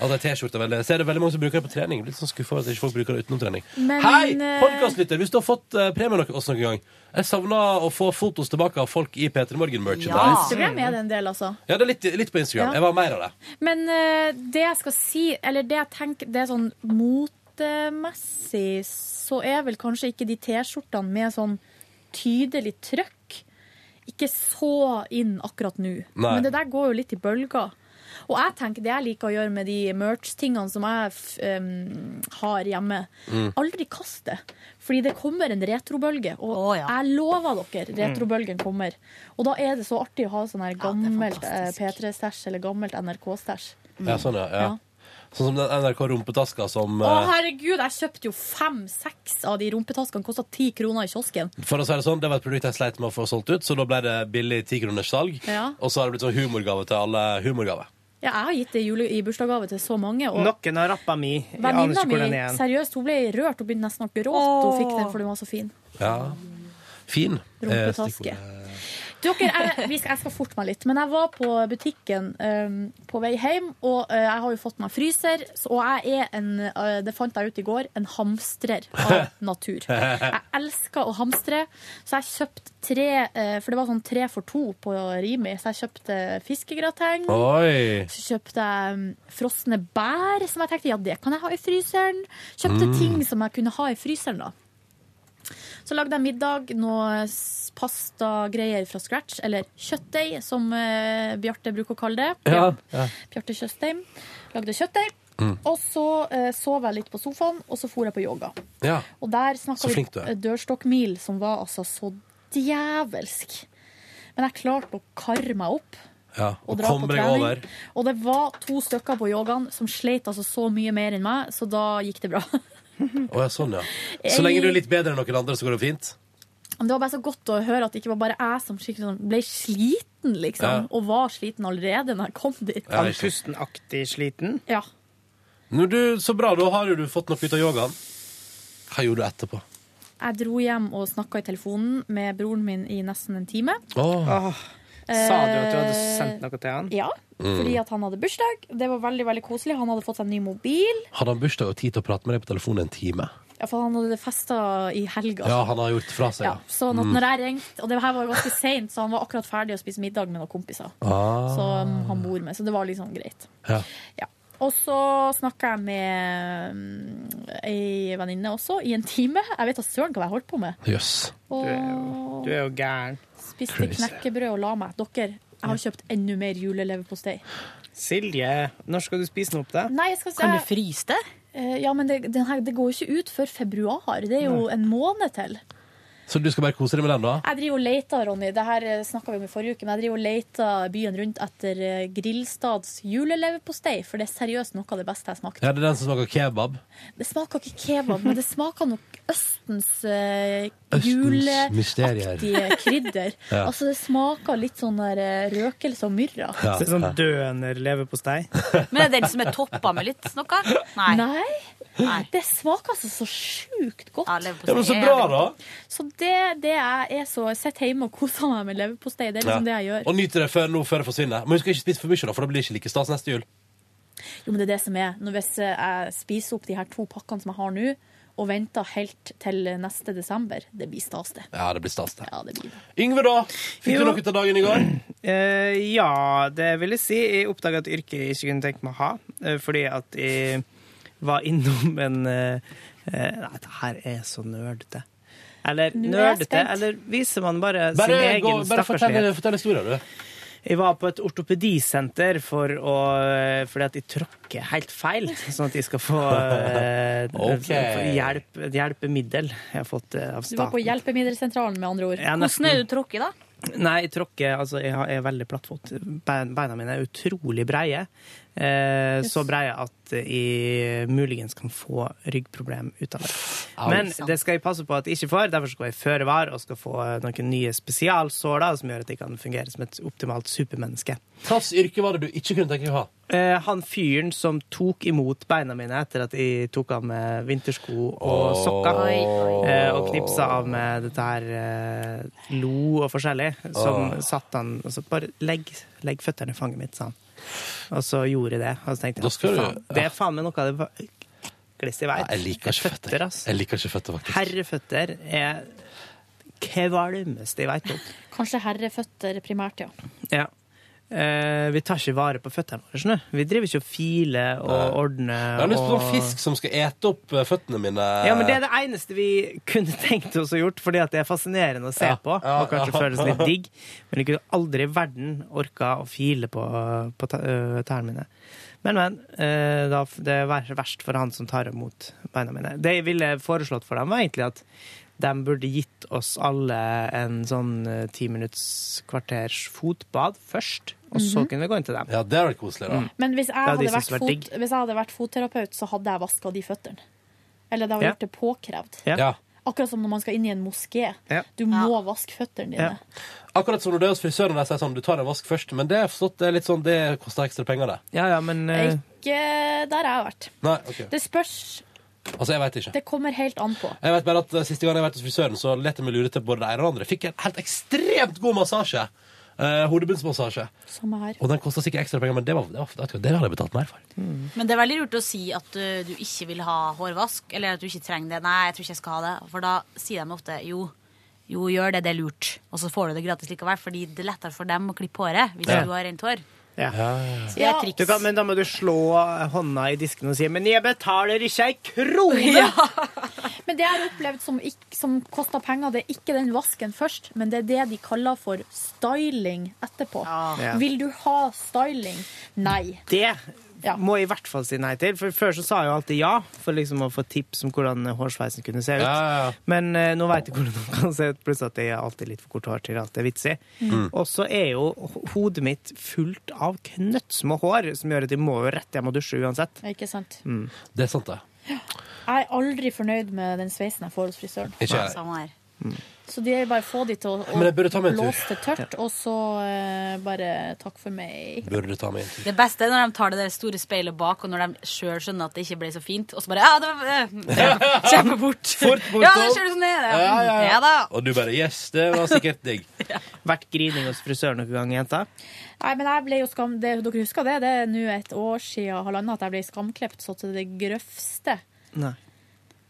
A: At ei T-skjorte er veldig Jeg ser det veldig mange som bruker det på trening. Jeg Blir litt sånn skuffa over at ikke folk bruker det utenom trening.
P: Men,
A: Hei,
P: eh,
A: podkastlytter! Hvis du har fått eh, premie noe, oss noen gang Jeg savna å få fotos tilbake av folk i Peter Morgen-merchandise.
D: På Instagram er det en del, altså.
A: Ja, det er litt, litt på Instagram.
D: Ja.
A: Jeg var mer av det.
D: Men eh, det jeg skal si, eller det jeg tenker, det er sånn motemessig, så er vel kanskje ikke de T-skjortene med sånn tydelig trøkk ikke så inn akkurat nå.
P: Nei.
D: Men det der går jo litt i bølger. Og jeg tenker det jeg liker å gjøre med de merch-tingene som jeg f- em, har hjemme,
P: Mm.
D: aldri kast det. Fordi det kommer en retrobølge, og jeg lover dere, retrobølgen kommer. Og da er det så artig å ha sånn her gammelt eh, P3-stæsj eller gammelt NRK-stæsj.
A: Ja, sånn, ja. ja.
D: Ja.
A: Sånn som den NRK-rumpetaska som
D: Å,
A: eh,
D: herregud, jeg kjøpte jo fem-seks av de rumpetaskene. Kosta ti kroner i kiosken.
A: For å si det sånn, det var et produkt jeg sleit med å få solgt ut, så da ble det billig tikroners salg.
D: Ja.
A: Og så har det blitt sånn humorgave til alle humorgave.
D: Ja, jeg har gitt det i jule- i bursdagsgave til så mange. Og
B: Noen har rappa mi. Jeg aner
D: venninna
B: ikke
D: mi,
B: hvor den er igjen.
D: seriøst, hun ble rørt. Hun begynte nesten å gråte. Hun fikk den, for den var så fin.
A: Ja. Fin. Eh,
D: Rumpetaske. Dere, jeg, vi skal, jeg skal forte meg litt, men jeg var på butikken øhm, på vei hjem, og øh, jeg har jo fått meg fryser, så, og jeg er en, øh, det fant jeg ut i går, en hamstrer av natur. Jeg elsker å hamstre, så jeg kjøpte tre, øh, for det var sånn tre for to på Rimi, så jeg kjøpte fiskegrateng,
P: Oi.
D: så kjøpte jeg øhm, frosne bær, som jeg tenkte, ja, det kan jeg ha i fryseren. Kjøpte
P: Mm.
D: ting som jeg kunne ha i fryseren da. Så lagde jeg middag, noe s- pastagreier fra scratch, eller kjøttdeig, som eh, Bjarte bruker å kalle det.
P: Ja.
D: Bjarte Tjøstheim lagde kjøttdeig.
P: Mm.
D: Og så eh, sov jeg litt på sofaen, og så for jeg på yoga.
A: Ja.
D: Og der
A: Så
D: snakka vi
A: flink du er.
D: dørstokkmil, som var altså så djevelsk. Men jeg klarte å karre meg opp.
A: Ja. Og
D: dra
A: kom
D: på
A: deg
D: trening.
A: over.
D: Og det var to stykker på yogaen som sleit altså så mye mer enn meg, så da gikk det bra.
A: Å ja, sånn, ja. Så lenge du er litt bedre enn noen andre, så går det fint.
D: Men Det var bare så godt å høre at det ikke var bare jeg som skikkelig sånn ble sliten, liksom.
A: Ja.
D: Og var sliten allerede når jeg kom dit.
A: Ja, ikke sant.
B: Pustenaktig sliten.
D: Ja.
A: Nå, du, så bra, da har jo du fått noe ut av yogaen. Hva gjorde du etterpå?
D: Jeg dro hjem og snakka i telefonen med broren min i nesten en time. Ah.
B: Åh. Sa du at du hadde sendt noe til han?
D: Ja,
A: Mm.
D: fordi at han hadde bursdag. Det var veldig veldig koselig. Han hadde fått seg en ny mobil.
A: Hadde han bursdag og tid til å prate med deg på telefonen en time?
D: Ja, for han hadde festa i helga.
A: Ja, han har gjort fra seg,
D: Ja,
A: ja.
D: sånn at
A: Mm.
D: når jeg ringte Og det her var jo ganske seint, så han var akkurat ferdig å spise middag med noen kompiser.
A: Ah.
D: Som han bor med. Så det var liksom greit.
A: Ja.
D: Og så snakka jeg med mm, ei venninne også, i en time. Jeg vet da søren hva jeg holdt på med.
A: Jøss.
D: Og
A: Eh,
B: Du er jo gæren.
D: spiste knekkebrød og la meg. Dere, jeg har kjøpt enda mer juleleverpostei.
B: Silje, når skal du spise den opp, da?
D: Nei, jeg skal
B: Kan du
D: fryse det? Ja, men det, den her, det går jo ikke ut før februar. Det er jo
A: Nei.
D: en måned til.
A: Så du skal bare kose deg med den, da?
D: Jeg driver og leter, Ronny, det her snakka vi om i forrige uke, men jeg driver og leter byen rundt etter eh, Grillstads juleleverpostei, for det er seriøst noe av det beste jeg smakte.
A: Ja, det er den som smaker kebab?
D: Det smaker ikke kebab, men det smaker nok Østens eh,
A: Østens mysterier.
D: juleaktige krydder.
B: Ja.
D: Altså, det smaker litt sånn der eh, røkelse og myrra.
B: Så det er sånn døner leverpostei.
Q: Men er det den som er toppa med litt noe? Nei.
D: Nei. Det smaker altså så sjukt godt.
Q: leverpostei Ja, men så er bra, jævlig
A: da.
D: Så det, det jeg er så Sitter hjemme og koser meg med leverpostei. Det er liksom det jeg gjør.
A: Og nyte det før, nå, før det forsvinner. Men husk å ikke spise for mye, da, for da blir det ikke like stas neste jul.
D: Jo, men det er det som er. Når hvis eh, jeg spiser opp de her to pakkene som jeg har nå, og venter helt til neste desember, det blir stas, det.
A: Ja, det blir stas, det.
D: Ja, det blir det.
A: Yngve, da? Fikk
B: Jo.
A: du noe ut av dagen i går?
B: Eh, ja, det vil jeg si. Jeg oppdaga et yrke jeg ikke kunne tenke meg å ha, eh, fordi at jeg var innom en eh, eh, Nei, det her er så nerdete. Eller
A: Nå er jeg
B: nerdete,
A: spent.
B: eller viser man bare, sin
A: Bare,
B: egen
A: gå, bare fortell,
B: stakkarslighet?
A: fortell historien, du.
B: Jeg var på et ortopedisenter for å, eh, fordi at jeg tråkker helt feil, sånn at jeg skal få eh,
A: Ok.
B: få hjelp, et hjelpemiddel jeg har fått eh, av
D: Du var på
B: staten.
D: hjelpemiddelsentralen, med andre ord.
B: Ja, nesten.
D: Hvordan er det du trukket, da?
B: Nei, jeg tråkker altså, Jeg har- jeg er veldig plattfot. Bein- Beina mine er utrolig breie. Eh, Så breie at jeg muligens kan få ryggproblem ut av det.
Q: Au.
B: Men det skal jeg passe på at jeg ikke får. Derfor skal jeg føre var og skal få eh, noen nye spesialsår da, som gjør at jeg kan fungere som et optimalt supermenneske.
A: Hvilket yrke var det du ikke kunne tenke deg å ha?
B: Eh, Han fyren som tok imot beina mine etter at jeg tok av med vintersko og sokker, eh, og knipsa av med dette her eh, lo og forskjellig, som
A: Åh.
B: satt han altså, Bare legg, legg føttene i fanget mitt, sa han. Og så gjorde jeg det. Og så tenkte
A: Da
B: jeg
A: skal
B: "Fy
A: du-
B: faen, det er faen meg noe av det vakleste jeg vet.
A: Jeg liker ikke føtter. Jeg liker ikke føtter, faktisk.
B: Herreføtter er kvalmeste jeg veit om.
D: Kanskje herreføtter primært, ja.
B: Ja. Eh, vi tar ikke vare på føttene våre. skjønner du. Vi driver ikke og filer og ordner.
A: Jeg har lyst på
B: og...
A: sånn fisk som skal ete opp eh, føttene mine.
B: Ja, men Det er det eneste vi kunne tenkt oss å gjort, fordi at det er fascinerende å se
A: Ja,
B: på.
A: ja,
B: Og kanskje
A: ja.
B: føles litt digg, men jeg kunne aldri i verden orka å file på, på ta- øh, tærne mine. Men, men. eh, da- Det er ver- verst for han som tar imot beina mine. Det jeg ville foreslått for dem, var egentlig at de burde gitt oss alle en sånn eh, ti minutts kvarters fotbad først, og så
D: Mhm.
B: kunne vi gå inn til dem.
A: Ja, det hadde vært koselig, da.
D: Men hvis
B: Det
D: jeg,
B: er de
D: hadde
B: som
D: vært
B: synes det var
D: fot, hvis jeg hadde vært fotterapeut, så hadde jeg vaska de føttene. Eller det hadde
B: Ja.
D: gjort det påkrevd.
B: Ja.
D: Akkurat som når man skal inn i en moské.
A: Ja.
D: Du må vaske føttene dine.
A: Akkurat som når du er hos frisøren og de sier sånn, du tar en vask først, men det er forstått, det er litt sånn, det koster ekstra penger, det.
B: Ja, ja, men
A: eh,
D: Ikke der jeg har vært.
A: Nei, ok.
D: Det spørs.
A: Altså, jeg vet ikke.
D: Det kommer helt an på.
A: Jeg vet bare at eh, Siste gang jeg var hos frisøren, så lette jeg meg lure til både det ene og det andre. Fikk en helt ekstremt god massasje. Eh, Hodebunnsmassasje.
D: Samme her.
A: Og den kosta sikkert ekstra penger, men det, var, det, var, det, vet du hva, det hadde jeg betalt mer for.
Q: Men det er veldig lurt å si at ø, du ikke vil ha hårvask, eller at du ikke trenger det. Nei, jeg tror ikke jeg skal ha det. For da sier de ofte jo, jo gjør det, det er lurt. Og så får du det gratis likevel, fordi det er lettere for dem å klippe håret hvis
B: Ja.
Q: du har rent hår.
B: Ja.
Q: Så det er et triks.
B: Du kan, men da må du slå hånda i disken og si 'men jeg betaler ikke ei krone'!
D: Men det jeg har opplevd som, ikk- som koster penger, det er ikke den vasken først, men det er det de kaller for styling etterpå.
B: Ja.
D: Vil du ha styling? Nei.
B: Det må jeg i hvert fall si nei til. For Før så sa jeg jo alltid ja, for liksom å få tips om hvordan hårsveisen kunne se ut. Men eh, nå veit jeg hvordan den kan se ut, pluss at jeg har alltid litt for kort hår til at det er vits i.
Q: Mm.
B: Og så er jo ho- hodet mitt fullt av knøttsmå hår, som gjør at jeg må jo rett hjem og dusje uansett.
D: Ikke sant?
B: Mm.
A: Det er sant, det.
D: Jeg er aldri fornøyd med den sveisen jeg får hos frisøren.
A: Ikke jeg. Samme
Q: her.
D: Så det er bare å få de til å, å
A: Men jeg burde ta meg en tur.
D: blåse det tørt, og så eh, bare takk for meg.
A: Burde ta meg en tur.
Q: Det beste er når de tar det der store speilet bak, og når de sjøl skjønner at det ikke ble så fint, og så bare Ja, det var eh, Kjempe bort.
A: Fort bort,
Q: Ja, det
A: opp.
Q: ser du sånn ned.
A: Ja, ja, ja.
Q: ja da.
A: Og du bare Yes, det var sikkert digg.
B: Vært grining hos frisøren noen gang, jenta?
D: Nei, men jeg ble jo skam... Det, dere husker det? Det er nå et år siden halvannet at jeg ble skamklipt så til det grøvste.
B: Nei.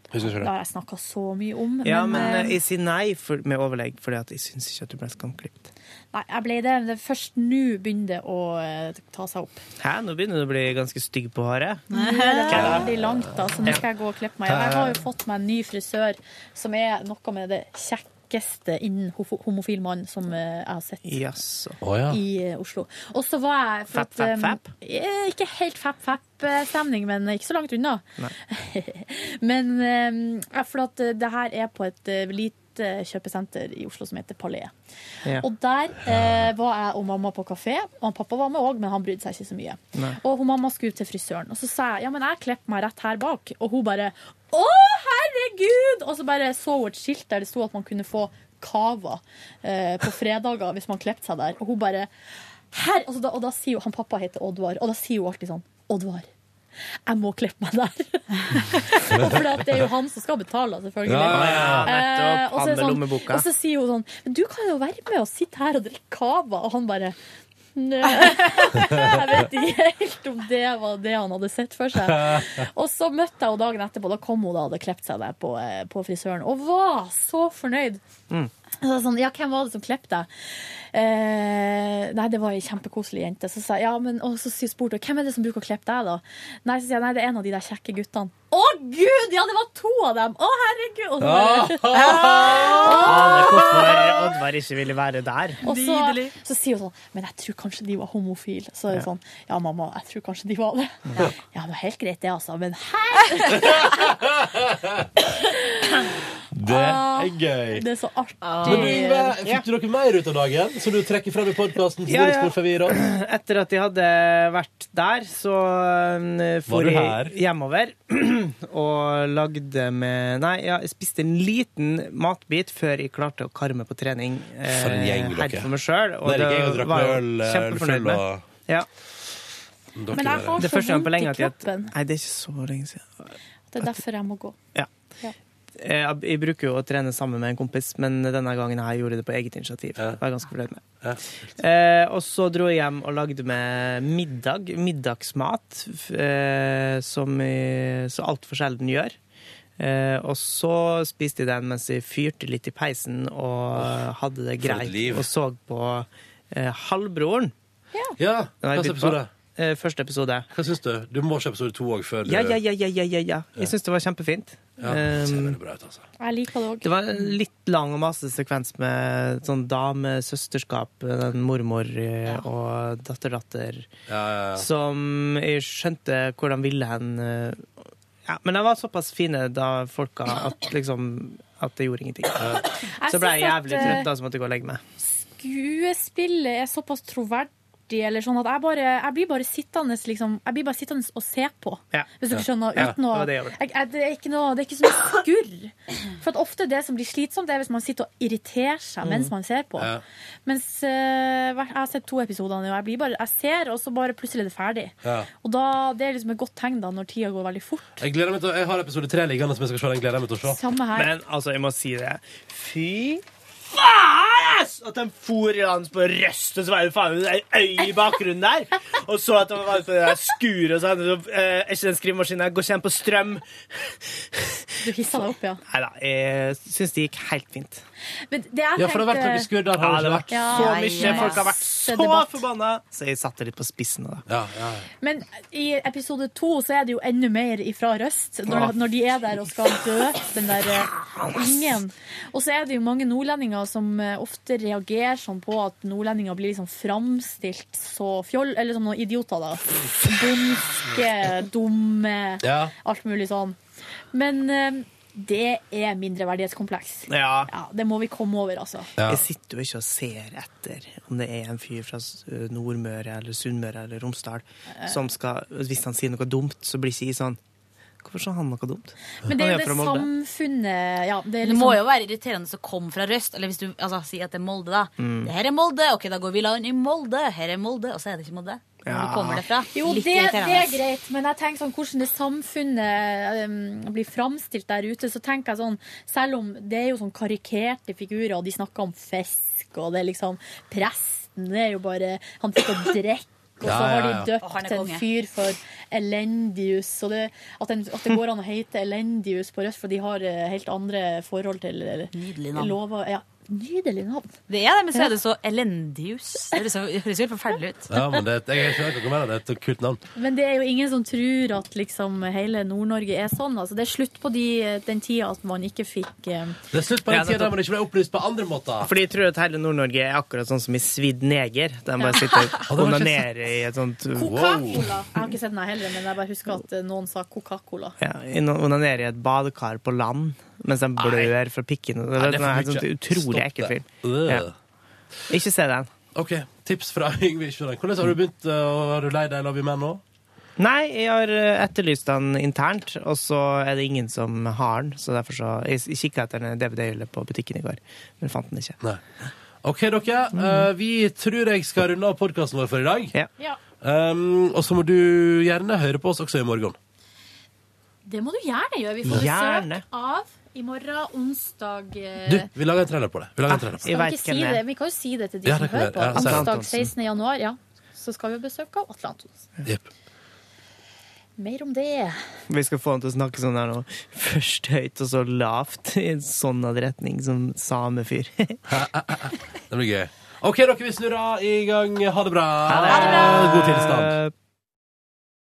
A: Husker
D: Det har jeg snakka så mye om.
B: Ja, men
D: eh,
B: eh, jeg sier nei for, med overlegg, fordi at jeg syns ikke at du ble skamklipt.
D: Nei, jeg ble det. Det er først nå begynner det å eh, ta seg opp.
B: Hæ, nå begynner du å bli ganske stygg på håret.
D: Nå er det veldig langt, da, så nå skal jeg gå og klippe meg. Jeg har jo fått meg en ny frisør som er noe med det kjekkeste innen hofo- homofil mann som eh, jeg har sett.
B: Jaså.
D: I eh, Oslo. Og så var jeg for
B: Fap, fap,
D: eh,
B: fap?
D: eh, Ikke helt fap-fap-stemning, men ikke så langt unna.
B: Nei.
D: Men eh, ja, for at eh, det her er på et eh, lite kjøpesenter i Oslo som heter Palais.
Q: Ja.
D: Og der eh, var jeg og mamma på kafé. Og han pappa var med òg, men han brydde seg ikke så mye.
Q: Nei.
D: Og hun mamma skulle til frisøren, og så sa jeg ja, men jeg klipper meg rett her bak. Og hun bare å, herregud! Og så bare så hun et skilt der det sto at man kunne få cava eh, på fredager hvis man klippet seg der. Og hun bare her, altså, da, Og da sier hun, han pappa heter Oddvar, og da sier hun alltid sånn Oddvar. Jeg må klippe meg der. Og For det er jo han som skal betale, selvfølgelig.
B: Ja, ja, ja, nettopp.
D: Eh, og så er det
B: Han med lommeboka.
D: sånn, og så sier hun sånn Men du kan jo være med og sitte her og drikke cava. Og han bare Nø. Jeg vet ikke helt om det var det han hadde sett for seg. Og så møtte jeg henne dagen etterpå. Da kom hun da og hadde klept seg der på, eh, på frisøren, og var så fornøyd. Så jeg sånn, ja, hvem var det som klippet deg? Eh, nei, det var ei kjempekoselig jente. Så sa jeg, ja, men, og så spurte hun hvem er det som bruker å klippe deg, da? Nei, så sier jeg, nei, det er en av de der kjekke guttene. Å, Å, gud! Ja, det var to av dem! Å, herregud! Og så bare,
B: Aner hvorfor Oddvar ikke ville være der.
D: og så, så sier hun sånn Men jeg tror kanskje de var homofile. Så er det sånn Ja, mamma, jeg tror kanskje de var det. Ja, det var helt greit, det, altså. Men
A: Det er gøy.
D: Ah, det er så artig.
A: Men du, Yngve, fikk du noe mer ut av dagen som du trekker frem i podkasten?
B: Ja, ja. Etter at de hadde vært der, så eh,
A: Var
B: for
A: du
B: jeg
A: her?
B: hjemover og lagde med Nei, ja, jeg spiste en liten matbit før jeg klarte å karme på trening eh,
A: For en gjeng dere.
B: her for meg sjøl.
A: Der gikk jeg og drakk meg øl, eh, ølfull og-
B: ja.
A: Men jeg har
B: det
A: så
B: første gang
A: vondt
B: på
A: i
B: lenge at jeg
D: kroppen.
B: Nei, det er ikke så lenge siden.
D: Det er derfor jeg må gå.
B: Ja.
D: Ja.
B: Eh, Jeg, jeg bruker jo å trene sammen med en kompis, men denne gangen her gjorde jeg det på eget initiativ. Det var jeg ganske fornøyd med. Eh, og så dro jeg hjem og lagde meg middag, middagsmat, f- eh, som jeg så altfor sjelden gjør. Eh, og så spiste jeg den mens jeg fyrte litt i peisen og hadde
A: for
B: det
A: et
B: greit,
A: liv.
B: og så på eh, Halvbroren.
A: Ja,
B: Den har jeg
A: hvilken
B: begynt på.
A: episode?
B: Eh, første episode.
A: Hva syns du? Du må se episode to òg før du
B: Ja, ja, ja, ja, ja, ja, ja.
A: Ja.
B: Jeg syns det var kjempefint.
A: Ja, det ser
B: Um,
A: veldig bra ut, altså.
D: Jeg liker det òg.
B: det var en litt lang og masete sekvens med sånn damesøsterskap, den mormor eh, og datterdatter,
A: ja, ja.
B: som jeg skjønte hvordan ville hen eh, ja, Men de var såpass fine, da folka, at liksom At det gjorde ingenting. Så ble jeg
D: Jeg synes
B: jævlig
D: at, eh,
B: trøtt, da, så måtte jeg gå og legge meg.
D: skuespillet er såpass troverdig eller sånn at jeg, bare, jeg blir bare sittende liksom, jeg blir bare sittende og se på.
B: Ja.
D: Hvis dere
B: Ja.
D: skjønner.
B: Ja,
D: Uten å,
B: det var det jeg
D: jeg,
B: gjorde.
D: jeg, det, er ikke noe, det er ikke så mye skurr. For at ofte det som blir slitsomt, det er hvis man sitter og irriterer seg mens
B: Mm.
D: man ser på.
B: Ja.
D: Mens eh, hver- jeg har sett to episoder nå, og jeg, blir bare, jeg ser, og så bare plutselig er det ferdig.
A: Ja.
D: Og da, Det er liksom et godt tegn da, når tida går veldig fort.
A: Jeg gleder meg til å- Jeg har episode tre liggende som jeg skal se. Den gleder jeg meg til å se.
D: Samme her.
B: Men altså, jeg må si det. Fy faen, ass! At de for i lands på Røst, og så var det faen meg ei øy i bakgrunnen der. Og så at de var på det der skuret, og så hadde de eh, Er ikke den skrivemaskinen der, går ikke an på strøm.
D: Du hissa deg opp, ja.
B: Nei da, jeg syns det gikk helt fint.
D: Men det jeg
A: Ja, for det har vært
D: tenkte-
A: noe skurr der,
B: Ja,
A: har
B: det har
A: det
B: vært
A: ikke
B: så
D: Ja,
B: mye.
D: ja, ja.
B: Folk har vært så
D: Debatt.
B: forbanna. Så jeg satte det litt på spissen. Da.
D: Men i episode to så er det jo enda mer ifra Røst,
B: Ja.
D: når, når de er der og skal døpe den der eh, ungen. Og så er det jo mange nordlendinger som eh, ofte reagerer sånn på at nordlendinger blir liksom framstilt så fjoll, eller som noen idioter, da. Bumske, dumme,
A: Ja.
D: alt mulig sånn. Men eh, det er mindreverdighetskompleks.
B: Ja.
D: Ja, det må vi komme over, altså.
B: Jeg sitter jo ikke og ser etter om det er en fyr fra S- eh, Nordmøre eller Sunnmøre eller Romsdal som skal Hvis han sier noe dumt, så blir ikke jeg sånn Hvorfor sa han noe dumt?
D: Men det
B: Han
D: er jo
B: fra
D: det
B: Molde.
D: samfunnet ja, det, er
Q: Det må
D: liksom-
Q: jo være irriterende å komme fra Røst, eller hvis du altså, sier at det er Molde, da.
B: Mm.
Q: Det her er Molde, ok, da går vi land i Molde, her er Molde, og så er det ikke Molde. Hvor
B: Ja.
Q: kommer det fra?
D: Jo,
Q: Litt
D: det, det
Q: irriterende.
D: er greit, men jeg tenker sånn, hvordan det samfunnet em, blir framstilt der ute, så tenker jeg sånn, selv om det er jo sånn karikerte figurer, og de snakker om fisk, og det er liksom presten, det er jo bare, han fikk å drekke, og så
Q: Ja, ja,
D: har de
Q: ja. Og han er
D: døpt en
Q: konge.
D: fyr for Elendius og det, at, den, at det går an å hete Elendius på Røst, for de har eh, helt andre forhold til Nydelig
Q: navn.
D: Lover, ja, nydelig navn
Q: Det er det, men så er det så elendius. Det høres jo- det høres jo helt forferdelig ut.
A: Ja, men det, jeg skjønner ikke hva du mener. Det er et kult navn.
D: Men det er jo ingen som tror at liksom hele Nord-Norge er sånn. Altså, det er slutt på de, den tida at man ikke fikk eh,
A: Det er slutt på
B: Ja,
A: den tida
B: nettopp.
A: der man ikke ble opplyst på andre måter.
B: Fordi jeg tror at hele Nord-Norge er akkurat sånn som i svidd neger. De bare sitter og onanerer i et sånt
D: Coca-Cola. Jeg har ikke sett den her heller, men jeg bare husker at eh, noen sa Coca-Cola.
B: Ja, in- onanerer i et badekar på land mens de blør fra pikken.
A: Nei,
B: Det, er
A: det er
B: en
A: for
B: helt sånn
A: mye.
B: utrolig
A: Stopp
B: ekkel
A: det.
B: film. Ja. Ikke se den.
A: OK, tips fra Yngve Kjøren. Hvordan har du begynt eh, å være lei deg i Love You Man nå?
B: Nei, jeg har eh, etterlyst den internt, og så er det ingen som har den. Så derfor så Jeg kikka etter en DVD-hylle på butikken i går, men fant den ikke.
A: OK, dere.
B: Mm.
A: eh, vi tror jeg skal runde av podkasten vår for i dag.
D: Ja.
A: Um, og så må du gjerne høre på oss også i morgen.
D: Det må du gjerne gjøre. Vi får
A: Gjerne.
D: besøk av i morgen, onsdag eh,
A: Du, vi lager en trailer på det. Vi lager en trailer på
D: Skal vi,
A: det.
D: ikke si det? vi kan jo si det til de
A: Ja,
D: som
A: det kan vi
D: hører på.
A: gjøre. Ja, så er det
D: onsdag
A: Antonsen.
D: 16. januar, ja. Så skal vi ha besøk av Atle Antonsen.
A: Jepp.
D: Mer om det.
B: Vi skal få han til å snakke sånn her nå. Først høyt og så lavt, i en sånn hadde retning som samefyr.
A: Det blir gøy. OK, dere, vi snurrer i gang. Ha det bra.
B: Ha det. Eh,
A: God tilstand.